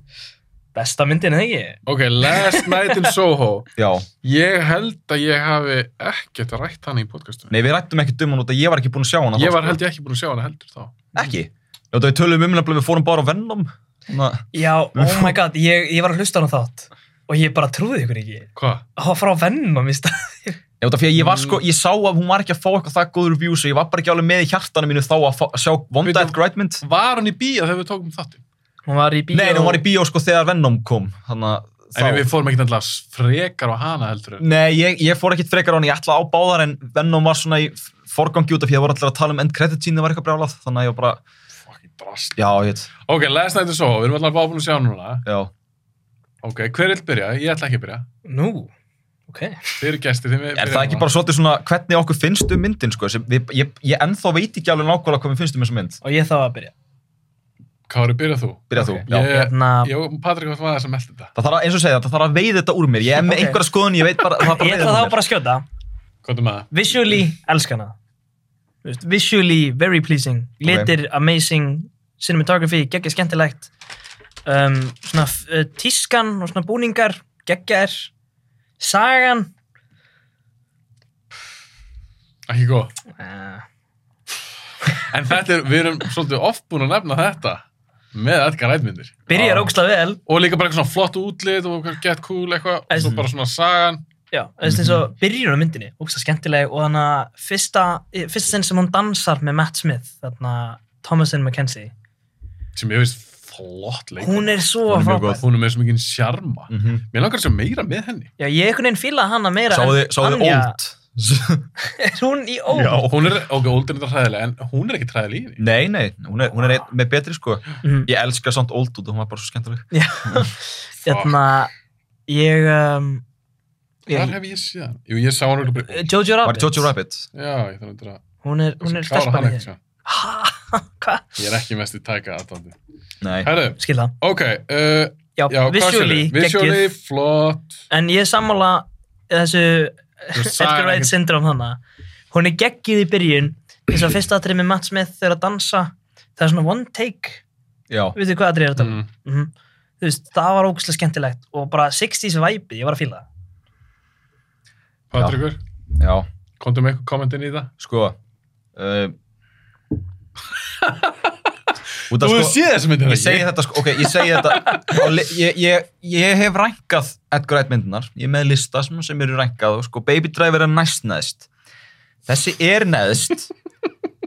[SPEAKER 7] Besta myndin, eða ekki?
[SPEAKER 5] Ok, Last Night in Soho.
[SPEAKER 6] já.
[SPEAKER 5] Ég held að ég hafi ekkert rætt hana í podcastunum.
[SPEAKER 6] Nei, við rættum ekki um hann út að ég var ekki búin að sjá hann.
[SPEAKER 5] Ég var held ég ekki búin að sjá hana heldur þá.
[SPEAKER 6] Ekki? Já, það við tölum um nefnilega, við fórum bara á Venom. Þannig að-
[SPEAKER 7] Já, oh my god, ég, ég var að hlusta á hann þátt og ég bara trúði ykkur ekki
[SPEAKER 5] Hvað?
[SPEAKER 7] Það var frá Venom í stað
[SPEAKER 6] Ég veit að fyrir að ég var sko, ég sá að hún var ekki að fá eitthvað það góður views og ég var bara ekki alveg með í hjartanum mínu þá að fá, sjá
[SPEAKER 5] Veitum-
[SPEAKER 6] Vonda at Grindmynd.
[SPEAKER 5] Var hann í bíó þegar við tókum þáttum?
[SPEAKER 7] Hún var í bíó.
[SPEAKER 6] Nei, en hún var í bíó sko þegar Venom kom, þannig að
[SPEAKER 5] En við- við fórum ekkert alltaf frekar á hana heldur en.
[SPEAKER 6] Nei, ég, ég fór ekkit frekar á hann, ég ætla á báðar en Venom var svona í forgangi út af því að voru allir að tala um end credit sín, það var eitthvað brjálað, þannig að ég var bara,
[SPEAKER 5] Fucking drast.
[SPEAKER 6] já, ég veit,
[SPEAKER 5] Ok, last night is so, við erum alltaf bara búin að sjá hann núna.
[SPEAKER 6] já.
[SPEAKER 5] Ok, hver vil byrja? Ég ætla ekki að byrja.
[SPEAKER 7] Nú, ok.
[SPEAKER 5] Þeir eru gestir, þeim við
[SPEAKER 6] Er það ekki bara svolítið svona hvernig okkur finnst um myndin, sko, sem við, ég, ég ennþá veit ekki alveg nákvæmlega hvað mér finnst um þessa mynd.
[SPEAKER 7] Og ég þá að byrja.
[SPEAKER 5] Kári, byrja þú.
[SPEAKER 6] Byrja
[SPEAKER 7] Ok.
[SPEAKER 6] þú, já.
[SPEAKER 5] Ég-
[SPEAKER 7] Hérna,
[SPEAKER 5] Ég, Patrik, hvað var það sem meldi þetta?
[SPEAKER 6] Það þarf að, eins og segja, það þarf að veið þetta úr mér, ég er með
[SPEAKER 7] Ok.
[SPEAKER 6] einhverja skoðun, ég veit bara, það þarf að
[SPEAKER 7] ég
[SPEAKER 6] veiða
[SPEAKER 7] ætla
[SPEAKER 6] þetta
[SPEAKER 7] þá
[SPEAKER 6] úr mér.
[SPEAKER 7] bara að skjóta.
[SPEAKER 5] Hvað er með það?
[SPEAKER 7] Visually, elskan það. Þú veist, Visually, very pleasing. Litir, amazing. Cinematography, geggja skemmtilegt. Um, svona uh, tískan og svona búningar, geggjar. Sagan.
[SPEAKER 5] Ekki góð.
[SPEAKER 6] Ah.
[SPEAKER 7] Uh,
[SPEAKER 5] En þetta er, við erum svolítið oft búin að nefna þetta með Edgar Edmundir.
[SPEAKER 6] Ah.
[SPEAKER 7] byrjar ógslag vel.
[SPEAKER 5] Og líka bara eitthvað svona flott útlit og eitthvað get cool eitthvað. Og svo
[SPEAKER 7] En-
[SPEAKER 5] bara svona sagan.
[SPEAKER 7] Já, þú veist eins og byrjun á myndinni, ógsta skemmtileg og þannig að fyrsta, fyrsta sinn sem hún dansar með Matt Smith, þarna Thomasin McKenzie,
[SPEAKER 5] Sem ég veist flott leik.
[SPEAKER 7] hún er Mm. svo
[SPEAKER 6] Hún er mjög
[SPEAKER 7] frábær.
[SPEAKER 5] Hún er með svo mikið sjarma.
[SPEAKER 6] Mhm.
[SPEAKER 5] Mér langar að sjá meira með henni.
[SPEAKER 7] Já, ég einhvern veginn fílaði hana meira
[SPEAKER 6] Sáðu sáðu
[SPEAKER 7] Anja.
[SPEAKER 6] old?
[SPEAKER 7] Er hún í óld? Já.
[SPEAKER 5] Hún er, ok, Old er þetta hræðilega, en hún er ekki hræðileg í henni.
[SPEAKER 6] Nei, nei, hún er, hún er ein, með betri sko.
[SPEAKER 7] Mhm.
[SPEAKER 6] Ég elska samt old út og hún var bara svo skemmtileg.
[SPEAKER 7] Þarna, Hérna, ég, um, ég
[SPEAKER 5] Hvar
[SPEAKER 7] Eh,
[SPEAKER 5] hef ég séð hann? Jú, ég sá hann okkur bara...
[SPEAKER 7] Jojo
[SPEAKER 6] Var
[SPEAKER 7] Rabbit,
[SPEAKER 6] Jojo Rabbit?
[SPEAKER 5] Já, ég þarf að dra-
[SPEAKER 7] hún er, hún er
[SPEAKER 5] klára
[SPEAKER 7] stelpan
[SPEAKER 5] hana sko.
[SPEAKER 7] í
[SPEAKER 5] einhvern
[SPEAKER 7] þér.
[SPEAKER 5] tímann.
[SPEAKER 7] Ha, Hvað?
[SPEAKER 5] Ég er ekki mest í tæka aðdóndi.
[SPEAKER 6] Nei.
[SPEAKER 5] Herru,
[SPEAKER 7] Skil það.
[SPEAKER 5] ok, uh,
[SPEAKER 7] Já,
[SPEAKER 5] já, hvað
[SPEAKER 7] visually,
[SPEAKER 5] segirðu? Visually,
[SPEAKER 7] geggjuð.
[SPEAKER 5] flott.
[SPEAKER 7] En ég er sammála þessu
[SPEAKER 5] Þú veist, sagan
[SPEAKER 7] Edgar Wright
[SPEAKER 5] ekkert-
[SPEAKER 7] syndrom þannig Hún er geggið í byrjun eins og fyrsta atrið með Matt Smith þegar að dansa það er svona one take
[SPEAKER 6] Já.
[SPEAKER 7] Veitu hvað atrið er þetta?
[SPEAKER 5] Mm.
[SPEAKER 7] Mm. Þú veist, það var ógæslega skemmtilegt og bara 60s væpið, ég var að fíla það
[SPEAKER 5] Patrikur,
[SPEAKER 6] Já.
[SPEAKER 5] komdu með eitthvað kommentin í það?
[SPEAKER 6] Sko. Uh, út af
[SPEAKER 5] Þú
[SPEAKER 6] sko.
[SPEAKER 5] hefur séð þessu myndin
[SPEAKER 6] Ég segi þetta sko, ok, ég segi þetta. á li- Ég, ég, ég hef rænkað Edgar Wright myndunar. Ég er með lista sem, sem eru rænkað og sko Baby Driver er næst neðst. Þessi er neðst.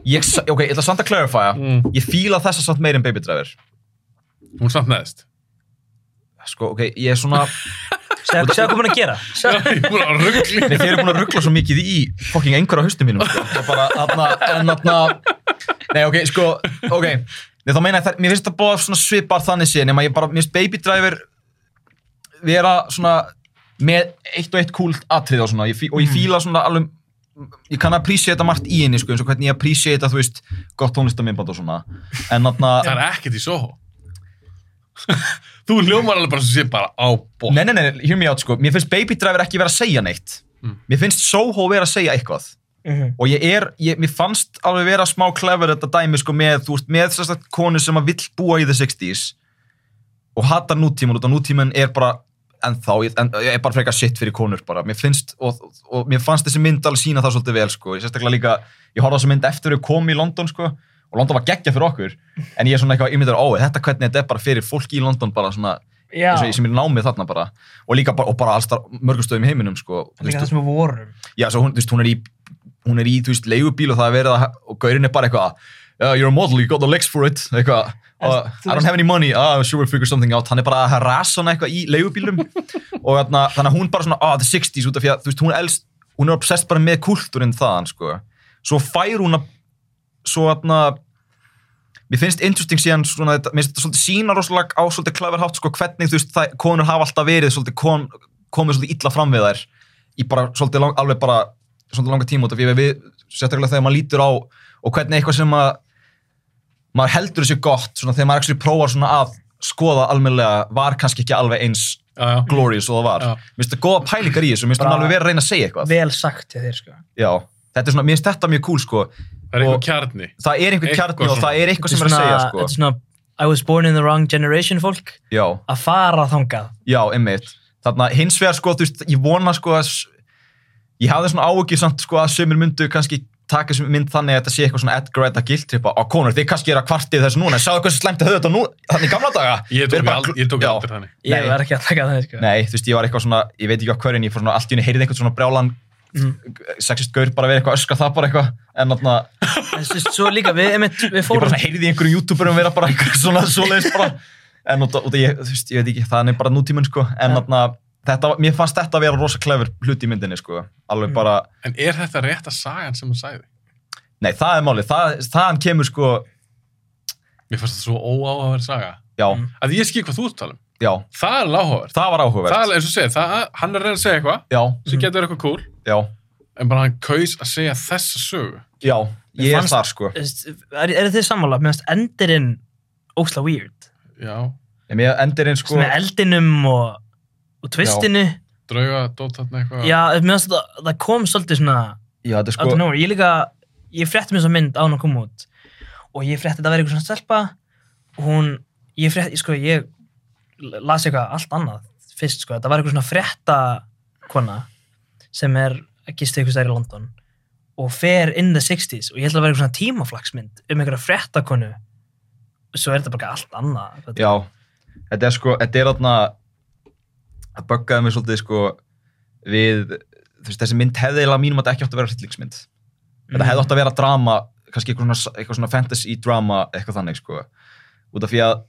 [SPEAKER 6] Ég, sa- ok, ég ætla samt að clarifya.
[SPEAKER 5] Mm.
[SPEAKER 6] Ég fíla þessa samt meir en Baby Driver.
[SPEAKER 5] Hún er samt neðist.
[SPEAKER 6] Sko, ok, ég er svona...
[SPEAKER 7] Segðu segðu hvað hún er að gera
[SPEAKER 5] Já, ég er búin að ruggli.
[SPEAKER 6] Nei, þeir eru búin að ruggla svo mikið í fucking einhverja haustum mínum, sko. Það er bara, aðna, en aðna... Nei, ok, sko, ok. Nei, þá meina ég það, mér finnst það búið svona svipar þannig síðan, nema ég bara, mér finnst Baby Driver vera svona með eitt og eitt kúlt atrið og svona, ég fí, og ég
[SPEAKER 5] Mhm.
[SPEAKER 6] fíla svona alveg, ég kann að appreciata margt í henni, sko, eins og hvernig ég appreciata, þú veist, gott tónlistamimband og svona. En aðna...
[SPEAKER 5] Það er ekkert í Soho. Þú ljómar alveg bara sem sé bara á bótt.
[SPEAKER 6] Nei, nei, nei, hear me out sko, mér finnst Baby Driver ekki vera að segja neitt
[SPEAKER 5] Mm.
[SPEAKER 6] Mér finnst Soho vera að segja eitthvað
[SPEAKER 7] Mhm.
[SPEAKER 6] Og ég er, ég, mér fannst alveg vera smá clever þetta dæmi sko með Þú ert með þess að konu sem að vill búa í the 60s Og hatar nútíman út af nútíman er bara ennþá, ég- en, ég er bara frekar shit fyrir konur bara Mér finnst, og, og, og mér fannst þessi mynd alveg sína það svolítið vel sko Ég sérstaklega líka, ég horfði á þessi mynd eftir við komum í London sko Og London var geggja fyrir okkur En ég er svona eitthvað, ég myndir, ó, þetta hvernig þetta er bara fyrir fólk í London bara svona
[SPEAKER 7] Já,
[SPEAKER 6] eins og ég sem er í námið þarna bara og líka bara, og bara allstar mörgum stöðum í heiminum sko. Þú
[SPEAKER 7] líka það
[SPEAKER 6] veist,
[SPEAKER 7] sem við vorum
[SPEAKER 6] já, svo hún, þú veist, hún er í hún er í, þú veist, leigubíl og það er verið að og gaurinn er bara eitthvað uh, you're a model, you got the legs for it eitthvað, uh, I
[SPEAKER 7] þú
[SPEAKER 6] don't
[SPEAKER 7] veist-
[SPEAKER 6] have any money, uh, I'm sure we'll figure something out hann er bara að rasa hana eitthvað í leigubílum og þarna, þannig að hún bara svona, ah, the 60s út af því að, þú veist, hún er elst hún er obsessed bara með kultúrinn þaðan, sko svo fær hún að svo þarna mér finnst interesting síðan svona, þetta- mér finnst þetta svolítið sína rosalega á svolítið klaverhátt sko, hvernig þú veist, það, konur hafa alltaf verið svolítið kon, komið svolítið illa fram við þær í bara svolítið lang, alveg bara svolítið langa tíma út af því að við sérstaklega þegar maður lítur á og hvernig eitthvað sem að maður heldur þessi gott svona þegar maður ekki prófar svona að skoða almennilega var kannski ekki alveg eins
[SPEAKER 5] Já, já.
[SPEAKER 6] glorious og það var
[SPEAKER 5] Já.
[SPEAKER 6] mér finnst þetta góða pælingar í þessu, mér finnst
[SPEAKER 7] Bara-
[SPEAKER 6] þetta alveg verið að reyna að segja eitthvað
[SPEAKER 7] Vel sagt til þeir sko
[SPEAKER 6] Já, þetta er svona, mér finnst þetta mjög cool sko
[SPEAKER 5] Það er eitthvað kjarni.
[SPEAKER 6] það er einhver
[SPEAKER 5] Eitthvað
[SPEAKER 6] kjarni og
[SPEAKER 5] svona.
[SPEAKER 6] það er eitthvað sem er
[SPEAKER 7] Þetta
[SPEAKER 6] að segja
[SPEAKER 7] Þetta er
[SPEAKER 6] sko
[SPEAKER 7] svona I was born in the wrong generation fólk
[SPEAKER 6] Já,
[SPEAKER 7] að fara þangað
[SPEAKER 6] já, einmitt þarna hins vegar sko, þú veist, ég vona sko að s- ég hafði svona áhugir samt sko að sömur myndu kannski taka sem mynd þannig að þetta sé eitthvað svona Edgar Wright að giltripa á konur, þið kannski eru að kvartið þessu núna, sjáðu hversu slæmt að höfðu þetta nú þannig í gamla daga
[SPEAKER 5] Ég
[SPEAKER 6] Við
[SPEAKER 5] tók
[SPEAKER 6] erum bara-
[SPEAKER 5] ald- ég tók
[SPEAKER 6] Já.
[SPEAKER 5] aldrei þannig.
[SPEAKER 7] Ég
[SPEAKER 6] Nei.
[SPEAKER 7] var ekki að taka það sko
[SPEAKER 6] Nei, þú veist, ég var eitthvað svona, ég veit ekki á hverjum, ég fór svona allt í unni heyrið eitthvað svona brjálan
[SPEAKER 5] Mm.
[SPEAKER 6] sexist gaur bara verið eitthvað að öskra það bara eitthvað en þarna,
[SPEAKER 7] En þú veist, svo líka, við, einmitt, við
[SPEAKER 6] ég bara
[SPEAKER 7] fórum
[SPEAKER 6] svona heyrði í einhverjum youtuberum vera bara einhver svona svoleiðis bara en út af, út af ég, þú veist, ég veit ekki, það er bara nútíminn sko, en
[SPEAKER 7] Já.
[SPEAKER 6] þarna þetta, var- mér fannst þetta að vera rosa klefur hlut í myndinni sko,
[SPEAKER 7] Mm.
[SPEAKER 6] alveg bara
[SPEAKER 5] En er þetta rétta sagan sem hún sagði?
[SPEAKER 6] nei, það er málið, það, þaðan kemur sko
[SPEAKER 5] Mér fannst þetta svo óáhugaverð saga.
[SPEAKER 6] já,
[SPEAKER 7] Mm.
[SPEAKER 5] Að ég skil hvað þú ert að tala um.
[SPEAKER 6] já,
[SPEAKER 5] Það er láhugavert.
[SPEAKER 6] það var áhugavert
[SPEAKER 5] Það er eins og segja, það, hann er að reyna að segja eitthvað
[SPEAKER 6] já,
[SPEAKER 5] sem getur verið eitthvað cool,
[SPEAKER 6] já,
[SPEAKER 5] en bara hann kaus að segja þessa sögu.
[SPEAKER 6] já ég er
[SPEAKER 7] fannst-
[SPEAKER 6] þar sko
[SPEAKER 7] Þú veist, er, er þið sammála? Mér finnst endirinn ósla weird
[SPEAKER 5] Já,
[SPEAKER 6] en mér endir einn
[SPEAKER 7] sko,
[SPEAKER 6] sko
[SPEAKER 7] með eldinum og, og twistinu já,
[SPEAKER 5] drauga, dótt þarna eitthvað.
[SPEAKER 7] mér finnst það, það kom svolítið svona
[SPEAKER 6] já, þetta er
[SPEAKER 7] out
[SPEAKER 6] sko
[SPEAKER 7] of nowhere, ég líka ég frétti mér svo mynd án að koma út og ég frétti þetta að vera eitthvað svona stelpa og hún, ég frétti, sko ég las eitthvað allt annað fyrst sko, þetta var eitthvað svona frétta kona sem er að gista eitthvað stær í London og fer in the 60s og ég held að það vera eitthvað svona tímaflagsmynd um eitthvað frétta konu svo er þetta bara allt annað þetta-
[SPEAKER 6] Já, þetta er sko, þetta er þarna að böggaði mig svolítið sko við, þú veist, þessi mynd hefði eiginlega að mínum að þetta ekki átt að vera hryllingsmynd. Þetta
[SPEAKER 7] Mm.
[SPEAKER 5] Mhm.
[SPEAKER 6] hefði átt að vera drama, kannski eitthvað svona, eitthvað svona fantasy drama, eitthvað þannig sko. Út af því að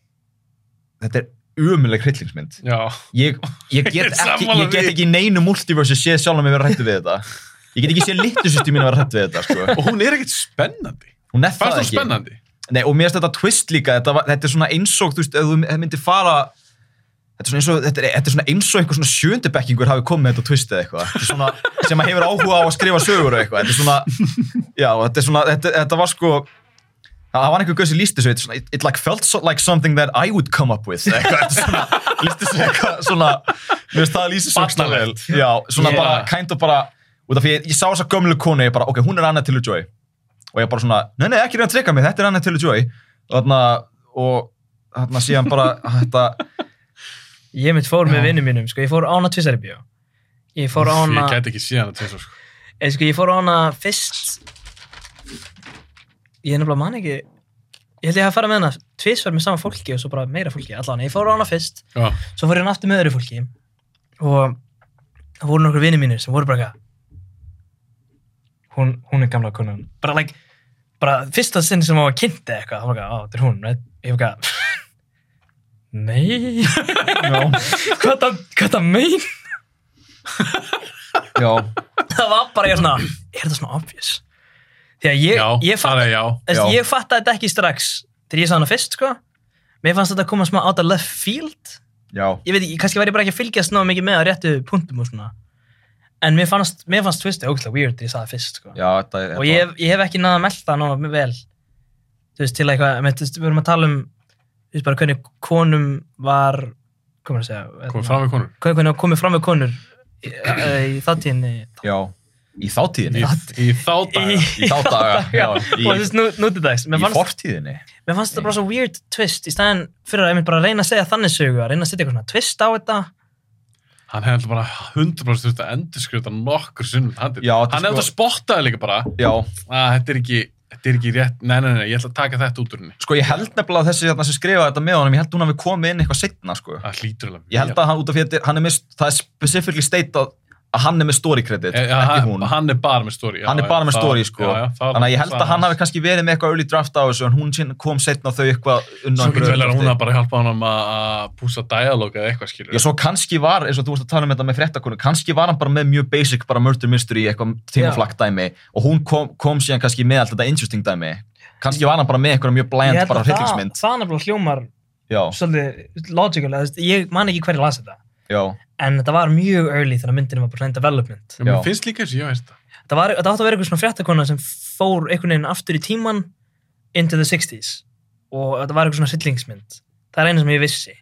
[SPEAKER 6] þetta er umuleg hryllingsmynd.
[SPEAKER 5] Já,
[SPEAKER 6] Ég, ég,
[SPEAKER 5] Ég er
[SPEAKER 6] get ekki,
[SPEAKER 5] sammála
[SPEAKER 6] ég get
[SPEAKER 5] því.
[SPEAKER 6] ekki í neinu multiverse séð sjálf að mér vera hrættu við þetta. Ég get ekki séð littusýstu mín að vera hrættu við þetta sko.
[SPEAKER 5] og hún er ekkert spennandi.
[SPEAKER 6] Hún er það
[SPEAKER 5] Fannst þú
[SPEAKER 6] ekki.
[SPEAKER 5] spennandi?
[SPEAKER 6] Nei, og mér finnst þetta twist líka, þetta, var, þetta er svona eins og, þú veist, ef þú ef myndir fara, þetta er svona eins og, þetta er, þetta er svona eins og einhver svona sjöndibekkingur hafi komið með þetta twist eða eitthvað, Þetta er svona, sem að hefur áhuga á að skrifa sögur og eitthvað, þetta er svona, já, þetta er svona, þetta, þetta var sko, það var einhver gauð sem lísti þessu, þetta er svona, it, it like felt so, like something that I would come up with, eitthvað, þetta er svona, lísti þessu eitthvað, svona, mér finnst það að lýsa svo ógeðslega vel. já, svona
[SPEAKER 7] Yeah.
[SPEAKER 6] bara, kind of bara, út af því ég, ég sá þessa gömlu konu, ég bara, ok, hún er Anna til Joy, og ég bara svona, nei, nei, ekki reyna að treyka mig, þetta er annað til Joy og þarna, og þarna síðan bara, þetta
[SPEAKER 7] ég mitt fór með vinnum mínum, sko, ég fór á hana tvisari bíó ég fór á hana
[SPEAKER 5] Ég gæti ekki síðan að tveisa, sko.
[SPEAKER 7] Eða sko, ég fór á hana fyrst Ég er nefnilega man ekki Ég held ég að fara með hana tvisvar með sama fólki og svo bara meira fólki allan, ég fór á hana fyrst
[SPEAKER 5] Já,
[SPEAKER 7] svo fór ég hann aftur með öðru fólki og það voru nokkur vinið mínir sem voru bara eitthvað hún, hún er gamla konan bara like bara fyrsta sinn sem hún var kynnt eða eitthvað þá var eitthvað, á, þetta er hún, right? ég var eitthvað nei no. hvað það, hvað það mein
[SPEAKER 6] já,
[SPEAKER 7] það var bara ég svona er þetta svona obvious því að ég,
[SPEAKER 5] já,
[SPEAKER 7] ég, fatt,
[SPEAKER 5] það er já.
[SPEAKER 7] Þess,
[SPEAKER 6] já.
[SPEAKER 7] ég fatt þetta ekki strax þegar ég sá hana fyrst sko mér fannst þetta að koma smá out of left field
[SPEAKER 6] já,
[SPEAKER 7] ég veit ekki, kannski var ég bara ekki að fylgjast ná mikið með á réttu punktum og svona en mér fannst, mér fannst twisti ógæslega weird þegar ég sá það fyrst sko
[SPEAKER 6] já, þetta er
[SPEAKER 7] og ég, hef- ég hef ekki náða að melda ná vel þú veist til eitthvað einmitt, þú veist, við vorum að tala um þú veist bara hvernig konum var hvað maður að segja
[SPEAKER 5] Komum fram með konur.
[SPEAKER 7] hvernig hvernig komið fram við konur í, í þáttíðinni
[SPEAKER 6] já, í þáttíðinni
[SPEAKER 5] Í, í þá daga.
[SPEAKER 6] í þá daga, já, í,
[SPEAKER 7] og þess nú, nútidags mér
[SPEAKER 6] í
[SPEAKER 7] fannst,
[SPEAKER 6] fortíðinni
[SPEAKER 7] mér fannst þetta bara svo weird twist í staðin fyrir að einmitt bara reyna að segja þannig sögu að reyna að setja eitthvað svona twist á þetta
[SPEAKER 5] Hann hefði alltaf bara 100% þurft að endurskrifa þetta nokkur sinnum með handið.
[SPEAKER 6] Já, þetta er
[SPEAKER 5] hann
[SPEAKER 6] sko-
[SPEAKER 5] hefði alltaf spottaði líka bara
[SPEAKER 6] já,
[SPEAKER 5] að þetta er ekki, þetta er ekki rétt, nei, nei, nei, ég ætla að taka þetta út úr henni.
[SPEAKER 6] sko ég held nefnilega að þessi hérna sem skrifaði þetta með honum, ég held hún hafi komið inn eitthvað setna, sko,
[SPEAKER 5] Það hlýtur alveg.
[SPEAKER 6] ég held að hann út af því að þetta er- hann er með, það er specifically stated að hann er með story credit,
[SPEAKER 5] ja,
[SPEAKER 6] ekki
[SPEAKER 5] Eh, hann,
[SPEAKER 6] hún
[SPEAKER 5] hann er bara með story. já,
[SPEAKER 6] hann er bara
[SPEAKER 5] já,
[SPEAKER 6] með
[SPEAKER 5] það-
[SPEAKER 6] story sko
[SPEAKER 5] já, já, það-
[SPEAKER 6] þannig að ég held
[SPEAKER 5] það-
[SPEAKER 6] að hann hafi kannski verið með eitthvað early draft á þessu en hún sín- kom setna þau eitthvað unna
[SPEAKER 5] Svo getur
[SPEAKER 6] einhverju
[SPEAKER 5] vel að
[SPEAKER 6] drafti.
[SPEAKER 5] hún hafi bara hjálpa hann að að púsa dialog eða eitthvað skilur.
[SPEAKER 6] Já, svo kannski var, eins og þú vorst að tala um þetta með fréttakonu, kannski var hann bara með mjög basic bara murder mystery, eitthvað tímaflakk dæmi og hún kom, kom síðan kannski með allt þetta interesting dæmi. Kannski var hann bara með eitthvað mjög
[SPEAKER 7] Ég
[SPEAKER 6] bland,
[SPEAKER 7] held
[SPEAKER 6] bara
[SPEAKER 7] að það,
[SPEAKER 6] hryllingsmynd.
[SPEAKER 7] það nefnilega hljómar
[SPEAKER 6] Já,
[SPEAKER 7] svolítið logical eða, þú veist, ég man ekki hverju las þetta
[SPEAKER 6] já,
[SPEAKER 7] en þetta var mjög early þegar myndin var bara svona development
[SPEAKER 5] Mér
[SPEAKER 6] já.
[SPEAKER 5] finnst líka eins og ég veist það.
[SPEAKER 7] þetta, var, þetta átti að vera eitthvað svona fréttakona sem fór einhvern veginn aftur í tíman into the 60s og þetta var eitthvað svona sillingsmynd það er eina sem ég vissi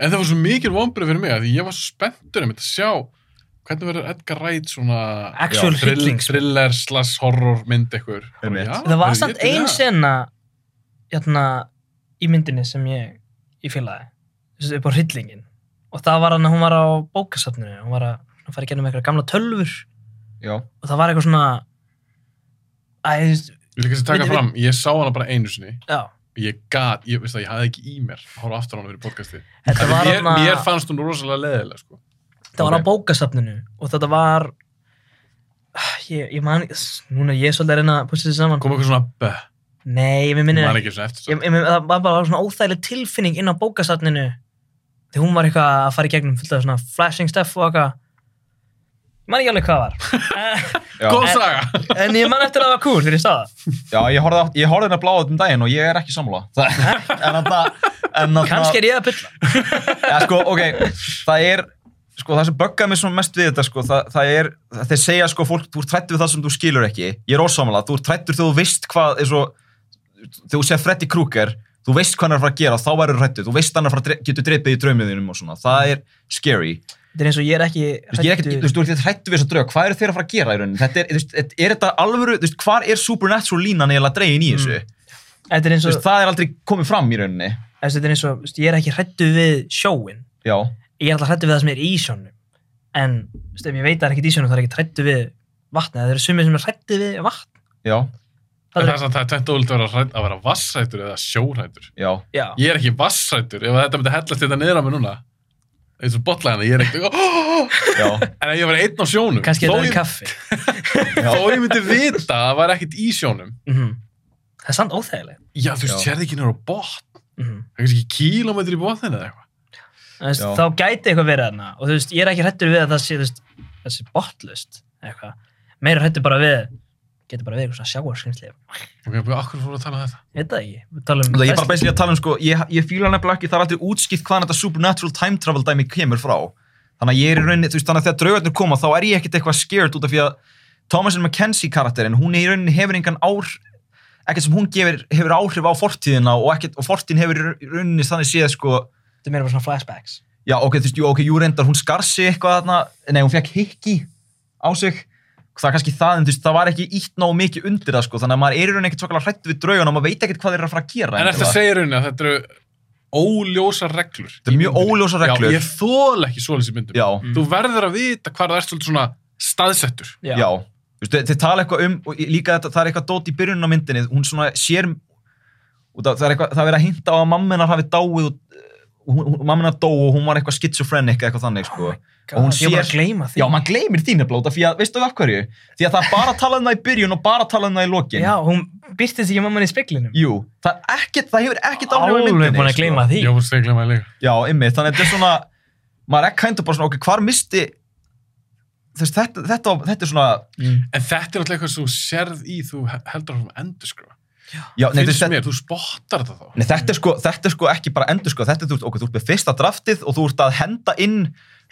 [SPEAKER 5] En það var svo mikil vonbrið fyrir mig að ég var svo spenntur um þetta að sjá hvernig verður Edgar Wright svona
[SPEAKER 7] Actual
[SPEAKER 5] Já, thrill-
[SPEAKER 7] hryllingsmynd.
[SPEAKER 5] thriller slash horror mynd eitthvað.
[SPEAKER 6] Einmitt.
[SPEAKER 7] það var samt ein sena jæna, í myndinni sem ég í félagi, þessu upp á hryllingin og það var hann að hún var á bókasafninu hún var að hún fara í gennum eitthvað gamla tölfur
[SPEAKER 6] já,
[SPEAKER 7] og það var eitthvað svona æ, þú veist,
[SPEAKER 5] Ég vil kannski taka
[SPEAKER 7] Við- við-
[SPEAKER 5] fram, ég sá hana bara einu sinni.
[SPEAKER 7] já
[SPEAKER 5] Ég gat, ég veist það, ég hafði ekki í mér að horfa aftur á hana fyrir podcasti.
[SPEAKER 7] þetta var,
[SPEAKER 5] Mér,
[SPEAKER 7] þarna-
[SPEAKER 5] mér fannst hún rosalega leðilega, sko.
[SPEAKER 7] þetta var
[SPEAKER 6] ok.
[SPEAKER 7] á bókasafninu og þetta var ég, ég man, s- núna er ég svolítið að reyna að pústa þessu saman
[SPEAKER 5] kom eitthvað svona bæ,
[SPEAKER 7] nei, ég minni
[SPEAKER 5] man
[SPEAKER 7] ekki
[SPEAKER 5] ekki svona eftir sko.
[SPEAKER 7] ég, ég, mun- það var bara svona óþægileg tilfinning inn á bókasatninu því hún var eitthvað að fara í gegnum fullt af svona flashing stuff og eitthvað ég man ekki alveg hvað var Eh,
[SPEAKER 6] Já.
[SPEAKER 5] góð saga
[SPEAKER 7] en ég man eftir að það var cool þegar ég sá það
[SPEAKER 6] Já, ég horfði, á- ég horfði henni að bláða út um daginn og ég er ekki sammála. Það- en þarna...
[SPEAKER 7] kannski er ég að bylla
[SPEAKER 6] ja, sko, ok, það er sko, það sem böggar mig svona mest við þetta sko, það, það er, þeir segja sko fólk, þú ert trættur við það sem þú skilur ekki, ég er ósamlega þú ert trættur þegar þú veist hvað er svo, þegar þú sér Freddy Krueger þú veist hvað hann er að fara að gera, þá verður trættur þú veist hann er að fara að dre- getur dreipið í draumiðinum og svona, það er scary
[SPEAKER 7] þetta er eins og ég er ekki
[SPEAKER 6] Þú veist, ég er ekki, þú
[SPEAKER 7] hræddur-
[SPEAKER 6] veist, þú ert ekkert hrættu við þess að drauga, hvað eru þeir að fara að gera í rauninni? Þetta er, þú veist, þetta- er þetta alvöru, þú veist, hvar er supernatural línan eiginlega dregin í þessu?
[SPEAKER 7] þetta er eins
[SPEAKER 6] Þú
[SPEAKER 7] og
[SPEAKER 6] veist, það er aldrei komið fram í rauninni.
[SPEAKER 7] þessi, þetta er eins og, þú veist, ég er ekki hrættu við sjóin
[SPEAKER 6] Já,
[SPEAKER 7] ég er alltaf hrættu við það sem er í sjónum en þú veist, ef ég veit að það er ekkert í sjónum þá er ég ekki hrættu við vatni það eru sumir sem er hrættu við vatn
[SPEAKER 6] já,
[SPEAKER 7] það er,
[SPEAKER 5] það er samt- það er tvennt ólíkt að vera hrædd- að vera vassrættur eða sjórættur
[SPEAKER 6] já.
[SPEAKER 7] já,
[SPEAKER 5] ég er ekki vassrættur ef þetta myndi hellast þetta niður á mig núna eins og botlæðina, ég er ekkert oh!
[SPEAKER 6] Já.
[SPEAKER 5] en ef ég var einn á sjónum
[SPEAKER 7] kannski
[SPEAKER 5] þó
[SPEAKER 7] þetta er
[SPEAKER 5] ég,
[SPEAKER 7] kaffi
[SPEAKER 5] þó ég myndi vita að það var ekkert í sjónum
[SPEAKER 7] Mhm. það er samt óþægilegt
[SPEAKER 5] já, þú veist,
[SPEAKER 6] Já.
[SPEAKER 5] sérði ekki nefnir á botn
[SPEAKER 7] Mhm.
[SPEAKER 5] það er kannski kílómetri í botninu eða eitthvað
[SPEAKER 7] Þú veist,
[SPEAKER 6] Já.
[SPEAKER 7] þá gæti eitthvað verið þarna og þú veist, ég er ekki hrættur við að það sé þú veist, það sé botlust eitthvað, meira hrættur bara við getur bara við eitthvað sjáarskynslið
[SPEAKER 5] ok, af hverju fórum við að tala um þetta?
[SPEAKER 7] ég veit það ekki, við talum
[SPEAKER 6] Það ég er bara
[SPEAKER 7] wrestling.
[SPEAKER 6] basically að tala um sko, ég, ég fíla nefnilega ekki, það er aldrei útskipt hvaðan þetta supernatural time travel dæmi kemur frá. Þannig að ég er í rauninni, þú veist, þannig að þegar draugarnir koma þá er ég ekkert eitthvað scared út af því að Thomasin McKenzie karakterinn, hún er í rauninni hefur engan ár, ekkert sem hún gefur, hefur áhrif á fortíðina og, ekkert, og fortíðin hefur í rauninni þannig séð sko,
[SPEAKER 7] þetta er meira bara svona flashbacks
[SPEAKER 6] já ok, þú veist, jú, ok, jú reyndar, hún skar sig eitthvað þarna, nei, hún fekk hikki á sig, það er kannski það, en þú veist, það var ekki ítt nóg mikið undir það sko, þannig að maður er í rauninni ekkert svakalega hrættu við draugan og maður veit ekkert hvað þeir eru að fara að gera.
[SPEAKER 5] En eftir
[SPEAKER 6] endilega.
[SPEAKER 5] að segja rauninni að þetta eru óljósar reglur.
[SPEAKER 6] Þetta eru mjög óljósar reglur.
[SPEAKER 5] Já, ég þól ekki svoleiðs í myndum.
[SPEAKER 6] Já.
[SPEAKER 5] Þú verður að vita hvar það er svolítið svona staðsettur.
[SPEAKER 6] já, Þú veist, þeir, þeir tala eitthvað um og líka þetta, það er eitthvað dót í byrjunum á myndinni hún svona sér og það, það er eitthvað, það er verið að hinta á að mammenar hafi dáið og hún- hún- mammenar dó og hún var eitthvað schizophrenic eða eitthvað þannig sko. og hún
[SPEAKER 7] ég er bara að
[SPEAKER 6] sér
[SPEAKER 7] gleyma því
[SPEAKER 6] Já, mann gleymir þínu blóta, því að, veistu af hverju? Því að það er bara að tala um það í byrjun og bara að tala um það í lokin.
[SPEAKER 7] já, hún byrtist ekki mamman í speklinum
[SPEAKER 6] Jú, það, er ekkert, það hefur ekkert áhrif á
[SPEAKER 7] alveg
[SPEAKER 6] myndinni.
[SPEAKER 7] búin að
[SPEAKER 6] sko.
[SPEAKER 7] gleyma því
[SPEAKER 5] Já, þú segla maður líka.
[SPEAKER 6] Já, ymmið, þannig að þetta er svona maður er ekki hændur bara svona, ok, hvar misti þess, þetta, þetta, þetta er svona
[SPEAKER 5] En þetta er alltaf eitthvað sem þú sérð í, þú he- heldur áfram að endurskrifa.
[SPEAKER 6] já, nei,
[SPEAKER 5] Finnst
[SPEAKER 6] þetta-
[SPEAKER 5] mér, þú spottar þetta þá.
[SPEAKER 6] Nei, þetta, er sko, þetta er sko ekki bara endur sko, þetta er þú, ok, þú ert með fyrsta draftið og þú ert að henda inn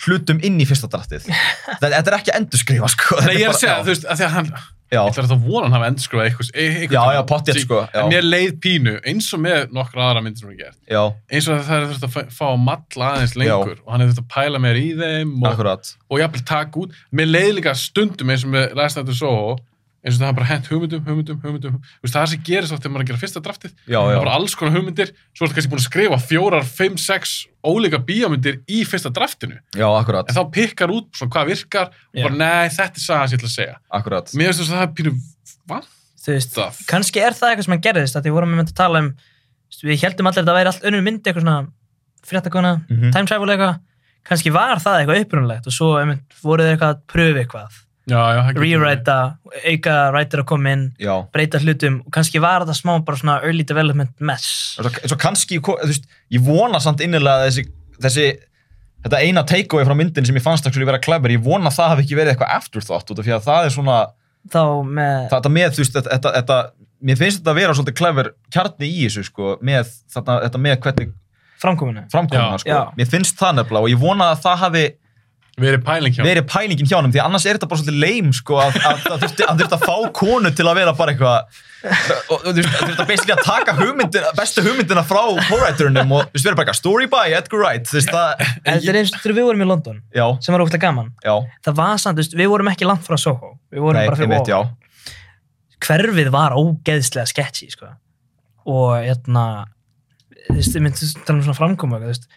[SPEAKER 6] hlutum inn í fyrsta draftið. þetta, þetta er ekki endurskrifa sko.
[SPEAKER 5] Nei, ég er að segja,
[SPEAKER 6] já,
[SPEAKER 5] þú veist, að því að hann,
[SPEAKER 6] Já.
[SPEAKER 5] ég ætla að vona hann hafa endurskrifað eitthvað. eitthvað
[SPEAKER 6] Já, já, pottþétt, sko, já.
[SPEAKER 5] En mér leið pínu, eins og með nokkra aðra myndir sem við gert.
[SPEAKER 6] Já,
[SPEAKER 5] Eins og það er þurft að fá- fá að matla aðeins lengur og hann er þurft að pæla meir í þeim og,
[SPEAKER 6] akkurat.
[SPEAKER 5] og jafnvel taka út mér leiði líka stundum eins og með Last Night in Soho eins og það er bara hent hugmyndum, hugmyndum, hugmyndum Þú veist, það er sem gerist oft þegar maður er að gera fyrsta draftið
[SPEAKER 6] Já,
[SPEAKER 5] það
[SPEAKER 6] já.
[SPEAKER 5] er bara alls konar hugmyndir svo ertu kannski búin að skrifa fjórar, fimm, sex ólíka bíómyndir í fyrsta draftinu
[SPEAKER 6] Já, akkurat.
[SPEAKER 5] en þá pikkar út svona hvað virkar og bara nei, þetta er sagan sem ég ætla að segja
[SPEAKER 6] Akkurat.
[SPEAKER 5] mér finnst þess að það er pínu vant
[SPEAKER 7] þú veist,
[SPEAKER 5] Það.
[SPEAKER 7] kannski er það eitthvað sem hann gerðist að því vorum við myndið að tala um þú veist, við heldum allir að það væri allt önnur myndi eitthvað svona fréttakona,
[SPEAKER 6] Mhm.
[SPEAKER 7] time travel eitthvað kannski var það eitthvað upprunalegt og svo einmitt, voru þeir eitthvað að pröfu eitthvað
[SPEAKER 5] já, já, það getur verið.
[SPEAKER 7] rewrita, auka writer að koma inn
[SPEAKER 6] Já.
[SPEAKER 7] breyta hlutum og kannski var þetta smá bara svona early development mess
[SPEAKER 6] En Svo, en svo kannski, ko- þú veist, ég vona samt innilega að þessi, þessi þetta eina takeaway frá myndin sem ég fannst að vera clever, ég vona að það hafi ekki verið eitthvað afterthought út af því að það er svona,
[SPEAKER 7] þá með
[SPEAKER 6] þetta með, þú veist, þetta, þetta, þetta mér finnst þetta að vera svolítið clever kjarni í þessu, sko, með þetta, þetta með hvernig
[SPEAKER 7] framkominu
[SPEAKER 5] Já.
[SPEAKER 6] framkomuna sko.
[SPEAKER 7] Já.
[SPEAKER 6] mér finnst það nefnilega og ég vona að það hafi
[SPEAKER 5] verið pæling hjá
[SPEAKER 6] verið pælingin hjá hann því annars er þetta bara svolítið leim sko, að, að, að þurfti að, þurfti að fá konu til að vera bara eitthvað og og þú veist, að þurfti að basically að taka hugmyndin, bestu hugmyndina frá co-writerunum og þú veist, verið bara eitthvað story by Edgar Wright þú veist, það,
[SPEAKER 7] þetta er eins og þegar við vorum í London
[SPEAKER 6] já,
[SPEAKER 7] sem var ógætlega gaman
[SPEAKER 6] já,
[SPEAKER 7] það var samt, þú veist, við vorum ekki langt frá Soho við vorum
[SPEAKER 6] nei,
[SPEAKER 7] bara
[SPEAKER 6] ég
[SPEAKER 7] fyrir
[SPEAKER 6] veit, já
[SPEAKER 7] hverfið var ógeðslega sketchy sko. og hérna þú veist, ég myndi tala um svona framkoma þú veist,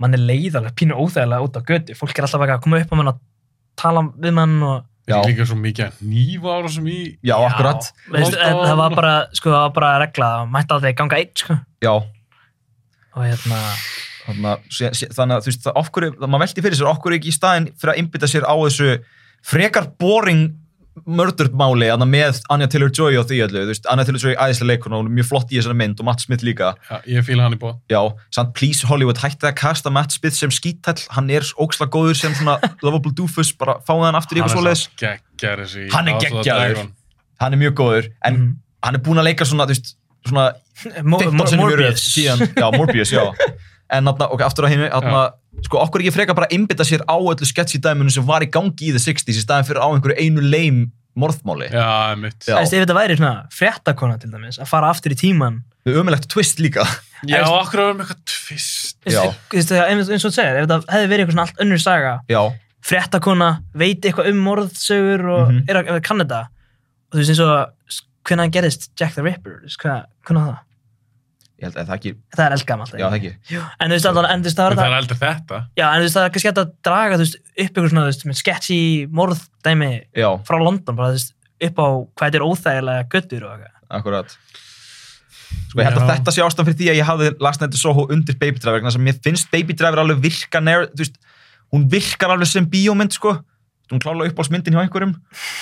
[SPEAKER 7] mann er leiðalega pínu óþægilega út á götu, fólk er alltaf að koma upp á mann að tala við mann og
[SPEAKER 5] það er
[SPEAKER 6] já,
[SPEAKER 5] líka svo mikið nýfa ára sem í
[SPEAKER 6] já, akkurat
[SPEAKER 7] Þú veist, en það var bara, sko, það var bara regla að mætti aldrei ganga einn sko.
[SPEAKER 6] já,
[SPEAKER 7] og hérna,
[SPEAKER 6] þannig að, sé- sé- þannig að þú veist, það, okkur, það, maður veldi fyrir sér okkur ekki í staðin fyrir að innbytta sér á þessu frekar boring murdered máli anna, með Anja Taylor-Joy og því öllu þú veist, Anja Taylor-Joy er æðislega leikuna, hún er mjög flott í þessari mynd og Matt Smith líka,
[SPEAKER 5] Já, ég fíla hann í bóð.
[SPEAKER 6] já, samt please Hollywood hætti að kasta Matt Smith sem skítall hann er óksla góður sem svona lovable doofus, bara fáða hann aftur í eitthvað svoleiðis
[SPEAKER 5] geggjar þessi. í
[SPEAKER 6] Hann er
[SPEAKER 5] House of the
[SPEAKER 6] geggjaður.
[SPEAKER 5] Dragon.
[SPEAKER 6] hann er mjög góður, en
[SPEAKER 7] Mhm.
[SPEAKER 6] hann er búinn að leika svona, þú veist, svona
[SPEAKER 7] Mo-
[SPEAKER 6] 15
[SPEAKER 7] Mo-
[SPEAKER 6] sinni mjög röð
[SPEAKER 7] Morbius.
[SPEAKER 6] síðan, já, Morbius, já en þarna, ok, aftur á hinu, þarna sko, okkur ekki frekar bara einbytta sér á öllu sketch í dæmunum sem var í gangi í the 60s í staðin fyrir á einhverju einu leim morðmáli
[SPEAKER 5] Já, mitt.
[SPEAKER 6] Já.
[SPEAKER 7] Þú veist, ef þetta væri svona fréttakona til dæmis, að fara aftur í tíman
[SPEAKER 6] það er ömulegt twist líka
[SPEAKER 5] Já, akkur að vera með eitthvað tvist.
[SPEAKER 7] Þú veist, þú veist, það- eins eins og þú segir, ef þetta hefði verið eitthvað svona allt önnur saga
[SPEAKER 6] já,
[SPEAKER 7] fréttakona, veit eitthvað um morðsögur og
[SPEAKER 6] Mhm.
[SPEAKER 7] er að er að kanna þetta og þú veist eins og hvernig hann gerist Jack the Ripper, þú veist, hvað- hvernig var það
[SPEAKER 6] ég held að það ekki já,
[SPEAKER 7] það er eldgamalt
[SPEAKER 6] það ekki,
[SPEAKER 7] en þú veist alltaf, en þú veist það
[SPEAKER 5] En
[SPEAKER 7] var
[SPEAKER 5] Það
[SPEAKER 7] það
[SPEAKER 5] er eldar þetta.
[SPEAKER 7] já, en þú veist það er kannski hægt að draga þú veist upp ykkur svona, þú veist, með sketchy morðdæmi
[SPEAKER 6] já,
[SPEAKER 7] frá London, bara þú veist upp á hvað þetta er óþægilega göttur og eitthvað
[SPEAKER 6] akkurat sko, ég held að
[SPEAKER 5] Já.
[SPEAKER 6] þetta sé ástæðan fyrir því að ég hafði Last Night in Soho undir Baby Driver vegna þess að mér finnst Baby Driver alveg virka nær, þú veist, hún virkar alveg sem bíómynd, sko hún klála upp á smyndin hjá einhverjum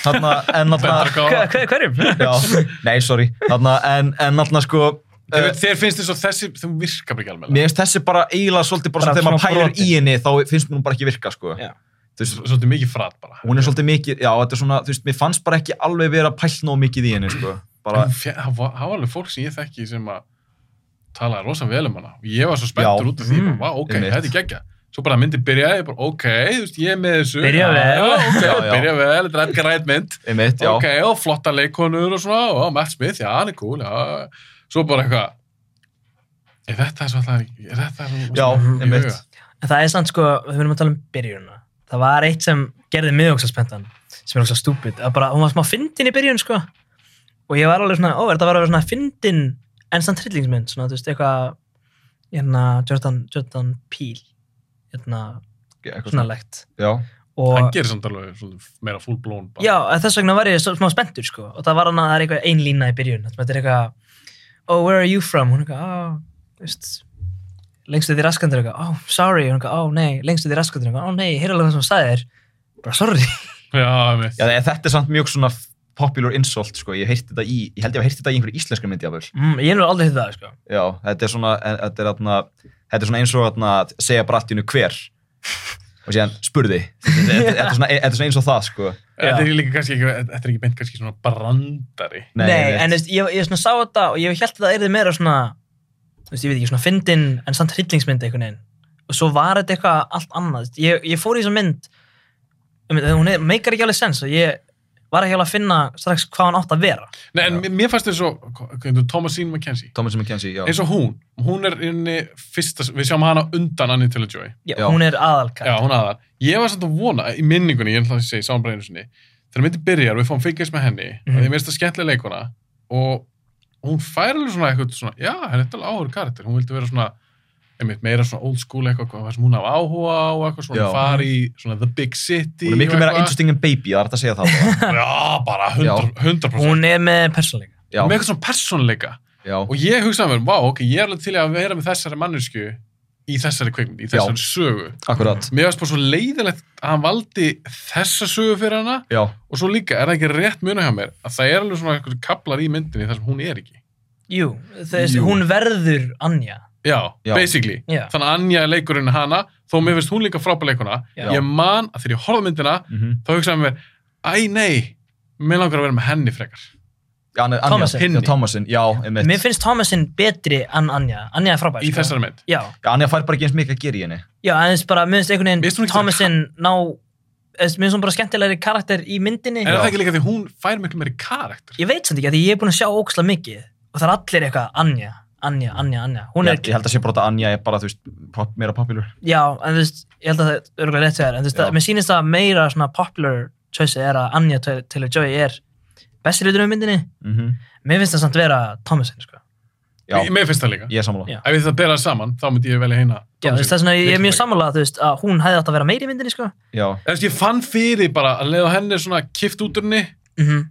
[SPEAKER 6] þarna, en
[SPEAKER 7] Ah,
[SPEAKER 6] þarna,
[SPEAKER 5] Bendragáða.
[SPEAKER 7] Hver- hverjum?
[SPEAKER 6] Já, nei, sorry þarna, en, en náttúrulega sko
[SPEAKER 7] Eh.
[SPEAKER 5] Þér,
[SPEAKER 6] uh,
[SPEAKER 5] þér finnst þess að þessi, þú virka bara ekki alveg.
[SPEAKER 6] mér finnst þessi bara eiginlega svolítið bara,
[SPEAKER 7] Bara
[SPEAKER 6] bara þegar maður
[SPEAKER 7] svona
[SPEAKER 6] pælir
[SPEAKER 7] brotin.
[SPEAKER 6] í henni þá finnst mér hún bara ekki virka sko.
[SPEAKER 7] Já.
[SPEAKER 6] Þú veist,
[SPEAKER 5] Svolítið mikið frat bara.
[SPEAKER 6] hún er svolítið mikið já, þetta er svona, þú veist, mér fannst bara ekki alveg vera pælt nóg mikið í henni sko. bara,
[SPEAKER 5] En fe- Það var það var alveg fólk sem ég þekki sem að talaði rosa vel um hana. Og Ég var
[SPEAKER 6] Já.
[SPEAKER 5] svo spenntur út af því,
[SPEAKER 7] Mm.
[SPEAKER 5] bara, vá, ok,
[SPEAKER 6] Einmitt.
[SPEAKER 5] þetta er geggja. Svo bara myndi byrjaði, ég bara, ok, þú veist, ég er með þessu.
[SPEAKER 7] Byrja vel.
[SPEAKER 5] Já, ok,
[SPEAKER 6] Já, já.
[SPEAKER 5] byrja vel, þetta er Edgar Wright mynd.
[SPEAKER 6] einmitt, já,
[SPEAKER 5] Ok, og flotta leikonur og svona, og Matt Smith, já, hann er cool, já. Svo bara eitthvað, er þetta svo alltaf, er þetta svo
[SPEAKER 6] já, einmitt
[SPEAKER 7] En það er samt sko, við verðum að tala um byrjunna. Það var eitt sem gerði mig ókslega spenntan, sem er ókslega stúpid, að bara, hún var smá fyndin í byrjun, sko. Og ég var alveg svona, ó, er þetta var að vera svona fyndin, en samt hryllingsmynd, svona, þú veist, eitthvað, hérna, Jordan, Jordan Peele, hérna,
[SPEAKER 6] Eitthvað svona.
[SPEAKER 7] svona legt.
[SPEAKER 6] já,
[SPEAKER 5] Hann
[SPEAKER 7] Og,
[SPEAKER 5] gerir samt alveg svolítið meira full blown bara.
[SPEAKER 7] já, en þess vegna var ég svo- smá spenntur, sko. Og það var hann að það er eitthvað ein lína í byrjun, þetta er eitthvað, oh, where are you from? Hún er eitthvað, oh, þú veist, lengstu því raskandur eitthvað, oh, sorry, hún eitthvað, oh, nei, lengstu því raskandur eitthvað, oh, nei, ég heyrði alveg það sem hún sagði þér, bara sorry.
[SPEAKER 5] já einmitt.
[SPEAKER 6] já, en þetta er samt mjög svona popular insult sko. ég, heyrti þetta í, ég held ég að heyrti þetta í einhverju íslenskri myndi jafnvel.
[SPEAKER 7] Mm, ég hef nú aldrei hitt það, sko.
[SPEAKER 6] já, þetta er svona en- þetta er, atna, þetta er svona eins og atna, að segja brattinu hver og síðan spurði þetta þetta- þetta er svona e, þetta er svona eins og það sko.
[SPEAKER 5] Þetta er líka kannski ekki, þetta er ekki beint kannski svona brandari.
[SPEAKER 7] Nei, en þú veist, ég, ég svona sá þetta og ég held að það erði meira svona, þú veist, ég veit ekki, svona fyndin en samt hryllingsmynd einhvern veginn. Og svo var þetta eitthvað allt annað. þú veist. Ég, ég fór í þessa mynd, um, hún er, meikar ekki alveg sens og ég var ekki alveg að finna strax hvað hann átt að vera.
[SPEAKER 5] Nei, en mér- mér fannst þetta svo, Thomasine McKenzie,
[SPEAKER 6] Thomas McKenzie, já.
[SPEAKER 5] eins og hún, hún er inni fyrsta, við sjáum hana undan Annie Taylor-Joy.
[SPEAKER 7] Já,
[SPEAKER 6] Já.
[SPEAKER 7] Hún er aðalkar.
[SPEAKER 5] Já, hún aðar. Ég var samt að vona, í minningunni, ég ætla að segja, sáum bara einu sinni, þegar myndi byrjar, við fáum fylgjast með henni, mm
[SPEAKER 7] Mhm.
[SPEAKER 5] -hmm. því mér finnst það skemmtilega leikuna, og hún fær alveg svona eitthvað svona, já, henni er alveg áhugur karakter, hún vildi vera svona, einmitt meira svona old school eitthvað, hvað sem hún hafa áhuga á, eitthvað svona,
[SPEAKER 6] Já.
[SPEAKER 5] fara í svona the big city.
[SPEAKER 6] Hún er miklu
[SPEAKER 5] og
[SPEAKER 6] meira
[SPEAKER 5] eitthvað.
[SPEAKER 6] interesting en baby, það er hægt að segja það. allavega.
[SPEAKER 5] Já, bara 100%. 100%.
[SPEAKER 7] Hún er með persónleika.
[SPEAKER 6] Já,
[SPEAKER 5] með eitthvað svona persónleika
[SPEAKER 6] já,
[SPEAKER 5] og ég hugsaði mér, vá, ok, ég er alveg til í að vera með þessari mannesku í þessari kvikmynd, í þessari sögu
[SPEAKER 6] akkurat.
[SPEAKER 5] mér varst bara svo leiðilegt að hann valdi þessa sögu fyrir hana
[SPEAKER 6] Já,
[SPEAKER 5] og svo líka, er það ekki rétt muna hjá mér að það er alveg svona eitthvað kaplar í myndinni þar sem hún er ekki
[SPEAKER 7] Jú, þess,
[SPEAKER 6] Jú.
[SPEAKER 7] hún verður Anja.
[SPEAKER 5] já,
[SPEAKER 6] Já.
[SPEAKER 5] basically,
[SPEAKER 7] Já.
[SPEAKER 5] þannig að Anja er leikurinn hana, þó mér finnst hún líka frábæð leikuna
[SPEAKER 7] Já.
[SPEAKER 5] ég man að þegar ég horfði á myndina
[SPEAKER 6] Mhm.
[SPEAKER 5] þá hugsaði mér, æ nei mér langar að vera með henni frekar
[SPEAKER 6] Já, hann er- Anja,
[SPEAKER 7] Thomasin.
[SPEAKER 6] Já, Thomasin, já, einmitt.
[SPEAKER 7] Mér finnst Thomasin betri en Anja. Anja er frábær. sko.
[SPEAKER 5] í þessari mynd
[SPEAKER 7] Já,
[SPEAKER 6] Já, Anja fær bara ekki eins mikið að gera í henni.
[SPEAKER 7] já, aðeins bara, mér finnst einhvern
[SPEAKER 5] Mér finnst hún
[SPEAKER 7] veginn
[SPEAKER 5] ekki
[SPEAKER 7] Thomasin ná, eða, mér finnst hún bara skemmtilegri karakter í myndinni.
[SPEAKER 5] en er það ekki líka því hún fær miklu meiri karakter
[SPEAKER 7] Ég veit samt ekki, af því ég er búin að sjá óksla mikið og það er allir eitthvað Anja, Anja, Anja, Anja. Hún er,
[SPEAKER 6] Ég, ég held að sé bara að Anja er bara, þú veist, pop, meira popular.
[SPEAKER 7] já, en þú veist, ég held að það er örgulega rétt þegar, en þú veist,
[SPEAKER 6] Já.
[SPEAKER 7] að- mér sýnist að meira svona popular choice er að Anja Taylor-Joy er besti litur um myndinni.
[SPEAKER 6] Mm
[SPEAKER 7] Mér finnst það samt vera Thomasin, sko.
[SPEAKER 6] Já,
[SPEAKER 5] mér finnst það líka
[SPEAKER 6] ég er sammála.
[SPEAKER 7] Já.
[SPEAKER 5] ef við það bera saman, þá myndi ég velja heina
[SPEAKER 7] Já, þú veist, það er svona, ég er mjög sammálað, þú veist, að hún hefði átt að vera meiri í myndinni, sko.
[SPEAKER 6] Já,
[SPEAKER 5] Ég fann fyrir bara að leiða henni er svona kift út úr henni,
[SPEAKER 7] Mm
[SPEAKER 6] Mhm.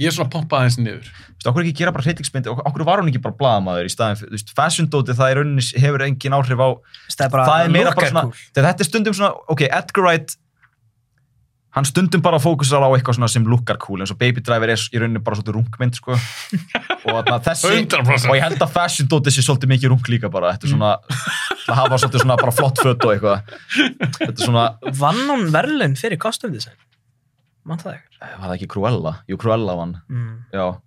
[SPEAKER 5] ég er svona pompað aðeins niður.
[SPEAKER 6] þú veist, okkur ekki gera bara hreytingsmyndi, okkur var hún ekki bara blaðamaður í staðin, þú veist, fashion dóti, það er rauninni hefur engin áhrif á
[SPEAKER 7] Það er bara,
[SPEAKER 6] það er meira
[SPEAKER 7] look
[SPEAKER 6] bara svona,
[SPEAKER 7] cool.
[SPEAKER 6] þegar þetta er stundum svona ok, Edgar Wright hann stundum bara fókusar á eitthvað svona sem lukkar cool eins og Baby Driver er í rauninni bara svolítið rungmynd sko. og þarna þessi
[SPEAKER 5] 100%.
[SPEAKER 6] og ég held að Fashion Dóti sé svolítið mikið rung líka bara þetta er svona
[SPEAKER 7] Mm.
[SPEAKER 6] til að hafa svolítið svona bara flott fött og eitthvað þetta er svona
[SPEAKER 7] Vann hún verðlun fyrir costume design? Mann það ekkert?
[SPEAKER 6] var það ekki Cruella? Jú Cruella vann
[SPEAKER 7] Mm.
[SPEAKER 6] já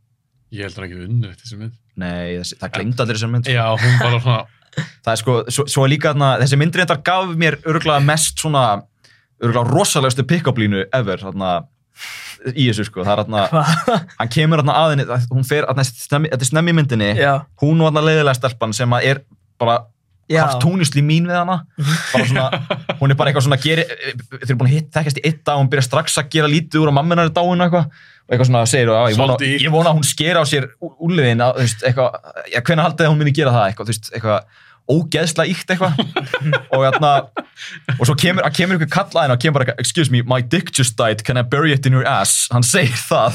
[SPEAKER 5] Ég heldur ekki unnur þessi mynd.
[SPEAKER 6] nei þessi, það glemd allir þessar mynd sko.
[SPEAKER 5] Já, hún bara svona,
[SPEAKER 6] það er sko svo, svo er líka þarna þessi myndri þetta gaf mér örgulega mest svona örgulega rosalegustu pick-up línu ever þarna í þessu sko það er þarna
[SPEAKER 7] Hvað?
[SPEAKER 6] hann kemur þarna aðinni, hún fer þarna snemmi, þetta er snemmi í myndinni,
[SPEAKER 7] Já.
[SPEAKER 6] hún og þarna leiðilega stelpan sem að er bara
[SPEAKER 7] Já.
[SPEAKER 6] kartónisli mín við hana bara svona, hún er bara eitthvað svona geri, þeir eru búin að hitt, þekkjast í eitt dag hún byrjar strax að gera lítið úr að mamminar er dáin og eitthvað og eitthvað svona segir, "Já, ég vona,
[SPEAKER 5] Svolítið illt."
[SPEAKER 6] ég vona að hún sker á sér úliðin, þú veist, eitthvað já, hvenær haldið að hún muni gera það, eitthvað, þú veist, eitthvað ógeðsla íkt eitthvað og þarna, og svo kemur, að kemur ykkur kallaðin og kemur bara, eitthvað, excuse me, my dick just died can I bury it in your ass, hann segir það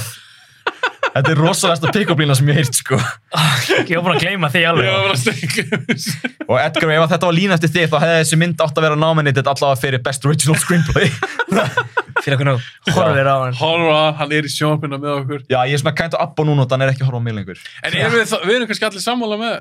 [SPEAKER 6] þetta er rosalegasta pick-up lína sem ég heilt, sko
[SPEAKER 7] Ég var búin að gleyma því
[SPEAKER 5] ég var
[SPEAKER 7] alveg.
[SPEAKER 5] bara stengur.
[SPEAKER 6] Og Edgar, ef að þetta var lína eftir þig, þá hefði þessi mynd átt að vera nominated allavega fyrir Best Original Screenplay.
[SPEAKER 7] Fyrir okkur nú. Horfir á hann.
[SPEAKER 5] Horfa, hann er í sjónvarpinu með okkur.
[SPEAKER 6] Já, ég er svona kænt á abba núna og þannig er ekki að horfa á mig lengur.
[SPEAKER 5] En erum við, þá- við erum kannski allir sammála með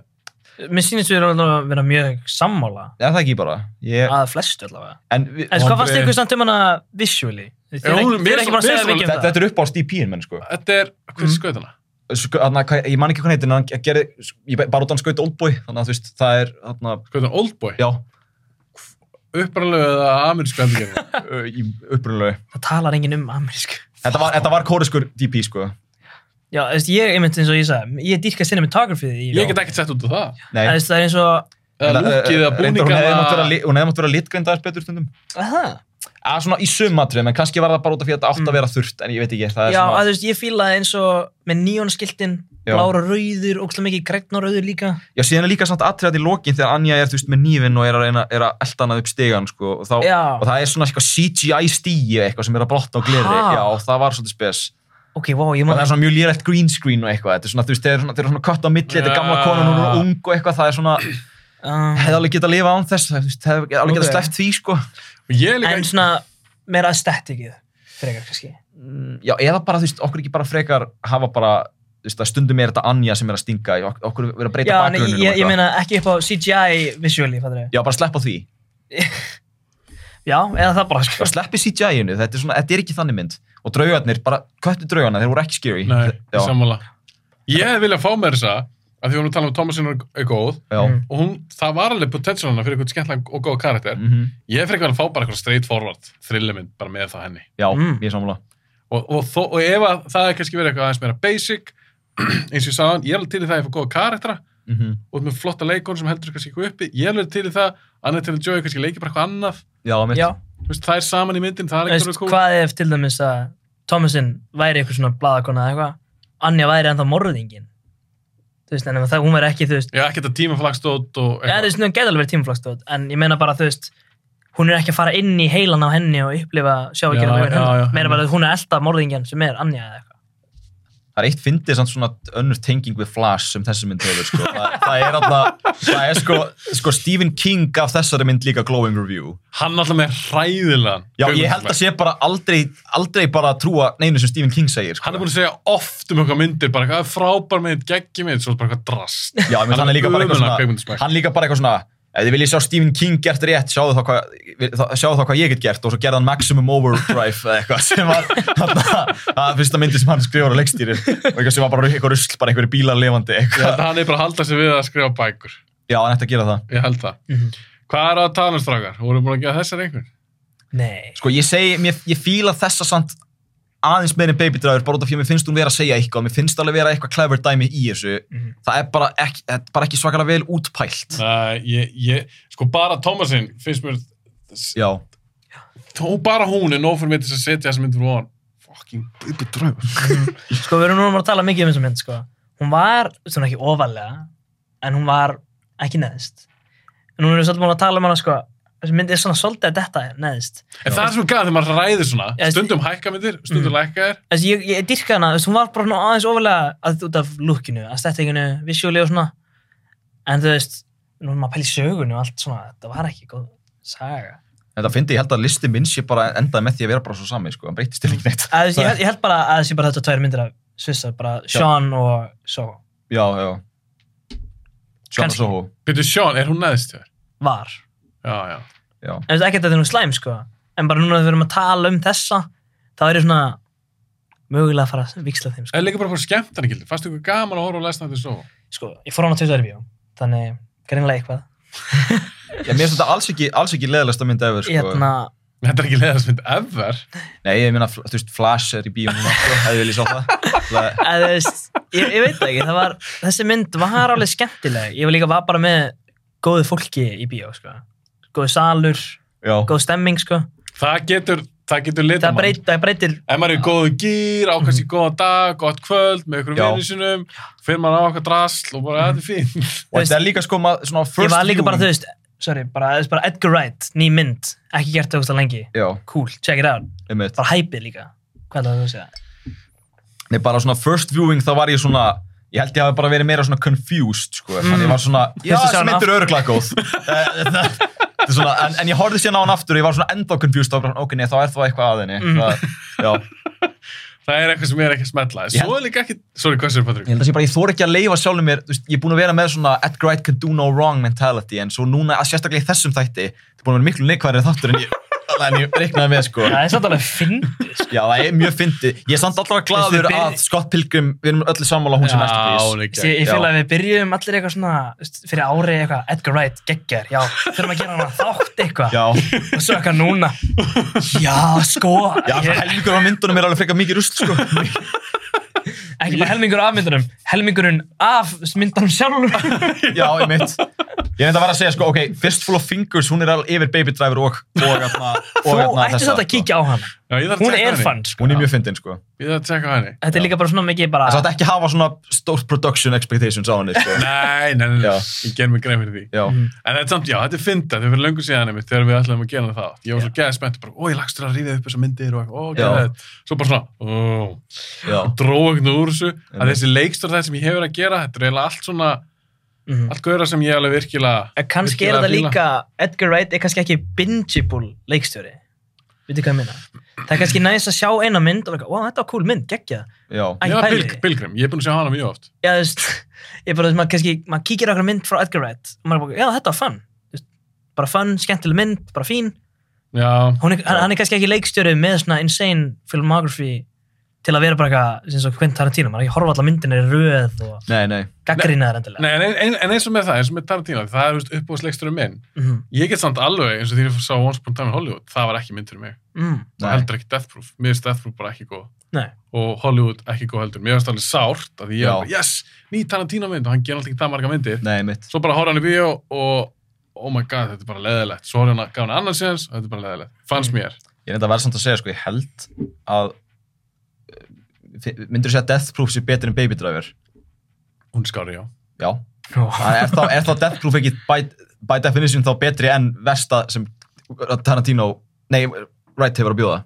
[SPEAKER 7] Mér sýnist við erum alveg að vera mjög sammála.
[SPEAKER 6] Já, það ekki bara. Ég,
[SPEAKER 7] Að flestu allavega.
[SPEAKER 6] en við,
[SPEAKER 7] Ah. En hvað fannst ykkur samt um hana visually? Þið er
[SPEAKER 5] Já,
[SPEAKER 7] ekki,
[SPEAKER 5] hún-
[SPEAKER 7] þið
[SPEAKER 5] mér
[SPEAKER 7] er ekki bara að
[SPEAKER 5] finnst-
[SPEAKER 7] segja
[SPEAKER 5] mér
[SPEAKER 7] mikið
[SPEAKER 6] Þetta,
[SPEAKER 7] um það.
[SPEAKER 6] þetta er upp á stípíin, menn, sko.
[SPEAKER 5] Þetta er, hver mm. skaut hana?
[SPEAKER 6] sko þarna, hvað- ég man ekki hvað hann heitir, en hann gerði, ég bara út af hann skaut Oldboy, þannig að þú veist, það er, þarna,
[SPEAKER 5] Skaut hana Oldboy?
[SPEAKER 6] já,
[SPEAKER 5] Upprannlega eða amerísku endurgerðin?
[SPEAKER 6] ö, í upprunalegu.
[SPEAKER 7] Það talar enginn um amerísku.
[SPEAKER 6] Þetta var, þetta var kóriskur DP, sko.
[SPEAKER 7] Já, þú veist, ég, einmitt eins og ég sagði, ég dýrka cinematography því.
[SPEAKER 5] Ég get ekkert sett út á það.
[SPEAKER 7] Það
[SPEAKER 6] Nei.
[SPEAKER 7] veist, það er eins og,
[SPEAKER 5] Eða lúkið eða
[SPEAKER 6] Reyndar, Hún hefði mátt vera
[SPEAKER 5] búningana.
[SPEAKER 6] li- hún hefði mátt vera litgrindaðar betur stundum.
[SPEAKER 7] aha.
[SPEAKER 6] Að svona í sumatrið, en kannski var það bara út af því að þetta átt að vera þurrt, en ég veit ekki, það er
[SPEAKER 7] Mm. Já,
[SPEAKER 6] svona...
[SPEAKER 7] að þú veist, ég fílaði eins og með neonskiltin,
[SPEAKER 6] Já.
[SPEAKER 7] blára rauður, ógstlega mikið grætn og rauður líka.
[SPEAKER 6] Já, síðan er líka samt atriðat í lokin þegar Anja er, þú veist, með nýfin og er að reyna er að elda hana upp stegan, sko, og, þá,
[SPEAKER 7] Já.
[SPEAKER 6] og það er svona eitthvað CGI stíi eitthvað sem er að brotna og gleri,
[SPEAKER 7] Ha?
[SPEAKER 6] já, og það var svolítið spes.
[SPEAKER 7] Ok, wow, ég
[SPEAKER 6] Og
[SPEAKER 7] man
[SPEAKER 6] það er svona mjög lýrætt green screen og eitthvað, þetta er svona, þú veist, þeir eru svona, þeir eru svona kött á milli, þetta er gamla
[SPEAKER 5] Já.
[SPEAKER 6] konan, hún er ung og eitthvað, það er svona,
[SPEAKER 7] Ah.
[SPEAKER 6] hefði alveg getað að lifa án þess, það, þú veist, hefði alveg getað
[SPEAKER 7] Ok.
[SPEAKER 6] sleppt því, sko.
[SPEAKER 5] Og Ég er líka,
[SPEAKER 7] En svona meira aesthetikið, frekar kannski.
[SPEAKER 6] Mm, Já, eða bara, þú veist, okkur ekki bara frekar hafa bara, þú veist, að stundum er þetta Anja sem er að stinga, í ok- okkur verið að breyta
[SPEAKER 7] Já, en ég,
[SPEAKER 6] bakgrunninu
[SPEAKER 7] ég,
[SPEAKER 6] og
[SPEAKER 7] ég
[SPEAKER 6] eitthvað.
[SPEAKER 7] meina ekki upp á CGI visually, fattur ég.
[SPEAKER 6] Já, bara sleppa því.
[SPEAKER 7] Já, eða það bara, sko.
[SPEAKER 6] bara sleppi CGI-inu, þetta er svona, þetta er ekki þannig mynd og draugarnir, bara köttu draugana, þeir voru ekki scary
[SPEAKER 5] nei,
[SPEAKER 6] já,
[SPEAKER 5] sammála. Ég hef viljað fá mér þessa, að því við vorum að tala um Thomasin er góð,
[SPEAKER 6] já,
[SPEAKER 7] Mm.
[SPEAKER 5] og hún, það var alveg potential hana fyrir eitthvað skemmtlan og góð karakter.
[SPEAKER 6] mhm,
[SPEAKER 5] Ég er frekar að fá bara eitthvað straight forward thrillermynd bara með það henni.
[SPEAKER 6] já,
[SPEAKER 7] Mm.
[SPEAKER 6] ég er sammála
[SPEAKER 5] Og, og, þó, og ef að það er kannski verið eitthvað aðeins meira basic, eins og ég sagði, ég er alveg til í það að ég fá góða karaktera,
[SPEAKER 6] mm
[SPEAKER 5] og með flotta leikon sem heldur kannski eitthvað uppi ég er alveg til í það, annað til að Joey kannski leiki bara eitthvað annað
[SPEAKER 6] já, mitt,
[SPEAKER 7] Já,
[SPEAKER 5] Þú veist, það er saman í myndin, það er
[SPEAKER 7] veist,
[SPEAKER 5] eitthvað cool.
[SPEAKER 7] hvað ef til dæmis að Thomasin væri eitthvað svona blaðakona eða eitthvað, Anja væri ennþá morðingin. Þú veist, en ef það, hún væri ekki, þú veist,
[SPEAKER 5] já, ekkert að tímaflagstótt
[SPEAKER 7] Já, þú
[SPEAKER 5] og eitthvað
[SPEAKER 7] veist, hún gæti alveg verið tímaflagstóð, en ég meina bara, þú veist, hún er ekki að fara inn í heilan á henni og upplifa
[SPEAKER 5] Já,
[SPEAKER 7] sjávíkjörnum
[SPEAKER 5] já, já.
[SPEAKER 7] meina bara að hún er elda morðingin sem er Anja eða eitthvað.
[SPEAKER 6] það er eitt fyndið samt svona önnur tenging við Flash sem þessi mynd hefur, sko það, það er alltaf, það er sko, sko Stephen King gaf þessari mynd líka glowing review
[SPEAKER 5] hann alltaf með hræðilegan
[SPEAKER 6] já, ég held að sé bara aldrei aldrei bara að trúa neinu sem Stephen King segir, sko
[SPEAKER 5] hann er búin að segja oft um eitthvað myndir bara eitthvað frábær mynd, geggi mynd, svo er bara eitthvað drast
[SPEAKER 6] já, menn, hann er líka bara eitthvað svona
[SPEAKER 5] svona
[SPEAKER 6] hann líka bara eitthvað svona ef þið viljið sjá Stephen King gert rétt sjáðu þá hvað, þá- sjáðu þá hvað ég get gert og svo gerði hann Maximum Overdrive eða eitthvað sem var þarna- það er fyrsta myndi sem hann skrifur á leikstýri og eitthvað sem var bara eitthvað rusl bara einhverju bílar levandi
[SPEAKER 5] ég held
[SPEAKER 6] eitthvað.
[SPEAKER 5] að hann er bara að halda sig við að skrifa bækur
[SPEAKER 6] já, hann ætti að gera það
[SPEAKER 5] ég held það hvað er að tala um strákar, voru búin að gera þessar einhvern
[SPEAKER 7] Nei.
[SPEAKER 6] sko ég segi, mér, ég fíla þessa samt aðeins meir en Baby Driver bara út af því að mér finnst hún vera að segja eitthvað mér finnst alveg vera eitthvað clever dæmi í þessu það er bara ekki, þetta er bara ekki svakalega vel útpælt
[SPEAKER 5] Nei, ég, ég, sko bara Thomasin finnst mér,
[SPEAKER 6] já,
[SPEAKER 5] þó bara hún er nóg fyrir mig til þess að setja þessa mynd fyrir ofan fucking baby draugur
[SPEAKER 7] Sko, við erum núna bara að tala mikið um þessa mynd, sko. Hún var, svona ekki ofalega, en hún var ekki neðist. En núna erum við svolítið búin að tala um hana, sko, þessi mynd er svona svolítið að detta neðist.
[SPEAKER 5] En það er svo gæðið þegar maður ræðir svona,
[SPEAKER 7] Já,
[SPEAKER 5] stundum hækka myndir, stundum mm. lækka þér.
[SPEAKER 7] Þessi, ég, ég dyrka hana, þessi, hún var bara svona aðeins ofalega að, út af lookinu, að stettinginu, visuáli og svona. En þú veist, nú erum maður að pæla í sögunu og allt svona, þetta var ekki góð saga.
[SPEAKER 6] Þetta fyndi, ég held að listi minn sé bara endaði með því að vera bara svo sami, sko, hann breytist
[SPEAKER 7] Mm.
[SPEAKER 6] ekki neitt.
[SPEAKER 7] Að, ég, held, ég held bara að það sé bara þetta tvær myndir af Svissa, bara Sean og Só
[SPEAKER 6] Já, já. Sjón og
[SPEAKER 7] Kannski.
[SPEAKER 6] Soho.
[SPEAKER 5] Byrju, Sjón, er hún neðist þér?
[SPEAKER 7] var.
[SPEAKER 5] Já, já.
[SPEAKER 6] Já.
[SPEAKER 7] En þetta ekki að þetta er nú slæm, sko. En bara núna þegar við erum að tala um þessa, þá er ég svona mögulega að fara að viksla þeim, sko.
[SPEAKER 5] Eða líka bara fyrir skemmtarnagildi. Fannst ykkur gaman að horfa og lesna þetta svo?
[SPEAKER 7] Sko, ég fór hann á tveitaður bíó, þannig greinlega eitthvað.
[SPEAKER 6] Ég mér finnst þetta alls ekki, alls ekki leðalegsta mynd ever, sko.
[SPEAKER 7] Hérna,
[SPEAKER 5] Þetta er ekki leiðarsmynd ever.
[SPEAKER 6] Nei, ég meina, þú veist, Flash er í bíónu náttúrulega, hefði viljað sjá það. það.
[SPEAKER 7] að þú veist, ég, ég veit það ekki, það var, þessi mynd var alveg skemmtileg. Ég var líka var bara með góðu fólki í bíó, sko. Góðu salur,
[SPEAKER 6] Já,
[SPEAKER 7] góð stemming, sko.
[SPEAKER 5] Það getur, það getur litið
[SPEAKER 7] Það breytir, það breytir,
[SPEAKER 5] Ef maður er í góðu gýr, ákvæmst í góða dag, gott kvöld, með ykkur
[SPEAKER 6] Mhm. Já.
[SPEAKER 5] vinnir sinum, fyrir maður á okkar drasl og bara, þetta er fín.
[SPEAKER 6] og þetta er líka sko, maður, svona first
[SPEAKER 7] ég var líka bara, þú
[SPEAKER 6] viewing-
[SPEAKER 7] veist, sorry, bara, þú veist, bara Edgar Wright, ný mynd, ekki gert það ógsta lengi.
[SPEAKER 6] Já,
[SPEAKER 7] Cool, check it out.
[SPEAKER 6] einmitt.
[SPEAKER 7] bara hæpið líka hvað er það að þú segja
[SPEAKER 6] Nei, bara svona first viewing, þá var ég svona, ég held ég hafi bara verið meira svona confused, sko. Þannig
[SPEAKER 7] Mm.
[SPEAKER 6] ég var svona, já,
[SPEAKER 7] Fyrstu
[SPEAKER 6] þessi
[SPEAKER 7] sagan
[SPEAKER 6] mynd er öruglega góð. Eh, þetta- þetta er svona, en, en ég horfði síðan á hann aftur og ég var svona enda confused og bara, svona, ok, nei, þá er það eitthvað að henni.
[SPEAKER 7] Mm.
[SPEAKER 6] Það, já,
[SPEAKER 5] Það er eitthvað sem ég er ekki að smetla.
[SPEAKER 6] Ég
[SPEAKER 5] Svo er líka ekki, sorry, hvað sér
[SPEAKER 6] ég
[SPEAKER 5] Patrik?
[SPEAKER 6] held að sé bara, ég þór ekki að leifa sjálfum mér, þú veist, ég er búin að vera með svona Edgar Wright can do no wrong mentality, en svo núna, að sérstaklega í þessum þætti, það er búin að vera miklu neikværi þáttur en ég, en ég reiknaði með, sko.
[SPEAKER 7] það er svolítið alveg fyndið sko.
[SPEAKER 6] Já, það er mjög fyndið. Ég er samt alltaf gladur
[SPEAKER 7] Veistu, byrj-
[SPEAKER 6] að Scott Pilgrim, við erum öll sammála að hún sem masterpiece.
[SPEAKER 5] líka.
[SPEAKER 7] Ég- ég
[SPEAKER 6] Já.
[SPEAKER 7] fíla að við byrjum allir eitthvað svona þú veist, fyrir ári eitthvað, Edgar Wright, geggjær já, þurfum að gera hana þátt eitthvað
[SPEAKER 6] Já,
[SPEAKER 7] og svo eitthvað núna já, sko,
[SPEAKER 6] já
[SPEAKER 7] ég,
[SPEAKER 6] helgur á myndunum er alveg frekar mikið rust, sko.
[SPEAKER 7] ekki bara helmingur af myndunum helmingurinn af myndunum sjálfur
[SPEAKER 6] Já, ég mitt. Ég veit að vera að segja, sko, ok, Fistful of Fingers, hún er alveg yfir Baby Driver og, og, aðna, og
[SPEAKER 7] þú
[SPEAKER 6] aðna
[SPEAKER 7] ætti svolítið að kíkja á hana
[SPEAKER 5] Já, ég þarf að
[SPEAKER 7] hún
[SPEAKER 5] tjekka
[SPEAKER 7] er
[SPEAKER 5] henni.
[SPEAKER 7] fann, sko
[SPEAKER 6] Hún er mjög fyndin, sko.
[SPEAKER 5] Ég þarf að tjekka henni.
[SPEAKER 7] þetta er líka bara svona mikið
[SPEAKER 6] Það
[SPEAKER 7] bara
[SPEAKER 6] sátt ekki hafa svona stórt production expectations á henni, sko.
[SPEAKER 5] Nei, nei, nei,
[SPEAKER 6] Já.
[SPEAKER 5] nei. ég ger mig grein fyrir því.
[SPEAKER 7] Mm.
[SPEAKER 6] Já.
[SPEAKER 5] En þetta er samt, já, þetta er fynda, þetta er fyrir löngu síðan einmitt, þegar við ætlaðum að gera það. Ég var svo geðið spennt, bara, ó, ég lagst þér að ríða upp þessar myndir og eitthvað, ó,
[SPEAKER 6] Já.
[SPEAKER 5] gera þetta. Svo bara svona, ó,
[SPEAKER 6] Já.
[SPEAKER 5] dróð eitthvað úr þessu, að þessi leikstur það sem ég hefur verið að gera, þetta er eiginlega allt svona,
[SPEAKER 7] Mhm.
[SPEAKER 5] allt gauðra sem ég alveg virkilega,
[SPEAKER 7] En kannski er
[SPEAKER 5] virkilega
[SPEAKER 7] þetta
[SPEAKER 5] fíla.
[SPEAKER 7] líka Edgar Wright er kannski ekki bingeable leikstjóri veitu hvað ég minna það er kannski næst að sjá eina mynd og vera eitthvað, wow, þetta var cool mynd, geggjað
[SPEAKER 6] Já.
[SPEAKER 7] Æ,
[SPEAKER 5] Já,
[SPEAKER 7] pæli.
[SPEAKER 5] Pilg- Pilgrim, ég er búin að sjá hana mjög oft.
[SPEAKER 7] já, þú veist, ég bara, þú veist, maður kannski, maður kíkir á okkur mynd frá Edgar Wright og maður er bara, já, þetta var fun, Þú veist, bara fun, skemmtileg mynd, bara fín.
[SPEAKER 5] Já,
[SPEAKER 7] Hún er, hann, hann er kannski ekki leikstjóri með svona insane filmography til að vera bara eitthvað, sem svo Quentin Tarantino, maður er ekki að horfa allar myndinir í röð og
[SPEAKER 6] Nei, nei.
[SPEAKER 7] gaggrina þær endilega.
[SPEAKER 5] Nei, en, en, en eins og með það, eins og með Tarantino, það er, þú veist, uppbúðsleiksturinn minn.
[SPEAKER 7] Mhm.
[SPEAKER 5] Ég get samt alveg, eins og því ég sá Once Upon a Time in Hollywood, það var ekki mynd fyrir mig.
[SPEAKER 7] Mm,
[SPEAKER 5] Og
[SPEAKER 6] Nei.
[SPEAKER 5] heldur ekki Death Proof. Mér finnst Death Proof bara ekki góð.
[SPEAKER 7] nei.
[SPEAKER 5] og Hollywood ekki góð heldur. Mér finnst alveg sárt að ég
[SPEAKER 6] Já.
[SPEAKER 5] er bara, yes, ný Tarantino mynd og hann gerir alltaf ekki það marga myndir.
[SPEAKER 6] Nei, mitt.
[SPEAKER 5] Svo bara horfði hann í bíó og oh my god, þetta er bara leðilegt. Svo horfði hann að gaf hann annars séns og þetta er bara leðilegt. Fannst
[SPEAKER 6] Mm.
[SPEAKER 5] mér.
[SPEAKER 6] Ég er enda verð samt að segja, sko, ég held að myndur segja að Death Proof sé betur en Baby Driver?
[SPEAKER 5] Hún er skári, já.
[SPEAKER 6] Já.
[SPEAKER 7] Ó,
[SPEAKER 6] Þannig er þá, er þá Death Proof ekki by, by definition þá betri en versta sem Tarantino, nei, Wright hefur að bjóða?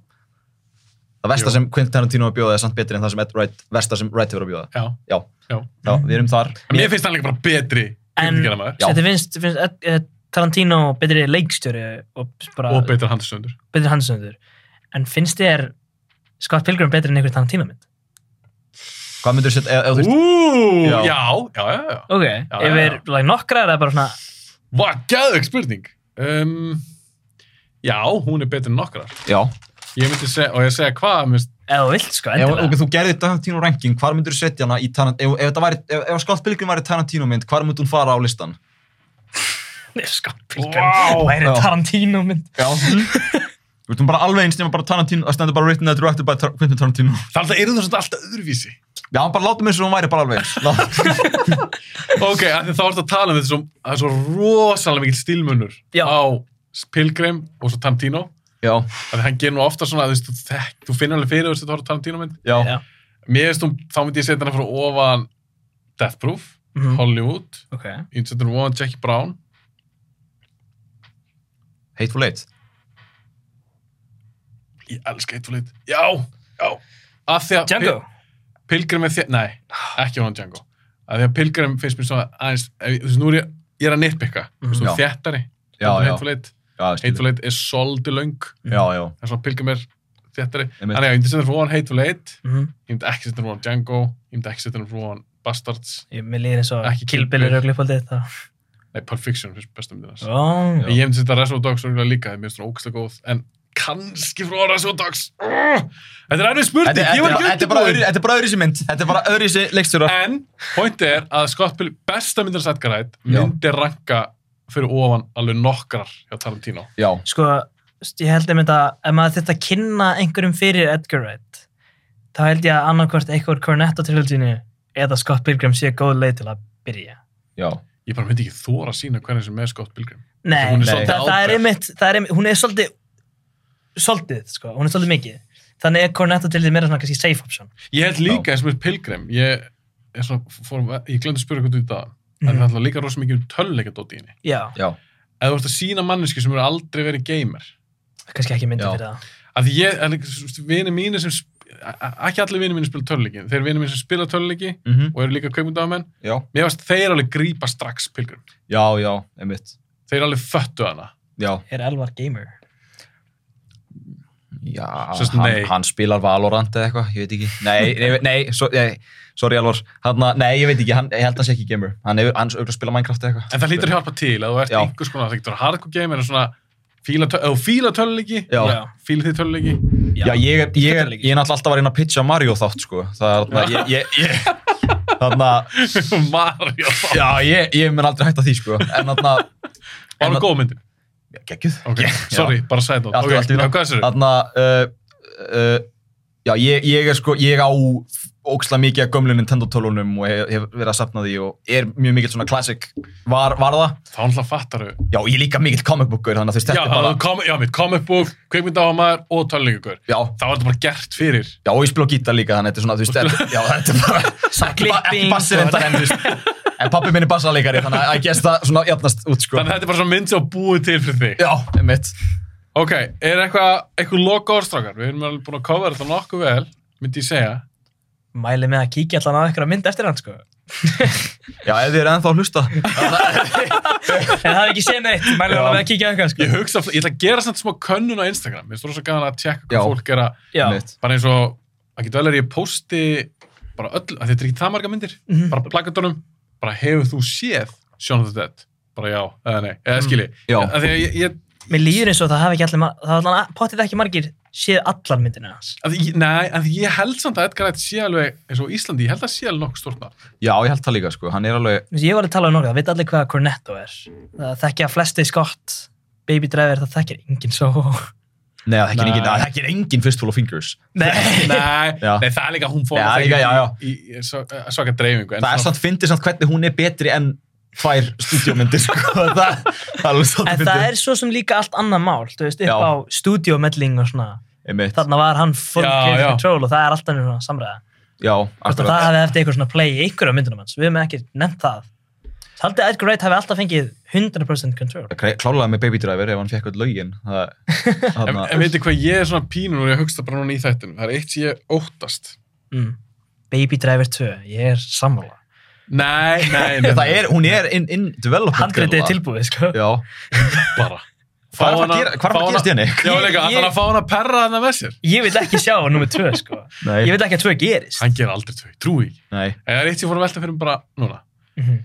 [SPEAKER 6] Það versta
[SPEAKER 5] Jú.
[SPEAKER 6] sem Quentin Tarantino hefur að bjóða er samt betri en það sem Ed Wright, versta sem Wright hefur að bjóða.
[SPEAKER 5] Já.
[SPEAKER 6] Já,
[SPEAKER 5] já.
[SPEAKER 6] já, við erum þar.
[SPEAKER 5] Mér, finnst hann líka bara betri
[SPEAKER 7] En-
[SPEAKER 5] kvikmyndagerðarmaður.
[SPEAKER 6] Já.
[SPEAKER 7] Þetta finnst, finnst Ed- Ed- Tarantino betri leikstjóri og bara
[SPEAKER 5] og betri handstöndur.
[SPEAKER 7] betri hansöndur. En finnst þér Scott Pilgrim betri en einhver Tarantino mynd?
[SPEAKER 6] Hvað myndur þú setja, ef- ef þú veist,
[SPEAKER 5] Úúúú!
[SPEAKER 6] Já.
[SPEAKER 5] Já, já, já, já.
[SPEAKER 7] Ok,
[SPEAKER 5] Já, já,
[SPEAKER 7] yfir like, nokkra er það bara svona
[SPEAKER 5] Vá, gæðug spurning. Um, já, hún er betri en nokkrar.
[SPEAKER 6] já,
[SPEAKER 5] Ég myndi segja, og ég segja hvað, mér finnst-
[SPEAKER 7] eða þú vilt sko,
[SPEAKER 6] ef,
[SPEAKER 7] endilega
[SPEAKER 6] ok, þú gerði Tarantino ranking, hvar myndur þú setja hana í Tarantino, ef, ef þetta væri, ef, ef Scott Pilgrim væri Tarantino mynd, hvar myndur hún fara á listan?
[SPEAKER 7] Nei, Scott Pilgrim,
[SPEAKER 5] Vá.
[SPEAKER 7] væri
[SPEAKER 6] Já.
[SPEAKER 7] Tarantino mynd
[SPEAKER 6] Já. Þú veitum bara alveg eins nema bara Tarantino, það stendur bara written and directed by Tar Quentin Tarantino.
[SPEAKER 5] það er það alltaf öðruvísi.
[SPEAKER 6] Já, bara látum eins og hún væri bara alveg eins. Lá-
[SPEAKER 5] Ok, af því þá ertu að tala um þetta svo, það er svo rosalega mikil stílmunur
[SPEAKER 7] Já.
[SPEAKER 5] á Pilgrim og svo Tarantino
[SPEAKER 6] Já,
[SPEAKER 5] af því hann gerir nú ofta svona, þú veist, þú, þekk, þú finnir alveg fyrir þessu þú horfður á Tarantino mynd
[SPEAKER 6] já.
[SPEAKER 7] Já.
[SPEAKER 5] Mér veist, hún- þá myndi ég setja hana fyrir ofan Death Proof,
[SPEAKER 7] Mhm.
[SPEAKER 5] Hollywood
[SPEAKER 7] Ok,
[SPEAKER 5] ég myndi setja hana fyrir ofan Jackie Brown
[SPEAKER 6] Hateful Eight.
[SPEAKER 5] ég elska eitt og leitt, já, já af því að
[SPEAKER 7] Django
[SPEAKER 5] Pil- Pilgrim er þér, nei, ekki ofan Django af því að
[SPEAKER 7] Mhm.
[SPEAKER 5] Pilgrim finnst mér svona aðeins, ef- þú veist, nú er ég, ég er að nitpikka, þú veist, þú
[SPEAKER 6] Já.
[SPEAKER 5] þéttari
[SPEAKER 6] Já,
[SPEAKER 5] Þetta er
[SPEAKER 6] já.
[SPEAKER 5] Hateful Eight.
[SPEAKER 6] Já, skil.
[SPEAKER 5] Hateful Eight er svolítið löng
[SPEAKER 6] já, já.
[SPEAKER 5] það er svona pilgrimir þéttari
[SPEAKER 6] Einmitt.
[SPEAKER 5] þannig að ég myndi setja frá hann Hateful Eight
[SPEAKER 7] Mhm.
[SPEAKER 5] ég myndi ekki setja frá hann Django ég myndi ekki setja frá hann Bastards
[SPEAKER 7] Ég, mér líður eins og
[SPEAKER 5] Ekki Kill Bill.
[SPEAKER 7] kilbillir auðvitað uppáldið þá.
[SPEAKER 5] nei, Pulp Fiction finnst bestum myndinast
[SPEAKER 7] Ó,
[SPEAKER 5] En ég myndi setja Reservoir Dogs örugglega líka, það er mér svona ógæslega góð en kannski frá Reservoir Dogs oh, þetta er ennum
[SPEAKER 6] Þetta
[SPEAKER 5] spurning,
[SPEAKER 6] er-
[SPEAKER 5] ég var
[SPEAKER 6] þetta er-
[SPEAKER 5] ekki
[SPEAKER 6] þetta er bara öðru-
[SPEAKER 5] undirbúin
[SPEAKER 6] þetta er bara öðru sér mynd. Þetta er bara öðru sér leikstjóra.
[SPEAKER 5] en pointið er að Scott Pilgrim besta myndinast Edgar Wright
[SPEAKER 6] Já.
[SPEAKER 5] myndi ranka fyrir ofan alveg nokkrar hjá Tarantino
[SPEAKER 6] Já,
[SPEAKER 7] Sko, st- ég held einmitt að ef maður þetta kynna einhverjum fyrir Edgar Wright þá held ég að annarkvært einhver Cornetto trilogínu eða Scott Pilgrim sé góð leið til að byrja.
[SPEAKER 6] já.
[SPEAKER 5] ég bara myndi ekki þóra að sína hvernig sem er Scott Pilgrim
[SPEAKER 7] Nei,
[SPEAKER 5] Hún er
[SPEAKER 7] það,
[SPEAKER 5] svolítið
[SPEAKER 7] það er
[SPEAKER 5] áberð.
[SPEAKER 7] einmitt, það er einmitt, hún er svolítið svolítið, sko, hún er svolítið mikið. Þannig er Cornetto trilogínu meira svona kannski safe option.
[SPEAKER 5] Ég held líka eins og með Pilgrim ég, ég, svona, fór, ég glemdi að spyrja hvernig þetta en
[SPEAKER 7] Mhm.
[SPEAKER 5] það er alltaf líka rosa mikið um tölleikadótt í henni
[SPEAKER 7] Já,
[SPEAKER 6] Já,
[SPEAKER 5] eða þú ert að sína manneski sem eru aldrei verið gamer
[SPEAKER 7] kannski ekki myndið
[SPEAKER 6] Já.
[SPEAKER 7] fyrir það.
[SPEAKER 5] að ég, að líka, þú veist, vinir mínir sem sp- a- a- ekki allir vinir mínir spila tölleiki þeir vinir mínir sem spila tölleiki
[SPEAKER 6] Mhm.
[SPEAKER 5] og eru líka kaupundamenn
[SPEAKER 6] já,
[SPEAKER 5] mér varst þeir alveg grípa strax Pilgrim
[SPEAKER 6] já, já, einmitt.
[SPEAKER 5] þeir alveg föttu hana
[SPEAKER 6] Já,
[SPEAKER 7] Er Elvar gamer?
[SPEAKER 6] já,
[SPEAKER 5] Sest, nei.
[SPEAKER 6] hann, hann spilar Valorant eða eitthvað, ég veit ekki. Nei, nei, nei, so, nei sorry Alvar, hann, að- nei, ég veit ekki, hann, ég held að hann sé ekki gamer. Hann hefur, hann auðvitað spila Minecraft eða eitthvað.
[SPEAKER 5] en það hlýtur að hjálpa til að þú ert
[SPEAKER 6] Já.
[SPEAKER 5] einhvers konar það getur að hardcore gamer en svona fíla, töl, eða þú fíla tölleiki
[SPEAKER 6] Já.
[SPEAKER 5] fíla þið tölleiki
[SPEAKER 6] Já, ég, er- ég, er-
[SPEAKER 7] Þetta er
[SPEAKER 6] ég er náttúrulega alltaf að reyna að pitcha Mario þátt, sko. Það er þarna, ég, ég, ég, þarna,
[SPEAKER 5] Mario
[SPEAKER 6] já, ég, ég mun aldrei hætta því, sko. En þarna,
[SPEAKER 5] var það góð myndin
[SPEAKER 6] geggjuð.
[SPEAKER 5] Ok, sorry, bara sæt á
[SPEAKER 6] Allt í- allt í
[SPEAKER 5] okay,
[SPEAKER 6] lagi.
[SPEAKER 5] já, Hvað sér þau?
[SPEAKER 6] Þarna, uh, uh, já, ég, ég er sko, ég á óksla mikið af gömlu Nintendo tölunum og hef, hef verið að safna því og er mjög mikill svona classic var, varða.
[SPEAKER 5] Þá náttúrulega fattar þau
[SPEAKER 6] Já, ég er líka mikill comic bookur, þannig að þú veist,
[SPEAKER 5] Já,
[SPEAKER 6] þetta er bara,
[SPEAKER 5] bara... kom, já, mitt comic book, kveikmyndáhamar og tölningur
[SPEAKER 6] já,
[SPEAKER 5] Þá var þetta bara gert fyrir
[SPEAKER 6] já, og ég spila á gítar líka, þannig að þetta er svona, þú veist, þetta, já, þetta er bara, ekki, ba- ekki
[SPEAKER 7] klipping sko.
[SPEAKER 6] bassir
[SPEAKER 7] og-
[SPEAKER 6] enda en, þú veist, en pappi minn er bassalíkari, þannig að ég gæst það svona jafnast út, sko.
[SPEAKER 5] Þannig að þetta er bara svona mynd sem var búið til fyrir þig
[SPEAKER 6] Já, einmitt.
[SPEAKER 5] Ok, er eitthvað eitthvað loka orðstrákar? Við erum alveg búin að cover þetta nokkuð vel myndi ég segja
[SPEAKER 7] Mæli með að kíkja allan á einhverja mynd eftir hann, sko.
[SPEAKER 6] Já, ef þið eru ennþá að hlusta.
[SPEAKER 7] En það er ekki séð neitt, mæli
[SPEAKER 6] Já.
[SPEAKER 7] allan með að kíkja á eitthvað, sko.
[SPEAKER 5] Ég hugsa, ég ætla að gera samt smá könnun á Instagram Mér stóður svo gaman að
[SPEAKER 6] Já.
[SPEAKER 5] tjekka hvað fólk er að
[SPEAKER 7] Já.
[SPEAKER 6] Einmitt.
[SPEAKER 5] bara eins og, það getur vel er ég posti bara öll, að þetta er ekki það marga myndir
[SPEAKER 6] Mhm.
[SPEAKER 5] bara plakatunum, bara hefur þú séð Shaun of the Dead? Bara já, eða nei, eða skilji
[SPEAKER 6] Mhm. Já.
[SPEAKER 5] Af því að ég, ég,
[SPEAKER 7] Mér líður eins og það hafi ekki allir, mar- það hafa allan pottið ekki margir séð allar myndina hans.
[SPEAKER 5] að, ég, nei, að ég held samt að Edgar Wright sé alveg, eins og á Íslandi, ég held að sé alveg nokkuð stórt nafn.
[SPEAKER 6] Já, ég held það líka, sko, hann er alveg,
[SPEAKER 7] Þú veist, Ég var að tala um nokkuð, það veit allir hvað Cornetto er. Það þekkja flesti skott, Baby Driver, það þekkir enginn svo.
[SPEAKER 6] nei, það er
[SPEAKER 5] Nei.
[SPEAKER 6] engin, það er engin fistful of fingers.
[SPEAKER 7] Nei.
[SPEAKER 5] Nei,
[SPEAKER 6] Já.
[SPEAKER 5] nei, það er líka hún fór
[SPEAKER 6] Já,
[SPEAKER 5] að
[SPEAKER 6] líka,
[SPEAKER 5] þekka
[SPEAKER 6] já, já.
[SPEAKER 5] í, í, í svo- eh, svaka dreifingu. en
[SPEAKER 6] það er
[SPEAKER 5] svona-
[SPEAKER 6] samt fyndið samt hvernig hún er betri en tvær stúdíómyndir sko. það, það er alveg
[SPEAKER 7] En
[SPEAKER 6] svolítið
[SPEAKER 7] það er svo sem líka allt annað mál, þú veist, upp
[SPEAKER 6] Já.
[SPEAKER 7] á stúdíómelling og svona.
[SPEAKER 6] einmitt,
[SPEAKER 7] Þarna var hann full
[SPEAKER 5] Já,
[SPEAKER 7] creative
[SPEAKER 5] já.
[SPEAKER 7] control og það er alltaf svona samræða.
[SPEAKER 6] já,
[SPEAKER 7] Hvort að
[SPEAKER 6] akkurat
[SPEAKER 7] það hefði eftir eitthvað svona play í einhverjum myndunum hans. Við hefum ekki nefnt það. Það haldið að Edgar Wright hefði alltaf fengið 100% control.
[SPEAKER 6] Krá- klálega með Baby Driver ef hann fekk öll lögin það,
[SPEAKER 5] En,
[SPEAKER 6] þarna,
[SPEAKER 5] en veitir hvað ég er svona pínur og ég hugsta bara núna í þættinu. Það er eitt sem ég óttast.
[SPEAKER 7] Mm. Baby Driver 2, ég er sammála.
[SPEAKER 5] Nei, nei, nei.
[SPEAKER 6] það er, hún er in, in development
[SPEAKER 7] Handriðið
[SPEAKER 6] girl,
[SPEAKER 7] er
[SPEAKER 6] það.
[SPEAKER 7] tilbúið, sko.
[SPEAKER 6] já,
[SPEAKER 5] bara.
[SPEAKER 6] Hvað er að fara að gera- hvað er að fara að gerast í henni?
[SPEAKER 5] Já, líka,
[SPEAKER 7] Ég-
[SPEAKER 5] hann er að fá hann að perra hann með sér.
[SPEAKER 7] Ég vil ekki sjá nummið 2, sko.
[SPEAKER 6] Nei.
[SPEAKER 7] Ég vil ekki að 2 gerist.
[SPEAKER 5] Hann ger aldrei tvö, trúi ekki.
[SPEAKER 6] nei,
[SPEAKER 5] En það er eitt sem ég fór að velta fyrir mig bara núna.
[SPEAKER 7] Mhm.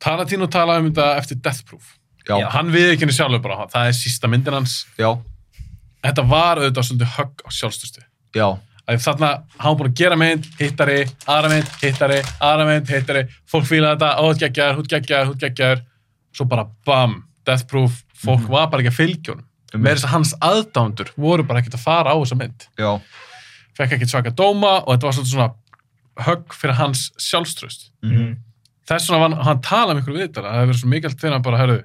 [SPEAKER 5] Tarantino talaði um þetta eftir Death Proof.
[SPEAKER 6] já,
[SPEAKER 7] Já.
[SPEAKER 6] já,
[SPEAKER 5] Hann við ekki henni sjálfur bara, það er sísta myndin hans.
[SPEAKER 6] já,
[SPEAKER 5] Þetta var auðvitað svolítið högg á sjálfstöðstu.
[SPEAKER 6] já.
[SPEAKER 5] að þarna hann búin að gera mynd, hittari, aðra mynd, hittari, aðra mynd, hittari, fólk fílaði þetta, ó, þú geggjar, þú geggjar, þú geggjar, svo bara bam, death proof, fólk var bara ekki að fylgja honum.
[SPEAKER 6] Einmitt.
[SPEAKER 5] Með þess að hans aðdándur voru bara ekkert að fara á þessa mynd. Fekk ekkert svaka dóma og þetta var svolítið svona högg fyrir hans sjálfströst.
[SPEAKER 7] Mm.
[SPEAKER 6] Mhm.
[SPEAKER 5] Þess vegna var hann, hann talað um ykkur við þetta, það hefur verið svo mikilvægt þegar hann bara, herðu,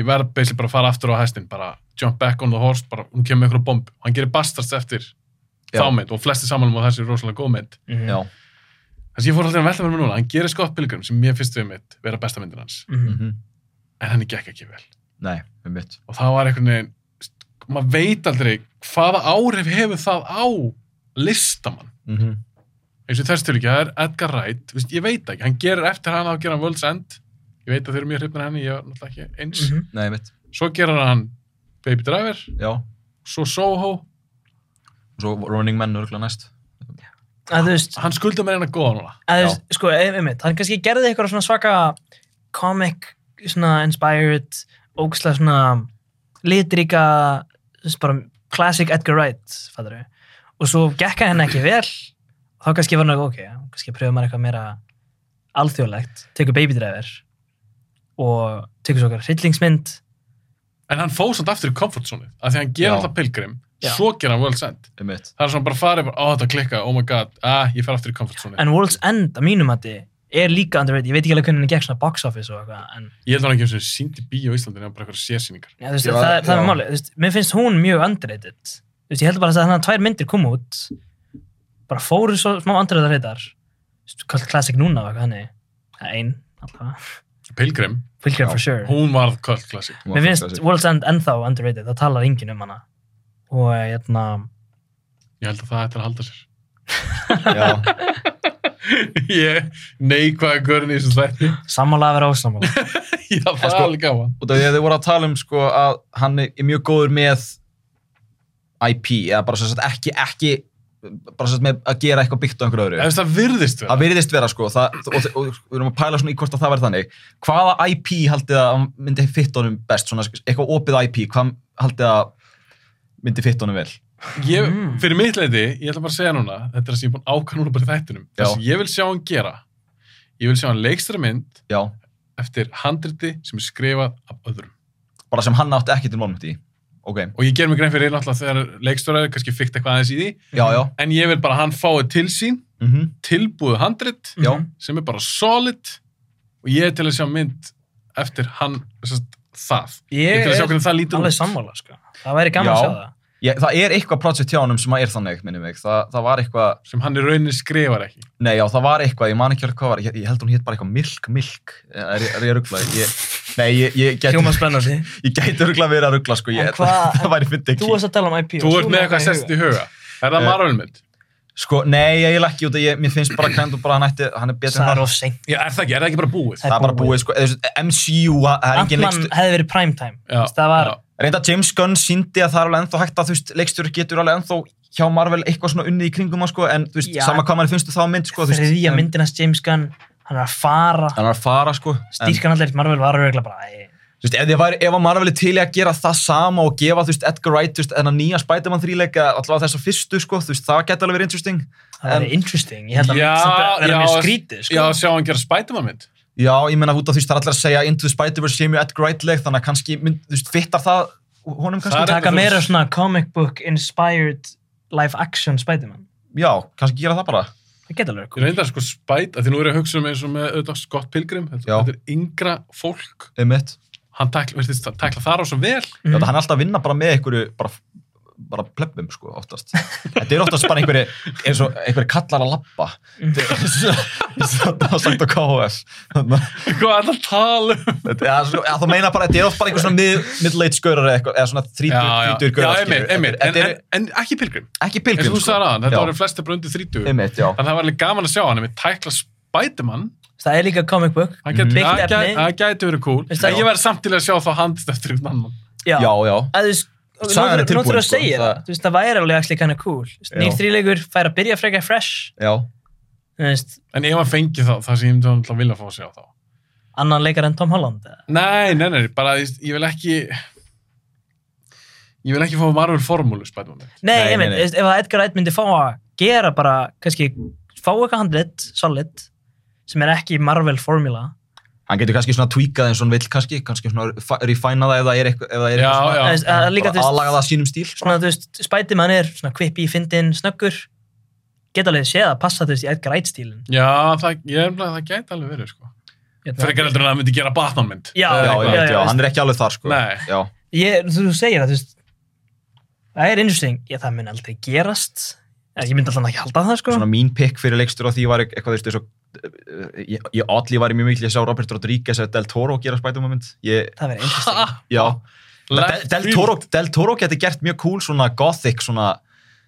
[SPEAKER 5] ég verð basically bara að fara aftur á hæstin, bara jump back on the horse, bara, hún kemur ykkur bomb. Hann gerir bastards eftir
[SPEAKER 6] Já.
[SPEAKER 5] þá mynd og flesti samanlum á þessi rosalega góð mynd
[SPEAKER 7] Mhm.
[SPEAKER 6] já.
[SPEAKER 5] þannig að ég fór alltaf að velta mér núna hann gerir Scott Pilgrim sem mér finnst við mitt vera besta myndin hans
[SPEAKER 7] Mhm.
[SPEAKER 6] Mhm.
[SPEAKER 5] en henni gekk ekki vel
[SPEAKER 6] nei, einmitt
[SPEAKER 5] og það var einhvern veginn maður veit aldrei hvaða áhrif hefur það á listamann
[SPEAKER 6] Mhm.
[SPEAKER 5] eins og í þessu tilvíki, það er Edgar Wright Vist, ég veit ekki, hann gerir eftir hann þá gerir hann World's End ég veit að þeir eru mjög hrifnir af henni, ég er náttúrulega ekki eins
[SPEAKER 7] Mhm.
[SPEAKER 6] nei, einmitt
[SPEAKER 5] svo gerir hann Baby Driver,
[SPEAKER 6] já,
[SPEAKER 5] svo Soho
[SPEAKER 6] svo Running Man örgulega næst
[SPEAKER 7] að þú veist,
[SPEAKER 5] hann skulda mér eina góða núna
[SPEAKER 7] að þú veist, sko, einmitt, hann kannski gerði eitthvað svona svaka comic, svona inspired, ógslag svona litríka, þú veist, bara classic Edgar Wright, fattur við. Og svo gekka henni ekki vel, þá kannski var hann ok, já, kannski pröfum maður eitthvað meira alþjóðlegt, tekur Baby Driver og tekur svo okkar hryllingsmynd,
[SPEAKER 5] en hann fóð samt aftur í comfort zone af því að hann gerir
[SPEAKER 6] Já.
[SPEAKER 5] alltaf Pilgrim,
[SPEAKER 7] Já.
[SPEAKER 5] svo gerir hann World's End
[SPEAKER 6] um mitt
[SPEAKER 5] það er svona bara farið, bara, ó þetta klikka, oh my god ah, ég fer aftur í comfort zone,
[SPEAKER 7] en World's End, að mínum að er líka underrated, ég veit ekki alveg hvernig hann gekk svona box office og eitthvað, en
[SPEAKER 5] ég held hann ekki eins og síndi bíó í Íslandin, bara eitthvað sérsýningar
[SPEAKER 7] Já, þú veist,
[SPEAKER 6] Já,
[SPEAKER 7] það, það er
[SPEAKER 6] já.
[SPEAKER 7] málið. Þú veist, mér finnst hún mjög underrated. Þú veist, ég heldur bara að þannig að tvær myndir kom út, bara fóru svo smá underrated reytar. Þú veist, kallt classic núna og eitthvað þannig. Það er ein, allavega.
[SPEAKER 5] Pilgrim,
[SPEAKER 7] Pilgrim for sure.
[SPEAKER 5] hún varð cult classic
[SPEAKER 7] Mér finnst World's End ennþá underrated, það talar enginn um hana. Og hérna,
[SPEAKER 5] ég held að það ætti að halda sér
[SPEAKER 6] já,
[SPEAKER 5] ég neikvæða görn í þessu þætti
[SPEAKER 7] sammála að vera ósammála.
[SPEAKER 5] já, það er
[SPEAKER 6] sko-
[SPEAKER 5] alveg gaman
[SPEAKER 6] út af því að þið voru að tala um sko að hann er mjög góður með IP, eða bara sem sagt ekki, ekki bara sem sagt með að gera eitthvað byggt á einhverju öðru.
[SPEAKER 5] Ef það virðist við
[SPEAKER 6] Það virðist vera sko, það, og, og, og við erum að pæla svona í hvort að það verði þannig. Hvaða IP haldið að myndi fitt honum best, svona eitthvað opið IP, hvað haldið að myndi fitt honum vel?
[SPEAKER 5] ég, fyrir mitt leiti, ég ætla bara að segja núna þetta er það sem ég er búin ákvæða núna bara í þættinum
[SPEAKER 6] Já.
[SPEAKER 5] það sem ég vil sjá hann gera ég vil sjá hann leikstara mynd
[SPEAKER 6] Já,
[SPEAKER 5] eftir handriti sem er skrifað af öðrum
[SPEAKER 6] bara sem hann átti ekki til málmyndi í. Ok,
[SPEAKER 5] og ég ger mig grein fyrir náttúrulega þegar leikstara kannski fyrkt eitthvað aðeins í því
[SPEAKER 6] já, já,
[SPEAKER 5] en ég vil bara að hann fái til sín
[SPEAKER 7] Mhm.
[SPEAKER 6] mm
[SPEAKER 5] tilbúið handrit
[SPEAKER 6] já,
[SPEAKER 5] sem er bara solid og ég er til að sjá mynd eftir hann sest, það ég, er til að sjá hvernig það lítur
[SPEAKER 7] Alveg
[SPEAKER 5] út
[SPEAKER 7] sammála, sko. Það væri gaman
[SPEAKER 6] Já.
[SPEAKER 7] að sjá það.
[SPEAKER 6] ég, það er eitthvað project hjá honum sem að er þannig, minni mig, það, það var eitthvað,
[SPEAKER 5] sem hann í rauninni skrifar ekki
[SPEAKER 6] Nei, já, það var eitthvað, ég man ekki alveg hvað var, ég, ég held hún hétt bara eitthvað Milk Milk, er, er ég að ruggla? Ég, nei, ég, ég gæti,
[SPEAKER 7] Hljóma spennandi.
[SPEAKER 6] ég gæti ruggla verið að ruggla, sko, ég,
[SPEAKER 7] En hvað-
[SPEAKER 6] það væri fyndið
[SPEAKER 7] Þú
[SPEAKER 6] ekki.
[SPEAKER 7] varst að tala um IP.
[SPEAKER 5] þú
[SPEAKER 7] og
[SPEAKER 5] ert með eitthvað sest í
[SPEAKER 7] huga.
[SPEAKER 5] huga er það
[SPEAKER 6] Eh,
[SPEAKER 5] marvölmynd?
[SPEAKER 6] Sko, nei, ég er ekki út að ég, mér finnst bara kænt og bara hann ætti, hann er betur
[SPEAKER 7] Það
[SPEAKER 6] en
[SPEAKER 7] er
[SPEAKER 6] það.
[SPEAKER 7] of seint.
[SPEAKER 5] Já, er það ekki, er það ekki bara búið?
[SPEAKER 7] Það
[SPEAKER 6] Það er bara búið, sko, eða, þú veist, MCU, það það er engin
[SPEAKER 7] Ant-Man
[SPEAKER 6] leikstur.
[SPEAKER 7] hefði verið primetime.
[SPEAKER 5] Já,
[SPEAKER 7] Það var,
[SPEAKER 5] já.
[SPEAKER 6] Reynda James Gunn síndi að það er alveg ennþá hægt að, þú veist, leikstur getur alveg ennþá hjá Marvel eitthvað svona unnið í kringum, á, sko, en, þú veist,
[SPEAKER 7] Já.
[SPEAKER 6] sama hvað mann finnst þú þá um mynd, sko, þú veist.
[SPEAKER 7] þriðja
[SPEAKER 6] en-
[SPEAKER 7] myndinast James Gunn hann er að fara,
[SPEAKER 6] Hann er að fara, sko. en-
[SPEAKER 7] stýrkan allir Marvel var regla bara, æ,
[SPEAKER 6] Þú veist, ef, þið væri, ef að Marvel er til í að gera það sama og gefa, þú veist, Edgar Wright, þú veist, en að nýja Spider-Man þríleika, allavega þessa fyrstu, sko, þú veist, það geti alveg verið interesting.
[SPEAKER 7] það
[SPEAKER 6] En-
[SPEAKER 7] er interesting ég held að
[SPEAKER 5] Já,
[SPEAKER 7] það er
[SPEAKER 5] já,
[SPEAKER 7] mjög skrítið
[SPEAKER 5] Já,
[SPEAKER 7] sko.
[SPEAKER 5] sjá hann gera Spiderman mynd
[SPEAKER 6] Já, ég menna út af þú veist, það er allir að segja Into the Spider-Verse sé mjög Edgar Wright-leg, þannig að kannski, mynd, þú veist, fittar það honum kannski?
[SPEAKER 5] Það er-
[SPEAKER 7] taka
[SPEAKER 5] þú-
[SPEAKER 7] meira svona comic book inspired live action Spider-Man
[SPEAKER 6] Já, kannski gera það bara.
[SPEAKER 7] það geta alveg
[SPEAKER 5] Ég
[SPEAKER 7] cool.
[SPEAKER 5] reyndar sko Spider, því nú er ég að hugsa um eins og með auðvitað Scott Pilgrim,
[SPEAKER 6] Já.
[SPEAKER 5] þetta, þetta er yngra fólk,
[SPEAKER 6] Einmitt.
[SPEAKER 5] hann tækla, virtist, tækla þar á svo vel
[SPEAKER 6] Mm. Já, það hann er alltaf að vinna bara með einhverju, bara bara plebbum sko oftast þetta er oftast bara einhverju eins og einhverju kallar að lappa
[SPEAKER 5] Mm.
[SPEAKER 6] þetta var sagt á KHS þannig að
[SPEAKER 5] Hvað er það að tala um?
[SPEAKER 6] Þetta- Já, sko, já, þú meina bara, þetta er oft bara einhver svona mið, middle-aged gaurar eða eitthvað, eða svona
[SPEAKER 5] Já,
[SPEAKER 6] þrítur,
[SPEAKER 5] já,
[SPEAKER 6] þrítur
[SPEAKER 5] já,
[SPEAKER 6] gaurar. skilur.
[SPEAKER 5] einmitt, einmitt, en,
[SPEAKER 6] Þetta
[SPEAKER 5] en,
[SPEAKER 6] er
[SPEAKER 5] en ekki Pilgrim,
[SPEAKER 6] ekki
[SPEAKER 5] eins
[SPEAKER 6] pilgrim, sko.
[SPEAKER 5] og þú sagði aðan, þetta
[SPEAKER 6] Já.
[SPEAKER 5] voru flestir bara undir 30
[SPEAKER 6] Einmitt, já.
[SPEAKER 5] þannig að það var alveg gaman að sjá hann, einmitt tækla Spiderman,
[SPEAKER 7] það er líka comic book
[SPEAKER 5] það gæti-
[SPEAKER 7] Byggt
[SPEAKER 5] það gæti-
[SPEAKER 7] efni.
[SPEAKER 5] það gæti verið cool,
[SPEAKER 7] Veist það-
[SPEAKER 5] en ég verði samt til að sjá þá handist eftir einhvern annan.
[SPEAKER 7] já,
[SPEAKER 6] Já, já.
[SPEAKER 7] Að þú veist, og nú
[SPEAKER 6] Sagan er tilbúin,
[SPEAKER 7] þurfum- nú þurfum við að
[SPEAKER 6] sko,
[SPEAKER 7] segja
[SPEAKER 6] það-
[SPEAKER 7] það Þú veist, það væri alveg actually kind of cool Þú veist,
[SPEAKER 6] Já.
[SPEAKER 7] nýr þrýleikur fær að byrja frekar fresh
[SPEAKER 6] Já,
[SPEAKER 7] Þú veist,
[SPEAKER 5] En ef hann fengi þá, það sem ég myndi að vilja fá að sjá þá.
[SPEAKER 7] annan leikar en Tom Holland eða?
[SPEAKER 5] Nei, nei, nei, bara ég, ég vil ekki ég vil ekki fá Marvel formúlu Spiderman mynd.
[SPEAKER 7] Nei,
[SPEAKER 6] Nei,
[SPEAKER 7] ég meint,
[SPEAKER 6] nei, nei.
[SPEAKER 7] þú veist, ef að Edgar Wright myndi fá að gera bara, kannski, fá eitthvað handrit, solid, sem er ekki Marvel formula,
[SPEAKER 6] hann getur kannski svona tweakað eins og hann vill kannski, kannski svona fa- refina það ef það er eitthvað, ef það er
[SPEAKER 5] Já,
[SPEAKER 6] eitthvað svona,
[SPEAKER 5] já.
[SPEAKER 7] þú veist, að líka, þú
[SPEAKER 6] bara
[SPEAKER 7] veist,
[SPEAKER 6] aðlaga það að sínum stíl. sko.
[SPEAKER 7] svona, þú veist, Spiderman er svona kvippi, fyndin, snöggur, geta alveg séð að passa, þú veist, í Edgar Wright stílinn.
[SPEAKER 5] Já, það, ég er nefnilega, það gæti alveg verið, sko.
[SPEAKER 7] Hérna.
[SPEAKER 5] Frekar heldur en að það myndi gera Batman mynd.
[SPEAKER 7] Já,
[SPEAKER 6] Já,
[SPEAKER 7] já,
[SPEAKER 6] já,
[SPEAKER 7] já,
[SPEAKER 6] já, hann er ekki alveg þar, sko.
[SPEAKER 5] Nei.
[SPEAKER 6] Já,
[SPEAKER 7] Ég, þú segir það, þú veist, það er interesting, ég, það mun aldrei gerast, ég myndi alltaf ekki halda það, sko.
[SPEAKER 6] svona mín pick fyrir leikstur á því var eitthvað, þú veist, eins og eh, ég, ég allir var mjög mikil, ég sá Robert Rodriguez eða Del Toro gera Spider-Man mynd. Ég,
[SPEAKER 7] það verður interesting.
[SPEAKER 6] já. Del, Del, Toro, Del Toro geti gert mjög cool svona gothic svona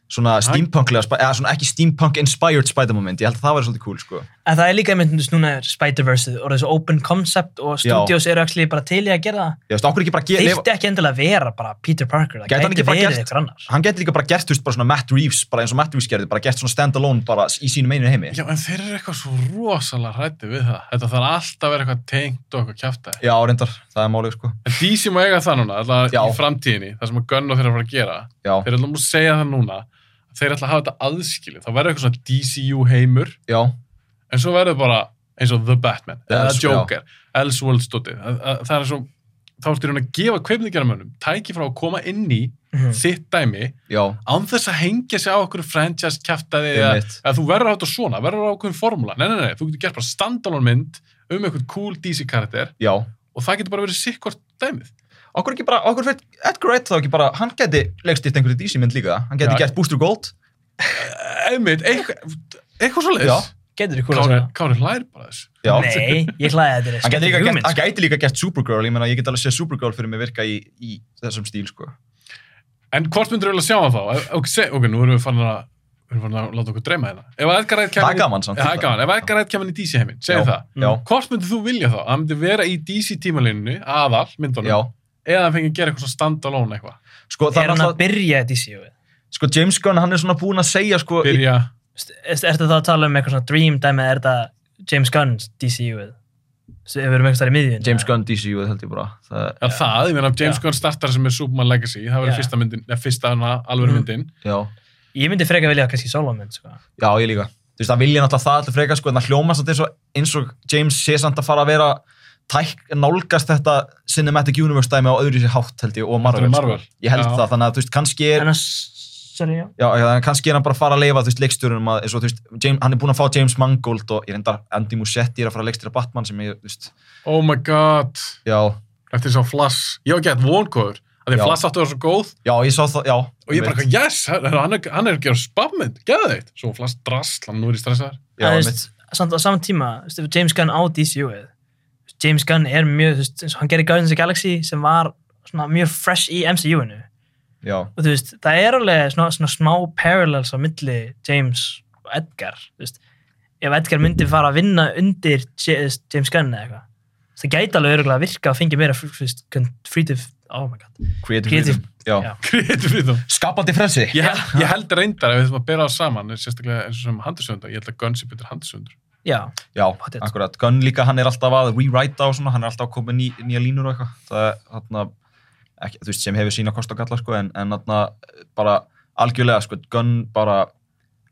[SPEAKER 6] svona steampunklega, spa- eða svona ekki steampunk inspired Spider-Man-mynd, ég held að það væri svolítið cool sko.
[SPEAKER 7] En það er líka einmitt myndist núna er Spider-Verse og þessu open concept og
[SPEAKER 6] Já.
[SPEAKER 7] studios eru actually bara til í að gera það.
[SPEAKER 6] Ég veist, okkur ekki bara að
[SPEAKER 7] Það
[SPEAKER 6] gera,
[SPEAKER 7] þyrfti ekki endilega að vera bara Peter Parker, það
[SPEAKER 6] Gæti hann
[SPEAKER 7] gæti
[SPEAKER 6] ekki bara
[SPEAKER 7] verið
[SPEAKER 6] gert-
[SPEAKER 7] eitthvað annar.
[SPEAKER 6] hann getur líka bara gert, þú veist, bara svona Matt Reeves, bara eins og Matt Reeves gerði, bara gert svona stand-alone bara í sínum einu heimi.
[SPEAKER 5] Já, en þeir eru eitthvað svo rosalega hrætti við það. Þetta þarf alltaf að vera eitthvað tengt og eitthvað kjaftaði.
[SPEAKER 6] Já, reyndar, það er málið sko.
[SPEAKER 5] En DC má eiga það núna, alltaf
[SPEAKER 6] Já.
[SPEAKER 5] í framtíðinni, það sem að gunna þeir að fara að gera.
[SPEAKER 6] Já,
[SPEAKER 5] Þeir eru alltaf múið að segja það núna, að þeir ætla að hafa þetta aðskilið. Það verður eitthvað svona DCU heimur,
[SPEAKER 6] já,
[SPEAKER 5] en svo verður bara eins og The Batman, eða
[SPEAKER 6] Else-
[SPEAKER 5] Joker, Elseworlds dotið. Það, það- það er svo, þá ertu í raun að gefa kveimningarmönnum tæki frá að koma inn í
[SPEAKER 6] Mm.
[SPEAKER 7] Mhm.
[SPEAKER 5] þitt dæmi
[SPEAKER 6] já,
[SPEAKER 5] án þess að hengja sig á okkur franchise kjaftaði eða
[SPEAKER 6] Einmitt.
[SPEAKER 5] eða þú verður átt og svona, verður á okkur formúla nei, nei, nei, þú getur gert bara standalone mynd um eitthvað cool DC karakter
[SPEAKER 6] já.
[SPEAKER 5] og það getur bara verið sikkort dæmið
[SPEAKER 6] Okkur ekki bara, okkur veit, Edgar Wright þá ekki bara, hann geti leikstýrt einhverju DC-mynd líka, hann geti
[SPEAKER 5] Já.
[SPEAKER 6] gert Booster Gold.
[SPEAKER 5] einmitt, eitthvað, eitthvað svo
[SPEAKER 6] Já.
[SPEAKER 5] leiðis
[SPEAKER 7] Getur þið kúla
[SPEAKER 5] Kári,
[SPEAKER 7] svona?
[SPEAKER 5] Kári hlær bara þessu
[SPEAKER 6] Já.
[SPEAKER 7] Nei, ég hlæði að þetta er
[SPEAKER 6] Hann gæti, líka
[SPEAKER 7] skemmtileg
[SPEAKER 6] gert,
[SPEAKER 7] hugmynd,
[SPEAKER 5] sko.
[SPEAKER 6] hann gæti líka gert Supergirl, ég meina ég get alveg séð Supergirl fyrir mig virka í, í þessum stíl sko.
[SPEAKER 5] en hvort myndur við vilja sjá hann þá Ef- ok, se, ok, nú erum við fann að við erum fann að láta okkur dreyma hérna ef að Edgar Wright
[SPEAKER 6] Það
[SPEAKER 5] kemur
[SPEAKER 6] er
[SPEAKER 5] í-
[SPEAKER 6] gaman samt.
[SPEAKER 5] Já, það er gaman, ef að Edgar Wright kemur inn í DC heiminn
[SPEAKER 6] Já,
[SPEAKER 5] segir það, Mm.
[SPEAKER 6] Já,
[SPEAKER 5] hvort myndir þú vilja þá að hann myndi vera í DC tímalínunni aðal myndunum,
[SPEAKER 6] já.
[SPEAKER 5] eða hann fengi að gera eitthvað svona standalone eitthvað,
[SPEAKER 6] Sko, það
[SPEAKER 7] Er
[SPEAKER 6] er
[SPEAKER 7] hann að
[SPEAKER 6] alltaf,
[SPEAKER 7] byrja þetta í síu?
[SPEAKER 6] sko James Gunn, hann er svona búinn að segja sko, í-
[SPEAKER 5] byrja
[SPEAKER 7] Er þetta þá að tala um eitthvað svona Dream Dæmi eða er þetta James Gunn's DCU-ið? Ef við erum eitthvað þar í miðjun.
[SPEAKER 6] James Gunn DCU held ég bara. Það,
[SPEAKER 5] Já, það, ég meina James Gunn startar sem er Superman Legacy, það verður
[SPEAKER 7] Já.
[SPEAKER 5] fyrsta myndin, eða fyrsta hana, alveg
[SPEAKER 7] Mm.
[SPEAKER 5] myndin.
[SPEAKER 6] já.
[SPEAKER 7] Ég myndi freka vilja kannski sólómynd, sko.
[SPEAKER 6] já, ég líka. Þú veist, það vilja náttúrulega það allir freka sko, en það hljóma samt eins og, eins og James sé samt að fara að vera tæk, nálgast þetta Cinematic Universe dæmi á öðru sér hátt held ég og Marvel.
[SPEAKER 5] Heldur en Marvel?
[SPEAKER 6] Sko. Ég held
[SPEAKER 5] Já.
[SPEAKER 6] það, þannig að þú veist, kannski er...
[SPEAKER 7] Annars, sorry, já.
[SPEAKER 6] Já, já, þannig að kannski er hann bara að fara að leifa, þú veist, leikstjórunum að, eins og, þú veist, James, hann er búinn að fá James Mangold og ég reyndar Andy Muschietti er að fara að leikstjóra Batman sem ég, þú veist,
[SPEAKER 5] Oh my god,
[SPEAKER 6] já,
[SPEAKER 5] eftir þess að Flash, ég var gett vonkóður, að því
[SPEAKER 6] Já.
[SPEAKER 5] að Flash áttu að vera svo góð
[SPEAKER 6] já, ég sá það, já.
[SPEAKER 5] og ég bara, eitthvað, yes, hann hann er, hann er að gera spammynd, geða þeitt. Svo Flass drast, hann nú er í stressaðar.
[SPEAKER 6] já,
[SPEAKER 7] En þú
[SPEAKER 6] mitt,
[SPEAKER 7] veist, samt á saman tíma, þú veist, ef James Gunn á DCU-ið, þú veist, James Gunn er mjög, þú veist, eins og hann gerir Guardians of the Galaxy sem var svona mjög fresh í MCU-inu.
[SPEAKER 6] já,
[SPEAKER 7] Og þú veist, það er alveg svona, svona smá parallels á milli James og Edgar, þú veist, ef Edgar myndi fara að vinna undir J- þú veist, James Gunn eða eitthvað, þú veist, það gæti alveg öruglega að virka og fengi meira, fr- þú veist, creative, oh my god,
[SPEAKER 6] creative,
[SPEAKER 7] Creative-
[SPEAKER 6] freedom, já.
[SPEAKER 7] já.
[SPEAKER 5] Greitur við þá.
[SPEAKER 6] Skapandi frelsi.
[SPEAKER 5] Ég held, ég held reyndar ef við þurfum að bera það saman, sérstaklega eins og sem handisöndar, ég held að Gunn sé betur handisöndur.
[SPEAKER 7] já,
[SPEAKER 6] Já,
[SPEAKER 7] Pottet.
[SPEAKER 6] akkurat. Gunn líka, hann er alltaf að rewrite á svona, hann er alltaf að koma með ný, nýja línur og eitthvað. Það er, þarna, ekki, þú veist, sem hefur sína kost og galla, sko, en, en þarna, bara, algjörlega, sko, Gunn bara,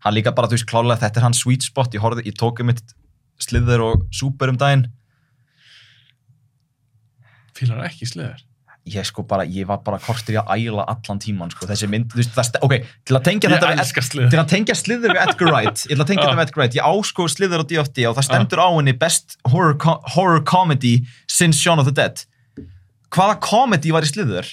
[SPEAKER 6] hann líka bara, þú veist, klárlega, þetta er hans sweet spot, ég horfði, ég tók um mitt sliður og súper um daginn,
[SPEAKER 5] Fýlar ekki sleðar.
[SPEAKER 6] ég sko bara, ég var bara kortir í að æla allan tíman, sko, þessi mynd, þú veist, það, st- ok, til að tengja
[SPEAKER 5] Ég
[SPEAKER 6] þetta við
[SPEAKER 5] elska
[SPEAKER 6] til
[SPEAKER 5] sleðar.
[SPEAKER 6] að tengja slither við Edgar Wright ég ætla að tengja
[SPEAKER 5] Já.
[SPEAKER 6] þetta við Edgar Wright, ég áskóð slither á D.O.D. og það stendur á henni best horror, co- horror comedy since Shaun of the Dead hvaða comedy var í slither?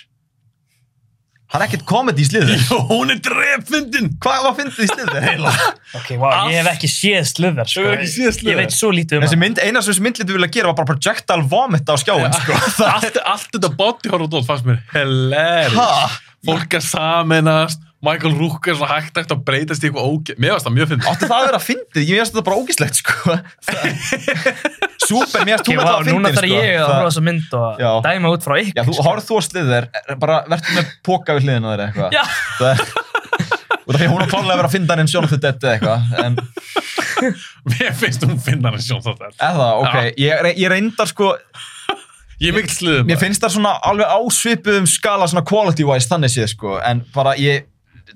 [SPEAKER 6] það er ekkert comedy í slither
[SPEAKER 5] Hún er drefvindin!
[SPEAKER 6] hvað var fyndið í slither heila?
[SPEAKER 7] ok, wow, ég hef ekki séð slöðar, sko,
[SPEAKER 5] Hefur ekki séð Slither?
[SPEAKER 7] ég veit svo lítið um
[SPEAKER 6] þessi mynd, eina sem þessi mynd litur vilja gera var bara projectile vomit á skjáin sko. það,
[SPEAKER 5] allt, allt þetta body horror dót fannst mér hilarious.
[SPEAKER 6] Ha?
[SPEAKER 5] Fólk að sameinast, Michael Rook er svona hægt hægt að breytast í eitthvað ógeð. Mér varst það mjög fyndið.
[SPEAKER 6] áttu það að vera fyndið, ég veist þetta bara ógislegt sko. super, mér veist
[SPEAKER 7] Ok,
[SPEAKER 6] þú með
[SPEAKER 7] vá,
[SPEAKER 6] það
[SPEAKER 7] núna
[SPEAKER 6] fyndið
[SPEAKER 7] þarf
[SPEAKER 6] sko.
[SPEAKER 7] ég að
[SPEAKER 6] Það-
[SPEAKER 7] horfa á þessa mynd og
[SPEAKER 6] Já.
[SPEAKER 7] dæma út frá ykkur. sko.
[SPEAKER 6] Já, þú horfð þú að sliðir, bara verður með póka við hliðina þeirra eitthvað.
[SPEAKER 7] Já.
[SPEAKER 6] Það er, og það er hún að klálega vera að finna hann en sjónum þetta eða eitthvað. En
[SPEAKER 5] Mér finnst hún finna hann sjón þátt þetta.
[SPEAKER 6] eða, ok, ég, re- ég reyndar sko,
[SPEAKER 5] Ég er mikill sliðum.
[SPEAKER 6] mér finnst það svona alveg ásvipuðum skala svona quality wise þannig séð sko, en bara ég,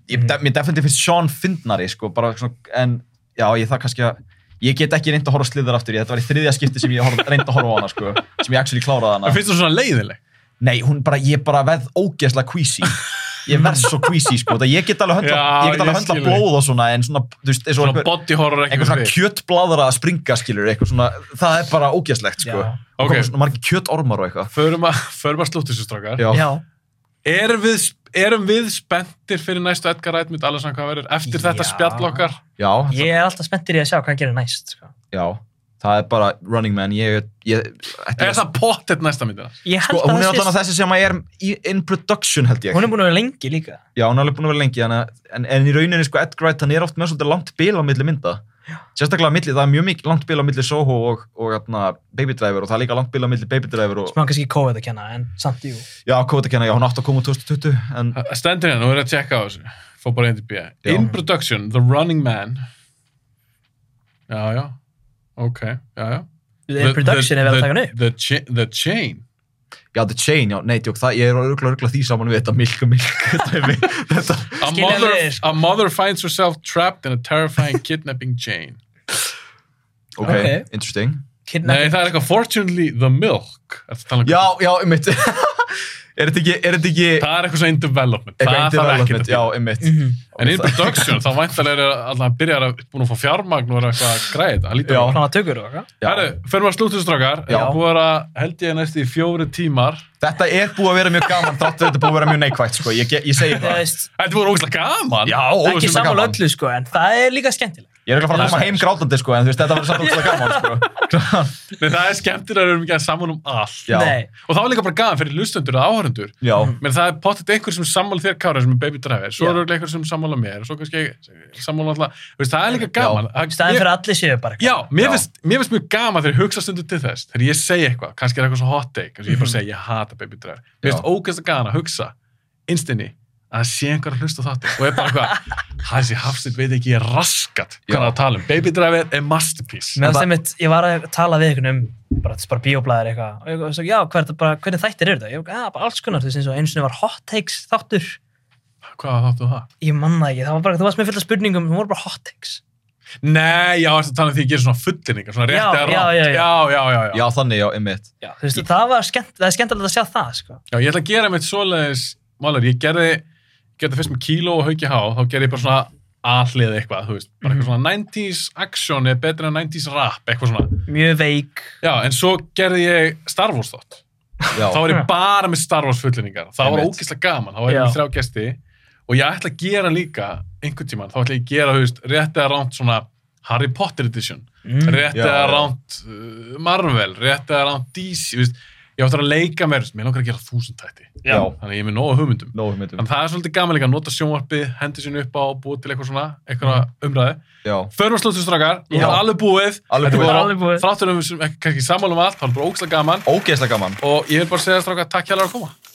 [SPEAKER 6] ég
[SPEAKER 5] Mm.
[SPEAKER 6] de, mér definitíð finnst Sean fyndnari sko, bara svona, en já, ég það kannski að, ég get ekki reynd að horfa sliðir aftur, ég, þetta var í þriðja skipti sem ég horf, reynd að horfa á hana sko, sem ég actually kláraði hana.
[SPEAKER 5] Mér finnst hún svona leiðileg.
[SPEAKER 6] Nei, hún bara, ég bara veð ógeðslega queasy. Ég verð svo queasy, sko. Það ég get alveg höndla,
[SPEAKER 5] Já,
[SPEAKER 6] ég get alveg
[SPEAKER 5] ég
[SPEAKER 6] höndla
[SPEAKER 5] skil þig.
[SPEAKER 6] blóð og svona, en svona, þú veist, eins og
[SPEAKER 5] Svona
[SPEAKER 6] einhver,
[SPEAKER 5] body horror ekki
[SPEAKER 6] einhver svona
[SPEAKER 5] fyrir.
[SPEAKER 6] kjötbladra að springa, skilur, eitthvað svona, það er bara ógeðslegt, sko.
[SPEAKER 7] Já.
[SPEAKER 6] Og
[SPEAKER 5] Ok.
[SPEAKER 6] koma Svona margir kjötormar og eitthvað.
[SPEAKER 5] Förum að, förum að slúttu þessu strákar.
[SPEAKER 6] Já.
[SPEAKER 7] Já,
[SPEAKER 5] Erum við, erum við spenntir fyrir næstu Edgar Wright mynd alveg saman hvað verður? Eftir þetta
[SPEAKER 7] Já.
[SPEAKER 5] spjall okkar?
[SPEAKER 6] Já,
[SPEAKER 7] ég er alltaf spenntir í að sjá hvað hann gerir næst, sko.
[SPEAKER 6] já. það er bara running man ég, ég, ætti ég,
[SPEAKER 5] Er það pottet næsta myndina?
[SPEAKER 7] Ég held
[SPEAKER 6] sko, hún
[SPEAKER 7] að
[SPEAKER 6] er
[SPEAKER 7] það
[SPEAKER 6] alltaf þessi sem er í, in production held ég
[SPEAKER 7] Hún er búin að vera lengi líka.
[SPEAKER 6] já, hún er alveg búin að vera lengi þannig að- en, en í rauninni sko Ed Wright hann er oft með svolítið langt bil á milli mynda sérstaklega á milli, það er mjög mikið langt bil á milli Soho og, og atna, Baby Driver og það er líka langt bil á milli Baby Driver og
[SPEAKER 7] Sem hann kannski COVID að kenna, en samt jú.
[SPEAKER 6] já, Kota kenna, já, hún átt að koma úr 2020 en
[SPEAKER 5] Það Stendur hérna, nú er ég að tjekka á þessu. Fá bara einn til B.
[SPEAKER 6] Já.
[SPEAKER 5] In production, The Running Man. Já, já. Ok, já, já.
[SPEAKER 7] The production er verið að taka hann upp.
[SPEAKER 5] The, the, the Chain.
[SPEAKER 6] já, The Chain, já, nei, tjók, það, ég er örgulega örgulega því saman við þetta milk og milk dæmi. þetta,
[SPEAKER 7] Skilja
[SPEAKER 5] A mother,
[SPEAKER 7] leiðir, sko.
[SPEAKER 5] a mother finds herself trapped in a terrifying kidnapping chain.
[SPEAKER 6] ok,
[SPEAKER 7] Ok.
[SPEAKER 6] interesting
[SPEAKER 5] Nei,
[SPEAKER 7] Kidnapping.
[SPEAKER 5] það er eitthvað Fortunately the Milk. Ertu að tala um-
[SPEAKER 6] já, já, einmitt er þetta ekki, er þetta ekki
[SPEAKER 5] Það er eitthvað svo in development.
[SPEAKER 6] eitthvað
[SPEAKER 5] það þarf
[SPEAKER 6] development,
[SPEAKER 5] ekkert að Mhm.
[SPEAKER 6] já,
[SPEAKER 5] þýða.
[SPEAKER 6] einmitt
[SPEAKER 5] En in production, þá væntalega er alltaf að byrja að búin að fá fjármagn og er eitthvað að græða þetta. Það lítur
[SPEAKER 6] Já.
[SPEAKER 5] að
[SPEAKER 7] Þannig að tökur þú eitthvað.
[SPEAKER 6] Já.
[SPEAKER 5] Herru, fyrir maður slúttustrákar,
[SPEAKER 6] Já.
[SPEAKER 5] það er búið að vera, held ég næst í fjóri tímar.
[SPEAKER 6] Þetta er búið að vera mjög gaman þáttu þetta er búið að vera mjög neikvægt sko. ég, ég segi
[SPEAKER 7] Það
[SPEAKER 6] það
[SPEAKER 7] veist,
[SPEAKER 5] Þetta voru ógeðslega gaman.
[SPEAKER 6] Já,
[SPEAKER 7] ekki
[SPEAKER 6] ógeðslega
[SPEAKER 7] saman
[SPEAKER 6] gaman.
[SPEAKER 7] öllu sko, en það er líka skemmtilegt.
[SPEAKER 6] Ég er ekki að fara að koma heim grátandi sko, en þú veist, þetta var samt ógeðslega gaman sko.
[SPEAKER 5] Nei, það er skemmtilega að við erum ekki að saman um allt.
[SPEAKER 6] Já.
[SPEAKER 7] Nei,
[SPEAKER 5] Og það var líka bara gaman fyrir lustendur og áhörundur.
[SPEAKER 6] Já,
[SPEAKER 5] Menn það er pottet einhver sem er sammála þér Kára sem er baby driver, svo
[SPEAKER 7] Já.
[SPEAKER 5] eru einhver sem er sammála mér, svo kannski sammála alltaf. Veist, það er líka gaman. Það-
[SPEAKER 7] staðin
[SPEAKER 5] ég-
[SPEAKER 7] fyrir að allir séu bara
[SPEAKER 5] Já, mér
[SPEAKER 6] Já.
[SPEAKER 5] finnst, mér finnst mjög gaman þegar ég hugsa stundu til þess, þegar ég segi eitthvað, kannski er eitthvað svo hot take, kannski ég
[SPEAKER 7] Mhm.
[SPEAKER 5] bara segi ég hata baby driver. Mér finnst
[SPEAKER 6] Já.
[SPEAKER 5] ógæst að gana að hugsa, instinni, að það sé einhver að hlusta á þáttir og er bara eitthvað, hans ég hafstitt veit ekki, ég er raskat hvað
[SPEAKER 6] Já.
[SPEAKER 5] það að tala um. Baby driver er masterpiece.
[SPEAKER 7] Mér
[SPEAKER 6] En
[SPEAKER 7] fannst
[SPEAKER 6] það-
[SPEAKER 7] einmitt, ég var að tala við einhvern um bara, þetta er bara bíóblæðir eitthvað og ég var svo, já, hver, bara, hvernig þættir eru þetta? Ég var, já, bara alls konar, þú veist eins og eins og var hot takes þáttur
[SPEAKER 5] Hvað þáttu það?
[SPEAKER 7] ég manna ekki, það var bara, þú varst með fullt af spurningum það voru bara hot takes
[SPEAKER 5] Nei, já, ertu að tala um því að gera svona fullinningar, svona
[SPEAKER 7] Já,
[SPEAKER 5] rétt eða
[SPEAKER 7] já,
[SPEAKER 5] rátt.
[SPEAKER 7] já, já.
[SPEAKER 5] já, já, já, já.
[SPEAKER 6] já, þannig, já, einmitt
[SPEAKER 7] já, þú veist, það var skemmt, það er skemmtilegt að sjá það sko.
[SPEAKER 5] Já, ég ætla að gera mitt svoleiðis málar. Ég gerði, gerði fyrst með kíló og hauki há, þá gerði ég bara svona aðlið eitthvað, þú veist, bara eitthvað svona 90s action er betur en 90s rap, eitthvað svona.
[SPEAKER 7] mjög veik,
[SPEAKER 5] Já, en svo gerði ég Star Wars þátt.
[SPEAKER 6] já.
[SPEAKER 5] Þá var ég bara með Star Wars fullinningar. Það var
[SPEAKER 6] Einmitt.
[SPEAKER 5] ógeðslega gaman, þá var ég
[SPEAKER 7] Já.
[SPEAKER 5] með þrjá gesti og ég ætla að gera líka einhvern tíman, þá ætla ég að gera, þú veist, rétt eða ránt svona Harry Potter edition,
[SPEAKER 7] Mm.
[SPEAKER 5] rétt
[SPEAKER 6] Já,
[SPEAKER 5] eða
[SPEAKER 6] já.
[SPEAKER 5] ránt uh, Marvel, rétt eða ránt DC, þú veist, ég ætla að leika mér, þú veist, mér langar að gera þúsund þætti.
[SPEAKER 6] Já.
[SPEAKER 5] Þannig að ég er með nóga hugmyndum.
[SPEAKER 6] Nóg, einmitt um-
[SPEAKER 5] Þannig að það er svolítið gaman líka að nota sjónvarpið, hendi sinni upp á og búið til eitthvað svona, eitthvað umræði.
[SPEAKER 6] Já,
[SPEAKER 5] Förum að slóttu strakar, nú
[SPEAKER 6] Já.
[SPEAKER 5] er alveg búið.
[SPEAKER 6] Alveg
[SPEAKER 5] Þetta
[SPEAKER 6] búið.
[SPEAKER 5] var-
[SPEAKER 7] Alveg búið.
[SPEAKER 5] Þráttur um, sem- ekki- kannski sammála um allt, það er bara ógslag gaman.
[SPEAKER 6] ógeðslega gaman
[SPEAKER 5] Og ég vil bara segja strakar, takk hjá að koma.